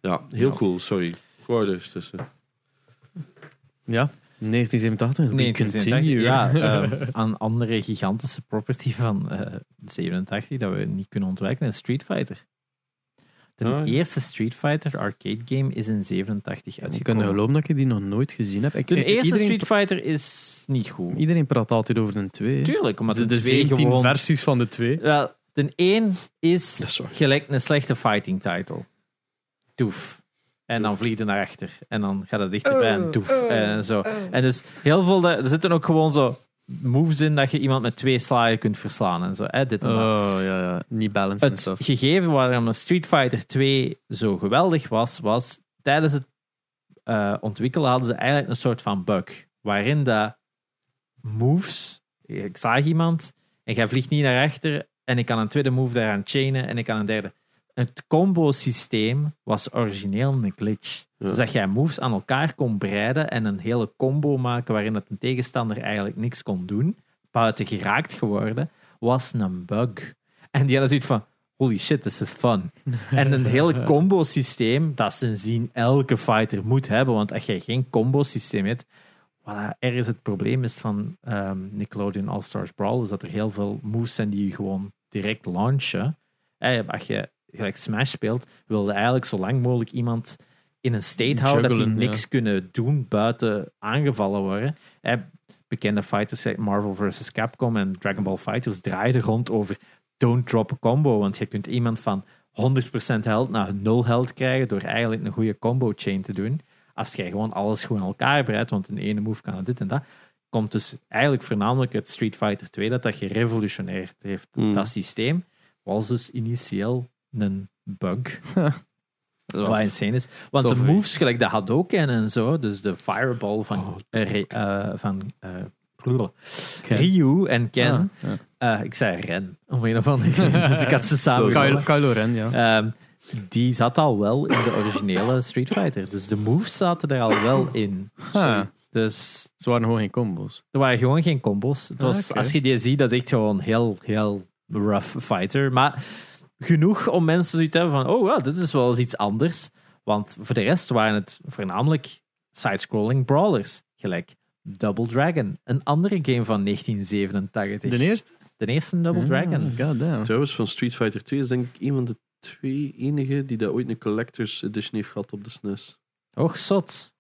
Ja, heel cool, sorry. Gewoon er eens tussen.
Hm.
Ja, 1987. we
1987.
continue.
Ja,
eh,
ehm, aan andere gigantische property van eh 87 dat we niet kunnen ontwijken, is Street Fighter. De
Ah, ja.
eerste Street Fighter arcade game is in 87
Ik kan
uitgekomen.
geloven dat ik die nog nooit gezien heb. Ik,
de
ik-
eerste
iedereen,
Street Fighter is niet goed.
iedereen praat altijd over een 2.
Tuurlijk, omdat
De,
de,
de
twee
17
gewoon...
versies van de 2.
Wel, de één is
Dat is waar.
gelijk een slechte fighting title. Toef. En dan vlieg je naar achter. En dan gaat het dichterbij
Oh,
en toef. en zo. En dus heel veel... da- Er zitten ook gewoon zo moves in dat je iemand met twee slagen kunt verslaan. En zo. Hè, dit en dat.
Oh ja, ja. Niet balanced en
het
stuff.
gegeven waarom Street Fighter 2 zo geweldig was, was tijdens het eh, ontwikkelen hadden ze eigenlijk een soort van bug. Waarin dat moves, ik zag iemand en jij vliegt niet naar achter en ik kan een tweede move daaraan chainen en ik kan een derde. Het combo systeem was origineel een glitch.
Ja.
Dus dat jij moves aan elkaar kon breiden en een hele combo maken waarin dat een tegenstander eigenlijk niks kon doen, buiten geraakt geworden, was een bug. En die hadden zoiets van, holy shit, this is fun. en een hele combo systeem, dat sindsdien elke fighter moet hebben, want als jij geen combo systeem hebt, voilà, ergens het probleem is van ehm, Nickelodeon All-Stars Brawl, is dat er heel veel moves zijn die je gewoon direct launchen. Eh, als je gelijk Smash speelt, wilde eigenlijk zo lang mogelijk iemand in een state houden dat die
Juggelen, ja.
niks kunnen doen buiten aangevallen worden. Eh, bekende fighters, eh, Marvel vs. Capcom en Dragon Ball Fighters, draaiden rond over don't drop a combo. Want je kunt iemand van 100% health naar 0 health krijgen door eigenlijk een goede combo chain te doen. Als jij gewoon alles goed in elkaar breidt, want in ene move kan het dit en dat. Komt dus eigenlijk voornamelijk uit Street Fighter 2 dat dat gerevolutioneerd heeft.
Mm.
Dat systeem was dus initieel een bug.
Dat
Wat insane is. Want
Tof,
de
hè?
moves, gelijk de Hadoken en zo, dus de Fireball van,
Oh,
eh, Re- eh, van eh, blubber. Ryu en Ken.
Ah,
Eh, ik zei Ren, om een of andere reden. Dus ik had ze samen.
Kylo, Kylo Ren, ja.
Ehm, die zat al wel in de originele Street Fighter. Dus de moves zaten er al wel in.
Ah,
Dus
ze waren gewoon geen combo's.
er waren gewoon geen combos. Het was,
Ah, oké.
Als je die ziet, dat is echt gewoon heel, heel rough fighter. Maar genoeg om mensen zoiets te hebben van, oh, wow, dit is wel eens iets anders. Want voor de rest waren het voornamelijk side-scrolling brawlers. Gelijk Double Dragon, een andere game van 1987.
De eerste?
De eerste Double Dragon.
Ah, God damn.
Trouwens, van Street Fighter 2 is denk ik een van de twee enige die dat ooit een Collector's Edition heeft gehad op de SNES.
Och, zot.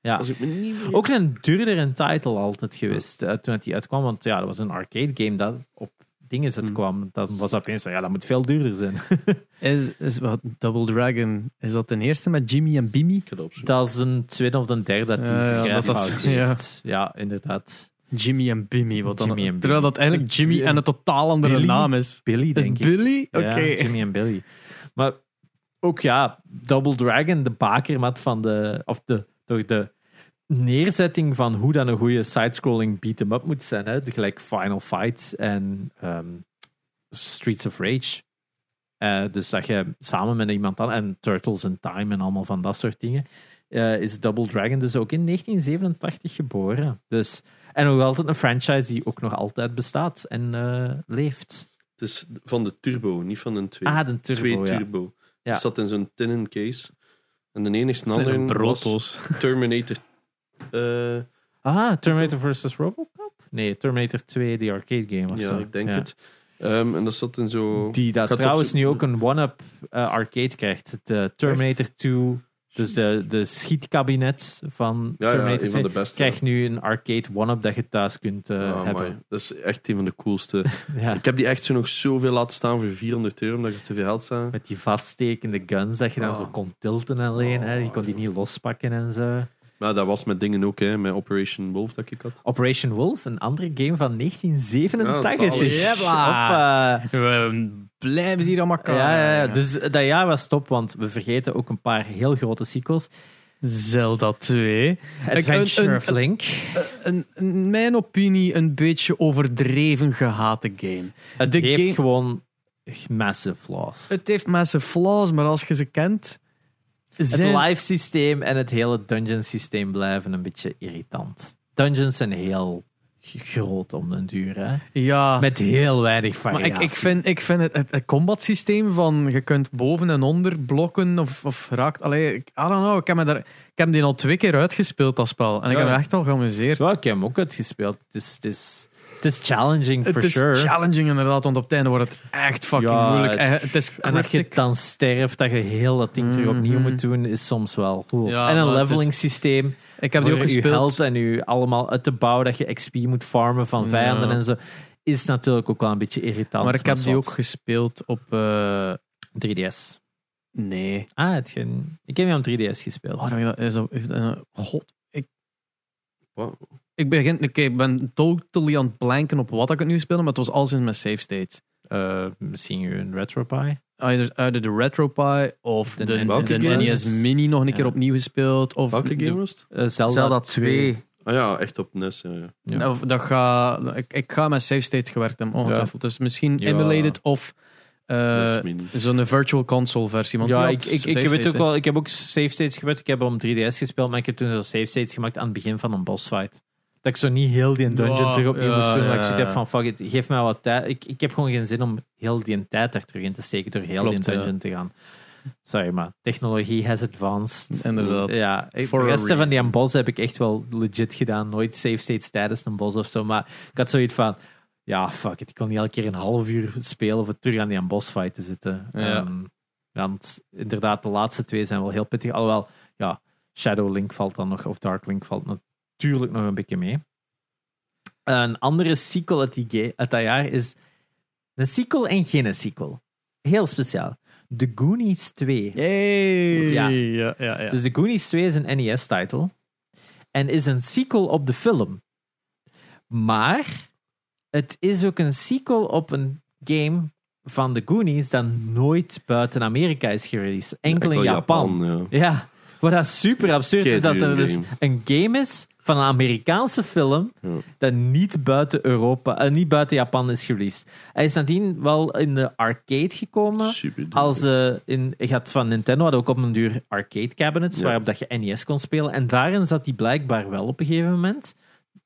Ja.
Als ik me niet vergis.
Ah. Ook een duurdere title altijd geweest eh, toen het die uitkwam. Want ja, dat was een arcade game dat op dingen het
Hmm.
kwam. Dan was dat opeens, ja, dat moet veel duurder zijn.
Is, is wat Double Dragon, is dat de eerste met Jimmy en Bimmy?
Ik ga dat opzoeken.
Dat is een tweede of een derde dat die
Ja, ja, dat
schrijffout
is-
heeft. Ja. inderdaad.
Jimmy en Bimmy, wat dan?
Jimmy en Bimmy.
Terwijl dat eigenlijk Jimmy en een totaal andere
Dus Billy?
naam is.
Billy,
Is
denk
het
ik.
Billy? Oké.
Ja, Jimmy en Billy. Maar ook ja, Double Dragon, de bakermat van de... Of de, door de neerzetting van hoe dan een goede sidescrolling beat-em-up moet zijn. Hè? De Gelijk Final Fight en ehm, Streets of Rage. Eh, dus dat je samen met iemand dan... En Turtles in Time en allemaal van dat soort dingen. eh, is Double Dragon dus ook in 1987 geboren. Dus... En nog altijd een franchise die ook nog altijd bestaat en eh, leeft.
Het is van de Turbo, niet van een 2.
Ah, de Turbo,
twee
ja.
Turbo.
Ja.
Het zat in zo'n tinnen case. En de enigste
Dat zijn
andere was
brotos.
Terminator. eh,
Ah, Terminator versus Robocop? Nee, Terminator 2, die arcade game of
ja,
zo.
ik denk
Ja.
het. Ehm, en dat zat in zo...
Die dat
Gaat
trouwens
opzoeken.
nu ook een one-up eh, arcade krijgt. De Terminator 2, dus de, de schietkabinet van
ja, ja,
Terminator
een
2,
van de beste.
krijgt nu een arcade one-up dat je thuis kunt eh,
Ah, amai.
hebben.
Dat is echt een van de coolste.
Ja,
Ik heb die echt zo nog zoveel laten staan voor 400 euro, omdat ik er te veel geld staan.
met die vaststekende guns dat je dan
Ah.
zo kon tilten alleen. hè. Je kon die niet lospakken en zo.
Maar dat was met dingen ook, hè, met Operation Wolf dat ik had.
Operation Wolf, een andere game van
zalig.
1987.
Jebla.
Hoppa.
We blijven hier aan elkaar.
Ja, ja, ja, dus dat jaar was top, want we vergeten ook een paar heel grote sequels.
Zelda 2.
Adventure
een- een-
of Link.
Een, in mijn opinie een beetje overdreven gehate game.
Het
de
heeft
game-
gewoon massive flaws. Het,
Het heeft massive flaws, maar als je ze kent... Zijn
live systeem en het hele dungeon systeem blijven een beetje irritant. Dungeons zijn heel g- groot om den duur, hè?
Ja,
Met heel weinig
Ah. maar
variatie.
ik, ik vind, ik vind het, het, het combat systeem van je kunt boven en onder blokken of, of raakt... Allee, ik, I don't know, ik heb, me daar, ik heb die al twee keer uitgespeeld, dat spel. En ik
Ja.
heb me echt al geamuseerd.
Ja, ik heb hem ook uitgespeeld. Het is, het is, het is challenging, for
het is
sure.
challenging inderdaad, want op het einde wordt het echt fucking
Ja,
moeilijk.
het-
En het is
En dat je
cryptic.
dan sterft, dat je heel dat ding terug opnieuw
Mhm.
moet doen, is soms wel...
Ja,
en
maar
een
het is-
leveling systeem.
Ik heb die ook
voor uw
gespeeld.
held en u allemaal uit te bouwen dat je XP moet farmen van vijanden
Ja.
en zo. Is natuurlijk ook wel een beetje irritant.
Maar ik heb die ook
soms.
gespeeld op... eh,
3DS.
nee.
Ah, het ging... ik heb hem op 3DS gespeeld.
Oh, dat is dat- is dat- eh, God. Ik,
Wow.
ik, begin, ik, ik ben totally aan het blanken op wat ik het nu speel, maar het was alles in mijn save state.
Eh, misschien een RetroPie.
Either, either de RetroPie of de,
De
de,
Welke game?
NES Mini nog een keer
Ja.
opnieuw gespeeld. Of
Welke
de-
game was het?
Eh, Zelda,
Zelda
2.
2.
Ah ja, echt op NES. Ja, ja.
Ja.
Nou, dat ga, ik, ik ga met save state gewerkt hebben, ongetwijfeld. Dus misschien
Ja.
emulated of eh,
NES E
dus
Mini.
zo'n virtual console versie. Want
Ja,
die
ik,
had
ik, ik,
save
weet
states,
ook wel, ik heb ook save states gewerkt. Ik heb hem op 3DS gespeeld, maar ik heb toen zo save states gemaakt aan het begin van een boss fight. Dat ik zo niet heel die dungeon
Ja,
terug opnieuw
ja,
moest doen. Maar
ja,
ik zoiets
ja.
heb van, fuck it, geef mij wat tijd. Ik, ik heb gewoon geen zin om heel die tijd daar terug in te steken door heel
Klopt,
die
ja.
dungeon te gaan. Sorry, maar technologie has advanced.
hè. Inderdaad.
Ja, ik-
For
de
a
resten van die
reason.
aan boss heb ik echt wel legit gedaan. Nooit save states tijdens een boss of zo. Maar ik had zoiets van, ja, fuck it. Ik kon niet elke keer een half uur spelen of terug aan die aan boss fight te zitten.
Ja.
Ehm, want inderdaad, de laatste twee zijn wel heel pittig. Alhoewel, ja, Shadow Link valt dan nog, of Dark Link valt natuurlijk nog een beetje mee. Een andere sequel uit, die ge- uit dat jaar is een sequel en geen sequel. Heel speciaal. The Goonies 2.
Hey.
Ja.
Ja, ja, ja.
Dus The Goonies 2 is een NES-title. En is een sequel op de film. Maar het is ook een sequel op een game van The Goonies dat nooit buiten Amerika is gereleased. Enkel in Japan.
ja.
Ja, wat dat super absurd is dat er
Keiduur
dus
game.
een game is van een Amerikaanse film
Ja.
dat niet buiten Europa, eh, niet buiten Japan is gereleased. Hij is nadien wel in de arcade gekomen.
Super duur.
Als eh, in, je had van Nintendo had ook op een duur arcade cabinets
Ja.
waarop dat je NES kon spelen. En daarin zat die blijkbaar wel op een gegeven moment.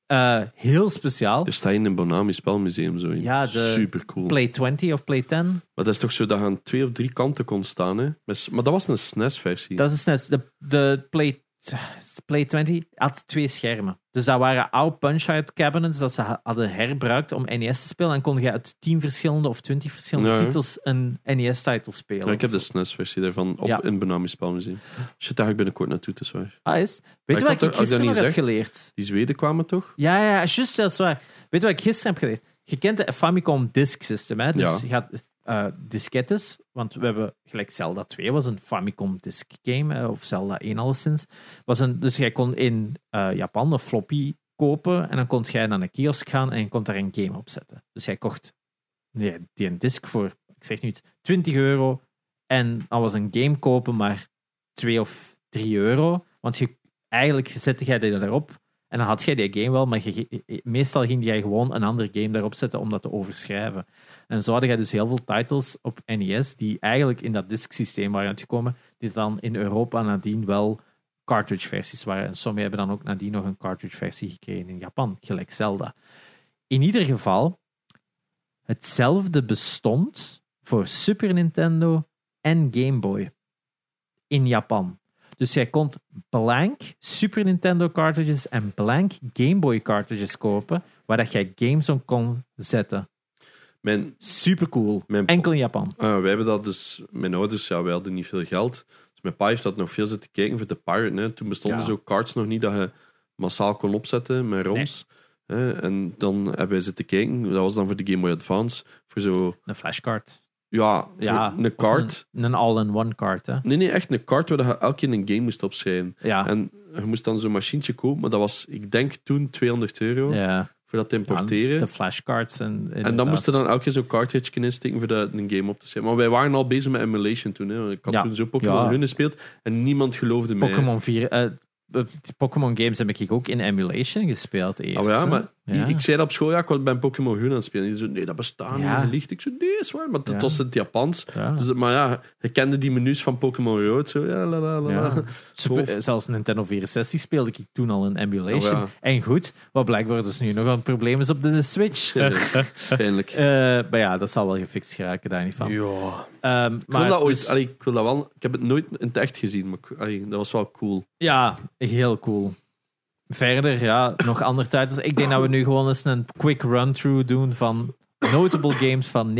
Eh, heel speciaal.
Er staat in een Bonami Spelmuseum zo in.
Ja, de-
Super cool.
Play 20 of Play 10.
Maar dat is toch zo dat je aan twee of drie kanten kon staan, hè? Met s- Maar dat was een SNES-versie.
Dat is net. De, de Play, Play 20 had twee schermen. Dus dat waren oude Punch-Out cabinets dat ze ha- hadden herbruikt om NES te spelen. En kon je uit 10 verschillende of 20 verschillende
Ja, hè?
titels een NES-title spelen.
Ja, ik heb de SNES-versie daarvan op
Ja.
in het Bonami Spelmuseum. Shit, daar ga ik binnenkort naartoe, dus waar.
Ah, is.
Maar
Weet
ik had
je wat
er-
ik
had ik dat
gisteren
niet
nog heb
gezegd?
geleerd?
Die Zweden kwamen toch?
Ja, ja, juist, dat is waar. Weet je wat ik gisteren heb geleerd? Je kent de Famicom Disk System, hè? Dus
Ja.
je had eh, diskettes, want we hebben gelijk Zelda 2 was een Famicom Disk game, hè, of Zelda 1 alleszins. Was een, dus jij kon in eh, Japan een floppy kopen en dan kon jij naar een kiosk gaan en je kon daar een game op zetten. Dus jij kocht nee, die een disk voor, ik zeg nu iets, 20 euro en dan was een game kopen maar 2 of 3 euro, want je, eigenlijk zette jij die daarop en dan had jij die game wel, maar je- eh, meestal ging jij gewoon een ander game daarop zetten om dat te overschrijven. En zo had jij dus heel veel titles op NES die eigenlijk in dat disksysteem waren uitgekomen, die dan in Europa nadien wel cartridge-versies waren. En sommigen hebben dan ook nadien nog een cartridge-versie gekregen in Japan, gelijk Zelda. In ieder geval, hetzelfde bestond voor Super Nintendo en Game Boy in Japan. Dus jij kon blank Super Nintendo cartridges en blank Game Boy cartridges kopen, waar dat jij games op kon zetten.
Mijn
Super cool.
Mijn-
Enkel in Japan.
Ah, wij hebben dat dus, mijn ouders, ja, wij hadden niet veel geld. Dus mijn pa heeft dat nog veel zitten kijken voor de Pirate. Hè. Toen bestonden
Ja.
zo cards nog niet dat je massaal kon opzetten met ROMs. Hè. En dan hebben wij zitten kijken, dat was dan voor de Game Boy Advance, voor zo,
Een flashcard.
ja,
Ja,
voor een
of
card.
Een, een all-in-one card, hè?
Nee, nee, echt een card waar je elke keer een game moest opschrijven.
Ja.
En je moest dan zo'n machientje kopen, maar dat was, ik denk toen 200 euro
ja.
voor dat te
Ja,
importeren.
De flashcards. En,
en
inderdaad.
dan moest je dan elke keer zo'n cartridge kunnen insteken voor dat een game op te zetten. Maar wij waren al bezig met emulation toen. Hè. Ik had
Ja.
toen zo Pokémon
Ja.
Run gespeeld en niemand geloofde mij.
Pokémon 4. eh, eh, Pokémon games heb ik ook in emulation gespeeld eerst.
Ah, maar ja,
hè.
maar
Ja.
Ik, ik zei dat op school, ja, ik was bij Pokémon Run aan het spelen. En die zo, nee, dat bestaat
Ja.
niet, gelicht. Ik zo, nee, is waar, maar dat
Ja.
was in het Japans.
Ja.
Dus, maar ja, je kende die menus van Pokémon Rood, zo, ja, la, la, la.
Ja.
la.
Super-
Tof.
eh, zelfs Nintendo 64 speelde ik toen al in emulation.
Oh, ja.
En goed, wat blijkbaar dus nu nog een probleem is op de Switch.
Pijnlijk.
Eh, maar ja, dat zal wel gefixt geraken, daar niet van.
Ja.
Ehm,
Ik, wil
maar
dat ooit,
dus-
allee, ik wil dat wel... Ik heb het nooit in het echt gezien, maar ik- allee, dat was wel cool.
Ja, heel cool. Verder, ja, nog andere titles. Ik denk dat we nu gewoon eens een quick run-through doen van notable games van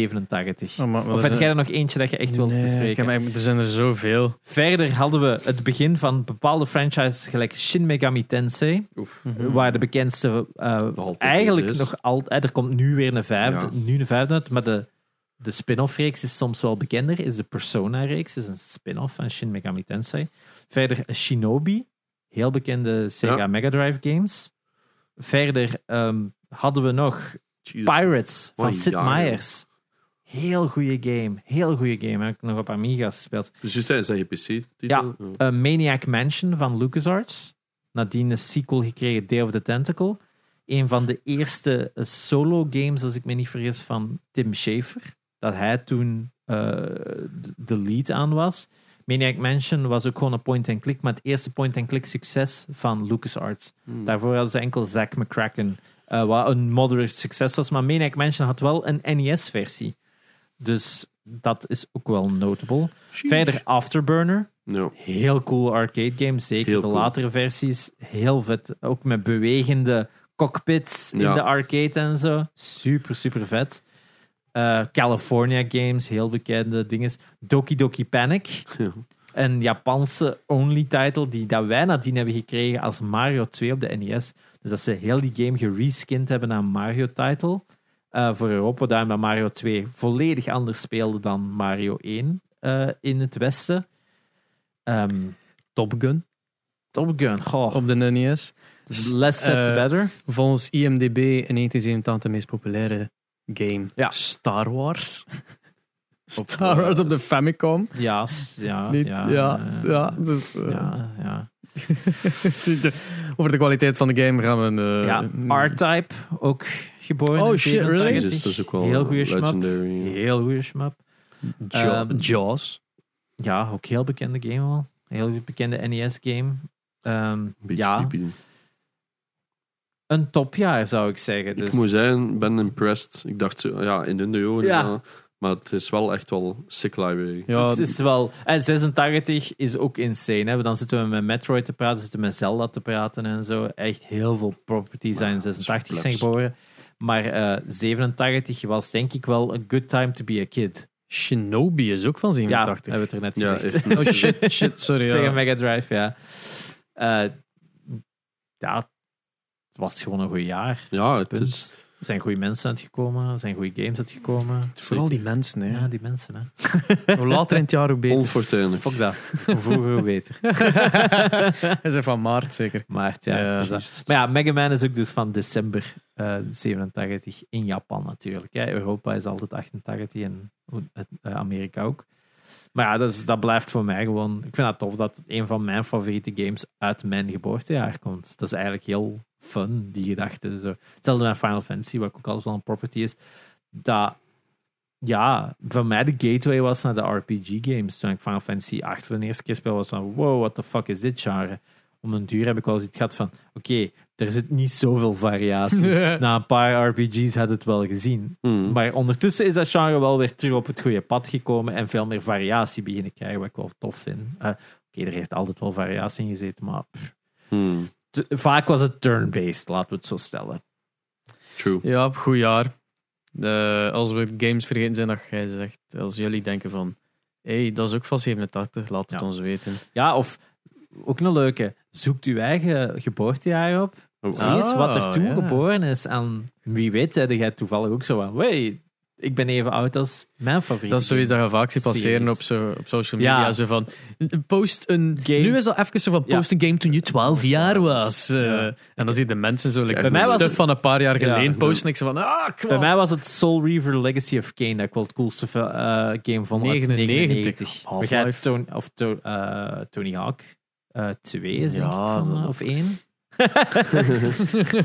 1987.
Oh, maar wat
of
is
heb
dat?
jij er nog eentje dat je echt wilt
Nee, ik
bespreken?
heb eigenlijk- er zijn er zoveel.
Verder hadden we het begin van bepaalde franchises gelijk Shin Megami Tensei,
Oef.
Mhm.
waar de bekendste eh,
altijd
eigenlijk
deze is.
nog altijd... Er komt nu weer een vijfde,
Ja.
nu een vijfde uit, maar de, de spin-off reeks is soms wel bekender, is de Persona-reeks, is een spin-off van Shin Megami Tensei. Verder Shinobi, heel bekende Sega
Ja.
Mega Drive games. Verder ehm, hadden we nog
Jesus.
Pirates
Wat
van
een
Sid
jaar, hè.
Meier's. Heel goede game, heel goede game. Heb ik nog op Amiga's gespeeld.
Dus je zei, is dat je PC-titel?
Ja, eh, Maniac Mansion van LucasArts. Nadien een sequel gekregen, Day of the Tentacle. Een van de eerste eh, solo games, als ik me niet vergis, van Tim Schafer. Dat hij toen eh, de- de lead aan was. Maniac Mansion was ook gewoon een point-and-click, maar het eerste point-and-click succes van LucasArts. Daarvoor hadden ze enkel Zack McCracken, eh, wat een moderate succes was. Maar Maniac Mansion had wel een NES-versie. Dus dat is ook wel notable. Verder Afterburner,
Ja.
Heel cool arcade game, zeker
Heel
de
cool.
latere versies. Heel vet. Ook met bewegende cockpits in
Ja.
de arcade en zo. Super, super vet. Eh, California games, heel bekende dingen. Doki Doki Panic.
Ja.
een Japanse only title die dat wij nadien hebben gekregen als Mario 2 op de NES. Dus dat ze heel die game gereskind hebben naar een Mario title eh, voor Europa. Daarom dat Mario 2 volledig anders speelde dan Mario 1 eh, in het westen. Ehm,
Top Gun
Top Gun, goh,
op de NES.
less said the
Oh, eh,
better.
Volgens IMDb in 1987 de meest populaire game.
Ja.
Star Wars. Star
eh,
Wars op de Famicom.
Ja, s- ja,
Niet-
Ah, ja,
ja,
eh,
ja, dus, eh,
ja, ja.
Over de kwaliteit van de game gaan we... eh,
Ja, R-Type ook geboren.
Oh
in
shit, really?
87.
Jezus, dat is ook wel eh,
Heel goede schmap.
legendary.
Heel goede schmap.
Ja-
Ehm,
eh, Jaws.
Ja, ook heel bekende game wel. Heel bekende E NES-game.
Beetje
Ehm, ja,
creepy.
een topjaar zou ik zeggen. Dus
Ik moet zeggen, ik ben impressed. Ik dacht, zo, ja, in hun ogen.
Ja.
ja, Maar het is wel echt wel sick library.
Ja,
het is wel... En 86 is ook insane. Hè? Want Dan zitten we met Metroid te praten, zitten we met Zelda te praten en zo. Echt heel veel properties zijn in
dat is
86 zijn
verplaatst.
geboren. Maar eh 87 was denk ik wel een good time to be a kid.
Shinobi is ook van
Ja,
87.
hebben we het er net
Ja,
gezegd.
echt.
Oh shit, shit, sorry.
Sega
Ja.
Mega Drive, ja. Eh, ja, het was gewoon een goed jaar.
Ja, het
Punt.
is...
Er zijn goede mensen uitgekomen, er zijn goede games uitgekomen.
Vooral die mensen, hè.
Ja, die mensen, hè.
Hoe later in het jaar, hoe beter.
Onfortuinlijk.
Fuck dat. Hoe vroeger, hoe beter.
Hij is van maart, zeker.
Maart, ja.
Ja.
het is dat. Maar ja, Mega Man is ook dus van december eh 87 in Japan natuurlijk. Hè. Europa is altijd 88 en het- eh, Amerika ook. Maar ja, dat, is- dat blijft voor mij gewoon... Ik vind het tof dat een van mijn favoriete games uit mijn geboortejaar komt. Dat is eigenlijk heel fun, die gedachte. Zo. Hetzelfde met Final Fantasy, wat ook altijd wel een property is. Dat, ja, voor mij de gateway was naar de RPG-games. Toen ik Final Fantasy 8 voor de eerste keer speelde, was van... Wow, what the fuck is dit genre? om een duur heb ik wel eens iets gehad van: oké, er zit niet zoveel variatie. Na een paar RPG's had het wel gezien.
Hmm.
Maar ondertussen is dat genre wel weer terug op het goede pad gekomen en veel meer variatie beginnen krijgen, wat ik wel tof vind. Eh, oké, er heeft altijd wel variatie in gezeten, maar pff.
Hmm.
T- vaak was het turn-based, laten we het zo stellen.
True.
Ja, op goed jaar. Eh, als we games vergeten zijn, dat jij zegt, als jullie denken van, hé, hey, dat is ook van 87, laat het
Ja.
ons weten.
Ja, of ook een leuke, zoekt uw eigen geboortejaar op.
Oh,
Zie eens wat er
Oh,
toen
ja.
geboren is. En wie weet, heb jij toevallig ook zo van: hey, ik ben even oud als mijn favoriet.
Dat is zoiets dat je vaak ziet passeren
Series.
op, zo, op social media.
Ja.
Zo van, post een
Game.
Nu is dat even zo van,
Ja.
post een game toen je 12 jaar was. Eh,
Ja.
En dan zie je de mensen zo, like,
Bij
mij
mij was
was
het-
van een paar jaar
Ja.
geleden posten. Ik zo van, ah, kom
Bij
op.
mij was het Soul Reaver Legacy of Kane dat ik wel het coolste eh, game vond. uit
99.
Maar jij
Half-Life.
hebt Tony, of to- eh, Tony Hawk 2 is denk ik
Ja,
van,
dat-
eh, of 1.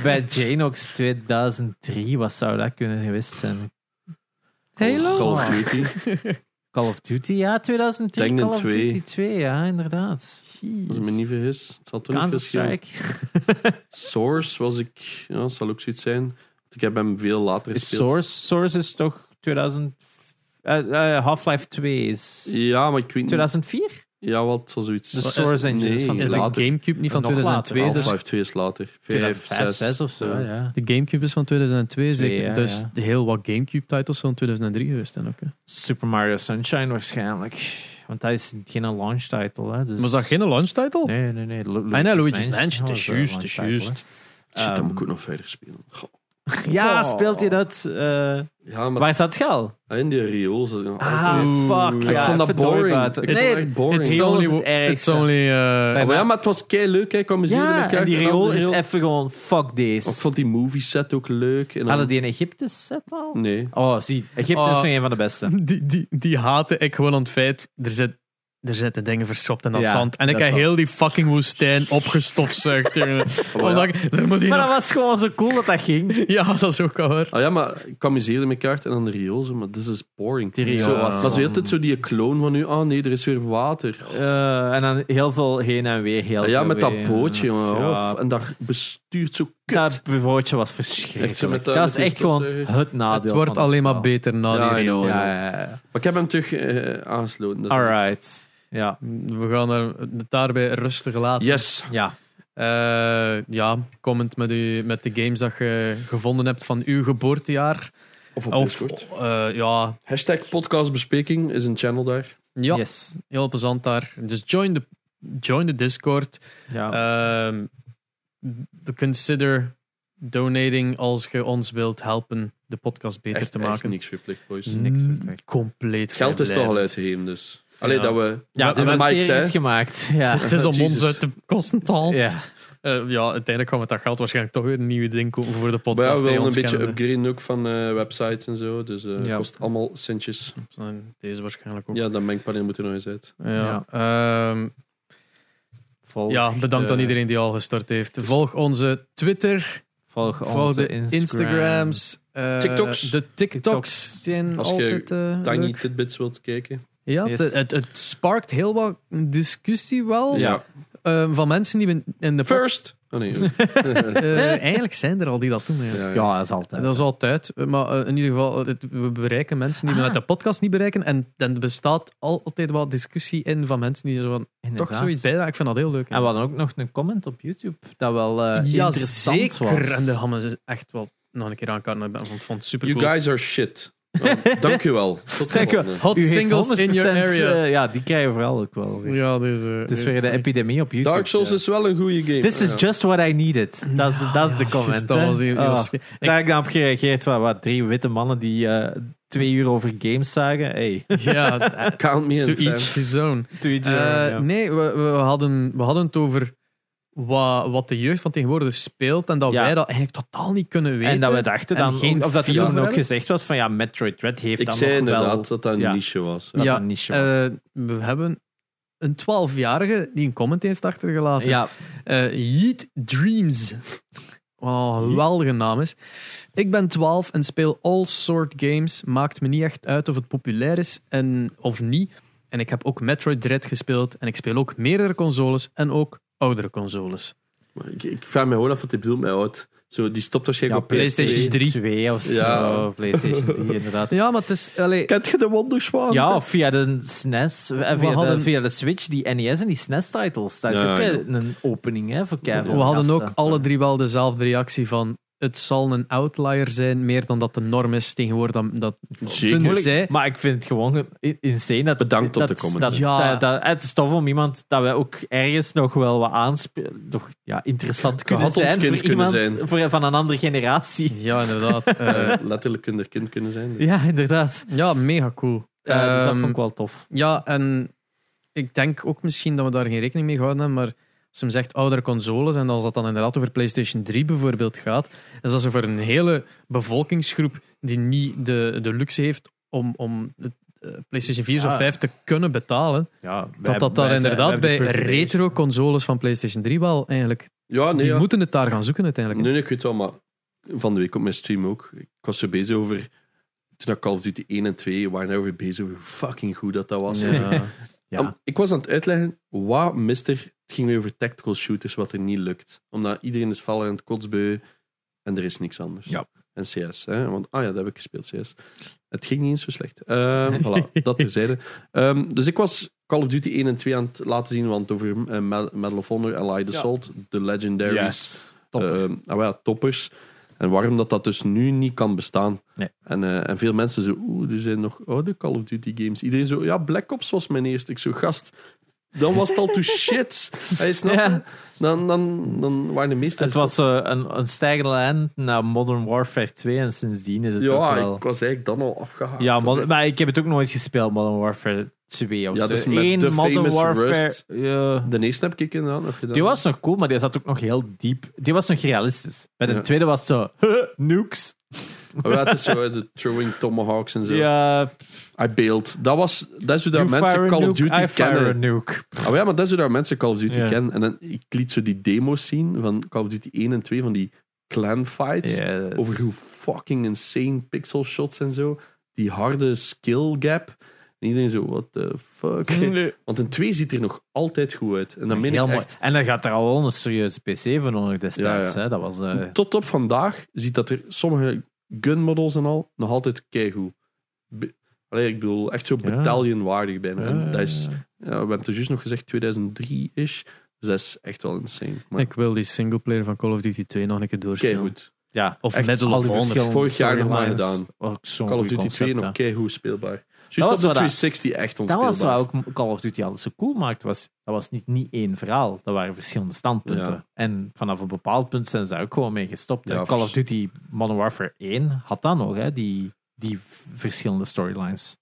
Bij Janox 2003, wat zou dat kunnen geweest zijn?
Call
Call,
of Duty.
Call of Duty, ja, 2003.
Tekken
Call of
2.
Duty 2, ja, inderdaad.
Als ik me niet vergis. Het zal toch niet verschillen.
Counter-Strike.
Source was ik... Ja, dat zal ook zoiets zijn. Ik heb hem veel later
Is
gespeeld.
Source, Source is toch 2000... eh, eh, Half-Life 2 is...
Ja, maar ik weet niet...
2004?
Ja, wat zal zoiets...
De Source Engine is van
Nee,
Is de
later.
Gamecube niet van
Nog later,
2002? Dus
Half-Life 2 is later. 5,
2005,
6,
6 of zo, ja.
de Gamecube is van 2002,
Twee,
zeker.
ja,
dus
ja.
heel wat Gamecube-titles van 2003 geweest zijn ook. Hè.
Super Mario Sunshine waarschijnlijk. Want dat is geen launch title. Hè? Dus...
Was dat geen launch-title?
Nee, nee, nee. Lu-
Ah, nee, Luigi's
Mansion, Oh,
Mansion,
dat
het is
was een
juist,
launch
het is
title, hè.
Shit, dan
Ehm,
moet ik ook nog verder spelen. Goh.
ja,
Oh.
speelt hij dat? eh,
Ja, maar ah,
waar zat het geld?
in die riool zat ik nog Oh,
Ah,
Oeh,
fuck.
Ik
ja,
vond dat
verdorie
boring.
buiten.
Ik
Nee,
vond het echt boring.
het Riool is het ergste.
It's only... eh,
Bij-
maar ja, maar het was kei leuk. Ik kwam eens even
ja,
kijken
en die
naar de
riool is
riool.
even gewoon fuck
Maar Ik
deze.
vond die movie set ook leuk. En dan-
Hadden die een Egypte set al?
Nee.
Oh, zie. Egypte
Oh.
is nog een van de beste.
die, die, die haatte ik gewoon aan het feit. Er, zit, er zitten dingen verstopt in dat
Ja,
zand. En ik
dat
heb
zand.
heel die fucking woestijn opgestofzuigd. jongen. Omdat ik- er moet hier
Maar
nog-
dat was gewoon zo cool dat dat ging.
Ja, dat is ook wel waar.
Ah ja, maar ik kwam eens eerder met kaart en dan de riool. zo, Maar dit is boring.
Die riool
zo,
was
dat is
gewoon-
altijd zo die kloon van nu. Ah nee, er is weer water.
Eh, en dan heel veel heen en weer. Heel
Ah ja,
veel
met dat
weer.
bootje. jongen.
Ja,
Oh, En dat bestuurt zo kut.
Dat broodje was verschrikkelijk.
Echt zo met, eh,
dat
met
is
die
echt gewoon
stofzuiger.
het nadeel.
Het wordt
van
alleen maar
spel.
beter na
Ja,
die
I know.
riool.
Ja, ja, ja.
Maar ik heb hem terug eh, aangesloten. dat is alles.
Alright. Ja.
We gaan er het daarbij rustig laten.
Yes.
ja.
Eh, ja, comment met, u, met de games dat je gevonden hebt van uw geboortejaar.
Of op
of
Discord.
eh, ja,
Hashtag podcastbespreking is een channel daar.
Ja,
Yes.
heel plezant daar. Dus join de, join de Discord.
Oh.
Ja.
Eh,
Ehm, b- consider donating als je ons wilt helpen de podcast beter
Echt,
te
echt
maken.
niks verplicht, boys.
Mm. niks
N-
verplicht.
Compleet
Geld is toch al
vrijblijvend.
uitgegeven, dus. Alleen
Ja.
dat we.
ja, de
dat Mike
investering is
zei.
gemaakt. Ja.
Het is om
Jezus.
ons uit te kosten, tal.
ja.
Eh, ja, uiteindelijk gaan we dat geld waarschijnlijk toch weer een nieuwe ding kopen voor de
Maar ja,
podcast.
we
hè,
willen een
ons
beetje
kennende.
upgraden ook van eh, websites en zo. Dus eh
Ja.
kost allemaal centjes.
En Deze waarschijnlijk ook. Ja.
Ja, dat mengpaneel moet er nog eens uit.
Ja. Ehm,
Volg,
ja, bedankt
eh,
aan iedereen die al gestort heeft. Volg onze Twitter,
Volg,
volg
onze
de
Instagram.
Instagrams, eh,
TikToks.
De TikToks zijn
Als je
altijd eh,
Tiny
leuk.
tidbits wilt kijken.
Ja,
Yes.
het, het, het sparkt heel wat discussie wel
Ja.
eh, van mensen die we in de pod-
First! Oh nee.
eh, eigenlijk zijn er al die dat doen. Ja.
ja.
Ja, dat is altijd.
Dat is altijd. Maar eh, in ieder geval, het- we bereiken mensen die we met de podcast niet bereiken. En en er bestaat altijd wel discussie in van mensen die er van
Inderdaad.
toch zoiets bijdragen. Ik vind dat heel leuk.
En we hadden ook nog een comment op YouTube dat wel eh,
ja,
interessant
zeker.
was.
En de hammen is echt wel nog een keer aankaarten. Ik ben- Ik vond het super
You
cool.
guys are shit. Oh, dank je wel. Tot de
Dank je wel.
volgende.
Hot
U heeft
singles in your
100%,
area.
eh, ja, die krijgen we vooral ook wel. weer.
ja, deze. eh,
Het is weer de epidemie op YouTube.
Dark Souls
ja.
is wel een goede game.
This
Ah,
is
ja.
just what I needed. Dat is, dat is de comment.
dat
hè.
was die- die
Oh.
Ah, was- ik-
Daar heb ik dan op gereageerd. Wat, wat, drie witte mannen die eh, twee uur over games zagen. Hey.
Ja, eh,
Count me
to
in. fam.
each his own.
Doe je
Eh,
ja.
Nee, we, we, hadden, we hadden het over wat, wat de jeugd van tegenwoordig speelt en dat
Ja.
wij dat eigenlijk totaal niet kunnen weten.
En dat we dachten
en
dan,
geen
of dat
feel
er toen
voor
ook
hebben.
gezegd was van ja, Metroid Dread heeft
Ik
dan
zei
nog wel...
inderdaad dat dat een
Ja.
niche was.
dat
Ja,
een niche was.
Eh, we hebben een 12-jarige die een comment heeft achtergelaten.
ja,
Eh, Yeet Dreams. Wat een geweldige naam is. Ik ben 12 en speel all soort games. Maakt me niet echt uit of het populair is en, of niet. En ik heb ook Metroid Dread gespeeld. En ik speel ook meerdere consoles en ook oudere consoles.
Maar Ik, ik vraag me gewoon af wat hij bedoelt met oud. Zo, die stopt waarschijnlijk
ja,
op PlayStation.
PlayStation 3.
2 of zo.
Ja.
PlayStation 3 inderdaad.
Ja, maar het is... allee,
Kent je de wonderswaan?
Ja, of via de SNES, eh, via,
hadden-
de, via de Switch, die NES en die SNES-titles. Dat is
Ja,
ook
ja.
een- een opening hè, voor
we
Kevin.
hadden ook
gasten.
alle drie wel dezelfde reactie van... Het zal een outlier zijn, meer dan dat de norm is tegenwoordig. Dat, dat
Zeker.
tenzij-
Maar ik vind het gewoon in- insane dat...
Bedankt op
dat,
de comment.
Dat,
Ja.
dat, dat- het is tof om iemand dat wij ook ergens nog wel wat aanspelen. Toch ja, interessant kunnen
had ons
zijn
kind
voor
kunnen
iemand
zijn.
Voor, van een andere generatie.
Ja, inderdaad. Eh,
Eh, letterlijk een er kind kunnen zijn.
Ja, inderdaad.
ja, mega cool.
Ja, dus dat
Ehm,
vond ik wel tof.
Ja, en ik denk ook misschien dat we daar geen rekening mee gehouden hebben, maar als hem zegt oudere consoles en als dat dan inderdaad over PlayStation 3 bijvoorbeeld gaat, is dat ze voor een hele bevolkingsgroep die niet de, de luxe heeft om, om de, eh, PlayStation 4 of
Ah.
Ja.
5 te kunnen betalen,
Ja,
dat dat daar inderdaad bij retro consoles van PlayStation 3 wel eigenlijk,
Ja, nee,
die
ja.
moeten het daar gaan zoeken uiteindelijk.
Nee, nee, ik weet wel, maar van de week op mijn stream ook. Ik was zo bezig over. Toen dat Call of Duty 1 en 2 waren we over bezig hoe fucking goed dat dat was.
Ja.
Ja.
Om- ik was aan het uitleggen, wat mister, het ging weer over tactical shooters, wat er niet lukt. Omdat iedereen is vallen aan het kotsbeu en er is niks anders.
Ja.
En CS, hè? want ah ja, dat heb ik gespeeld, CS. Het ging niet eens zo slecht. Ehm voilà, dat terzijde. Ehm dus ik was Call of Duty 1 en 2 aan het laten zien, want over eh, Med- Medal of Honor, Allied
Ja.
Assault, de Legendaries,
Yes.
eh, ah, wel ja, toppers. En waarom dat dat dus nu niet kan bestaan.
Nee.
En, eh, en veel mensen zo, oeh, er zijn nog oude Call of Duty games. Iedereen zo, ja, Black Ops was mijn eerste. Ik zo, gast, dan was het al to shit. Hij snapt
Ja.
het? dan, dan, dan waren de meeste...
Het was eh, een, een stijgende lijn naar Modern Warfare 2 en sindsdien is het ook
Ja,
wel...
ik was eigenlijk dan al afgehaakt. eh,
Ja, mod- maar ik heb het ook nooit gespeeld, Modern Warfare 2 of
Ja,
zo.
dat is met
Eén
de
Modern
famous
Warfare...
Rust.
ja.
De eerste heb ik inderdaad nog gedaan.
Die was nog cool, maar die zat ook nog heel diep. Die was nog realistisch. Bij de
Ja.
tweede was het zo... Huh, nukes.
Ah, wel, het is zo, eh, de throwing tomahawks en zo.
Ja,
I bailed. Dat, was, dat is hoe dat
you
mensen
fire a
Call of
nuke,
Duty
I fire
kennen.
a nuke.
Ah, maar ja, maar dat is hoe dat mensen Call of Duty
Ja.
kennen. En dan, ik liet zo die demo's zien van Call of Duty 1 en 2, van die clan fights.
Yes.
Over hoe fucking insane pixel shots en zo. Die harde skill gap. En iedereen zo, what the fuck.
Nee.
Want een 2 ziet er nog altijd goed uit. En dan meen ik
Hmm. Heel mooi.
echt,
En dan gaat er al wel een serieuze PC van onder destijds.
Ja, ja.
Hè? Dat was... eh,
tot op vandaag ziet dat er sommige gun models en al nog altijd keigoed. Be- Allee, ik bedoel, echt zo
Ja. Ah.
battalion-waardig bijna. En
Ja.
dat is, ja, we hebben het er juist nog gezegd, 2003-ish. Dus dat is echt wel insane. Maar
Ik wil die singleplayer van Call of Duty 2 nog een keer doorspelen.
keigoed.
Ja.
Of
Echt,
Medal
al
of
die
Honor.
verschillende
Vorig jaar nog maar
storylines.
gedaan.
Ook zo'n
Call of
goed
Duty 2
concept,
nog
hè.
keigoed speelbaar. Juist
was
op de
wat dat-
360 echt
Dat was
onspeelbaar.
wat ook Call of Duty alles zo cool maakt. Was, dat was niet, niet één verhaal. Dat waren verschillende standpunten.
Ja.
En vanaf een bepaald punt zijn ze daar ook gewoon mee gestopt.
Ja,
En Call of
vers-
Duty Modern Warfare 1 had dat nog, hè, die, die v- verschillende storylines.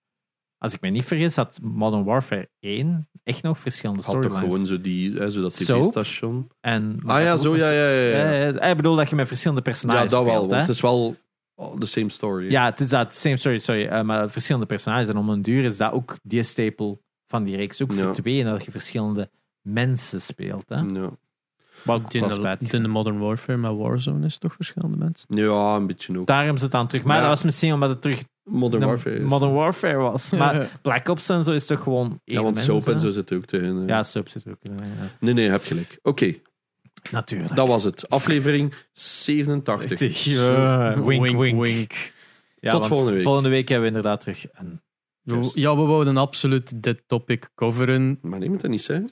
Als ik me niet vergis, had Modern Warfare 1 echt nog verschillende
Had toch
storylines.
gewoon zo, die, hè, zo dat
Soap?
tv-station.
En,
Ah ja, zo, ja, ja, ja.
Ja,
ja.
ja, Eh, Ik bedoel dat je met verschillende personages
Ja, dat wel.
speelt,
Want
hè.
het is wel all the same story.
Ja, het is dat same story, sorry, eh, maar verschillende personages. En om een duur is dat ook die stapel van die reeks. Ook voor
Ja. Mm.
twee, en dat je verschillende mensen speelt. Hè?
Ja.
Wat
in,
wel
de,
spijtig
in de Modern Warfare, maar Warzone is toch verschillende mensen.
Ja, een beetje ook.
Daarom zit het aan terug. Maar
Ja.
dat was misschien omdat het terug
Modern
de-
Warfare. Is.
Modern Warfare was. Maar Black Ops en zo is toch gewoon. één
ja, want
mens,
soap
hè?
en zo zit er ook tegen. hè.
Ja, soap zit er ook in. ja.
Nee, nee, je hebt gelijk. Oké,
Natuurlijk.
dat was het. Aflevering 87.
eh, Ja, wink, wink.
Tot
Ja, want
volgende week.
Volgende week hebben we inderdaad terug een.
We- Ja, we wouden absoluut dit topic coveren.
Maar neem het dat niet zeggen.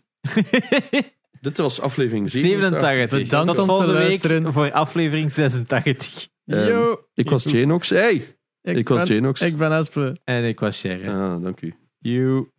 Dit was aflevering 87.
87.
Bedankt
Tot
om te
volgende week
luisteren.
voor aflevering 86.
Ehm,
Yo,
Ik was Janox. Hey, ik was
ben,
Janox.
ik ben Asple.
En ik was Sharon.
Ah, dank u.
You.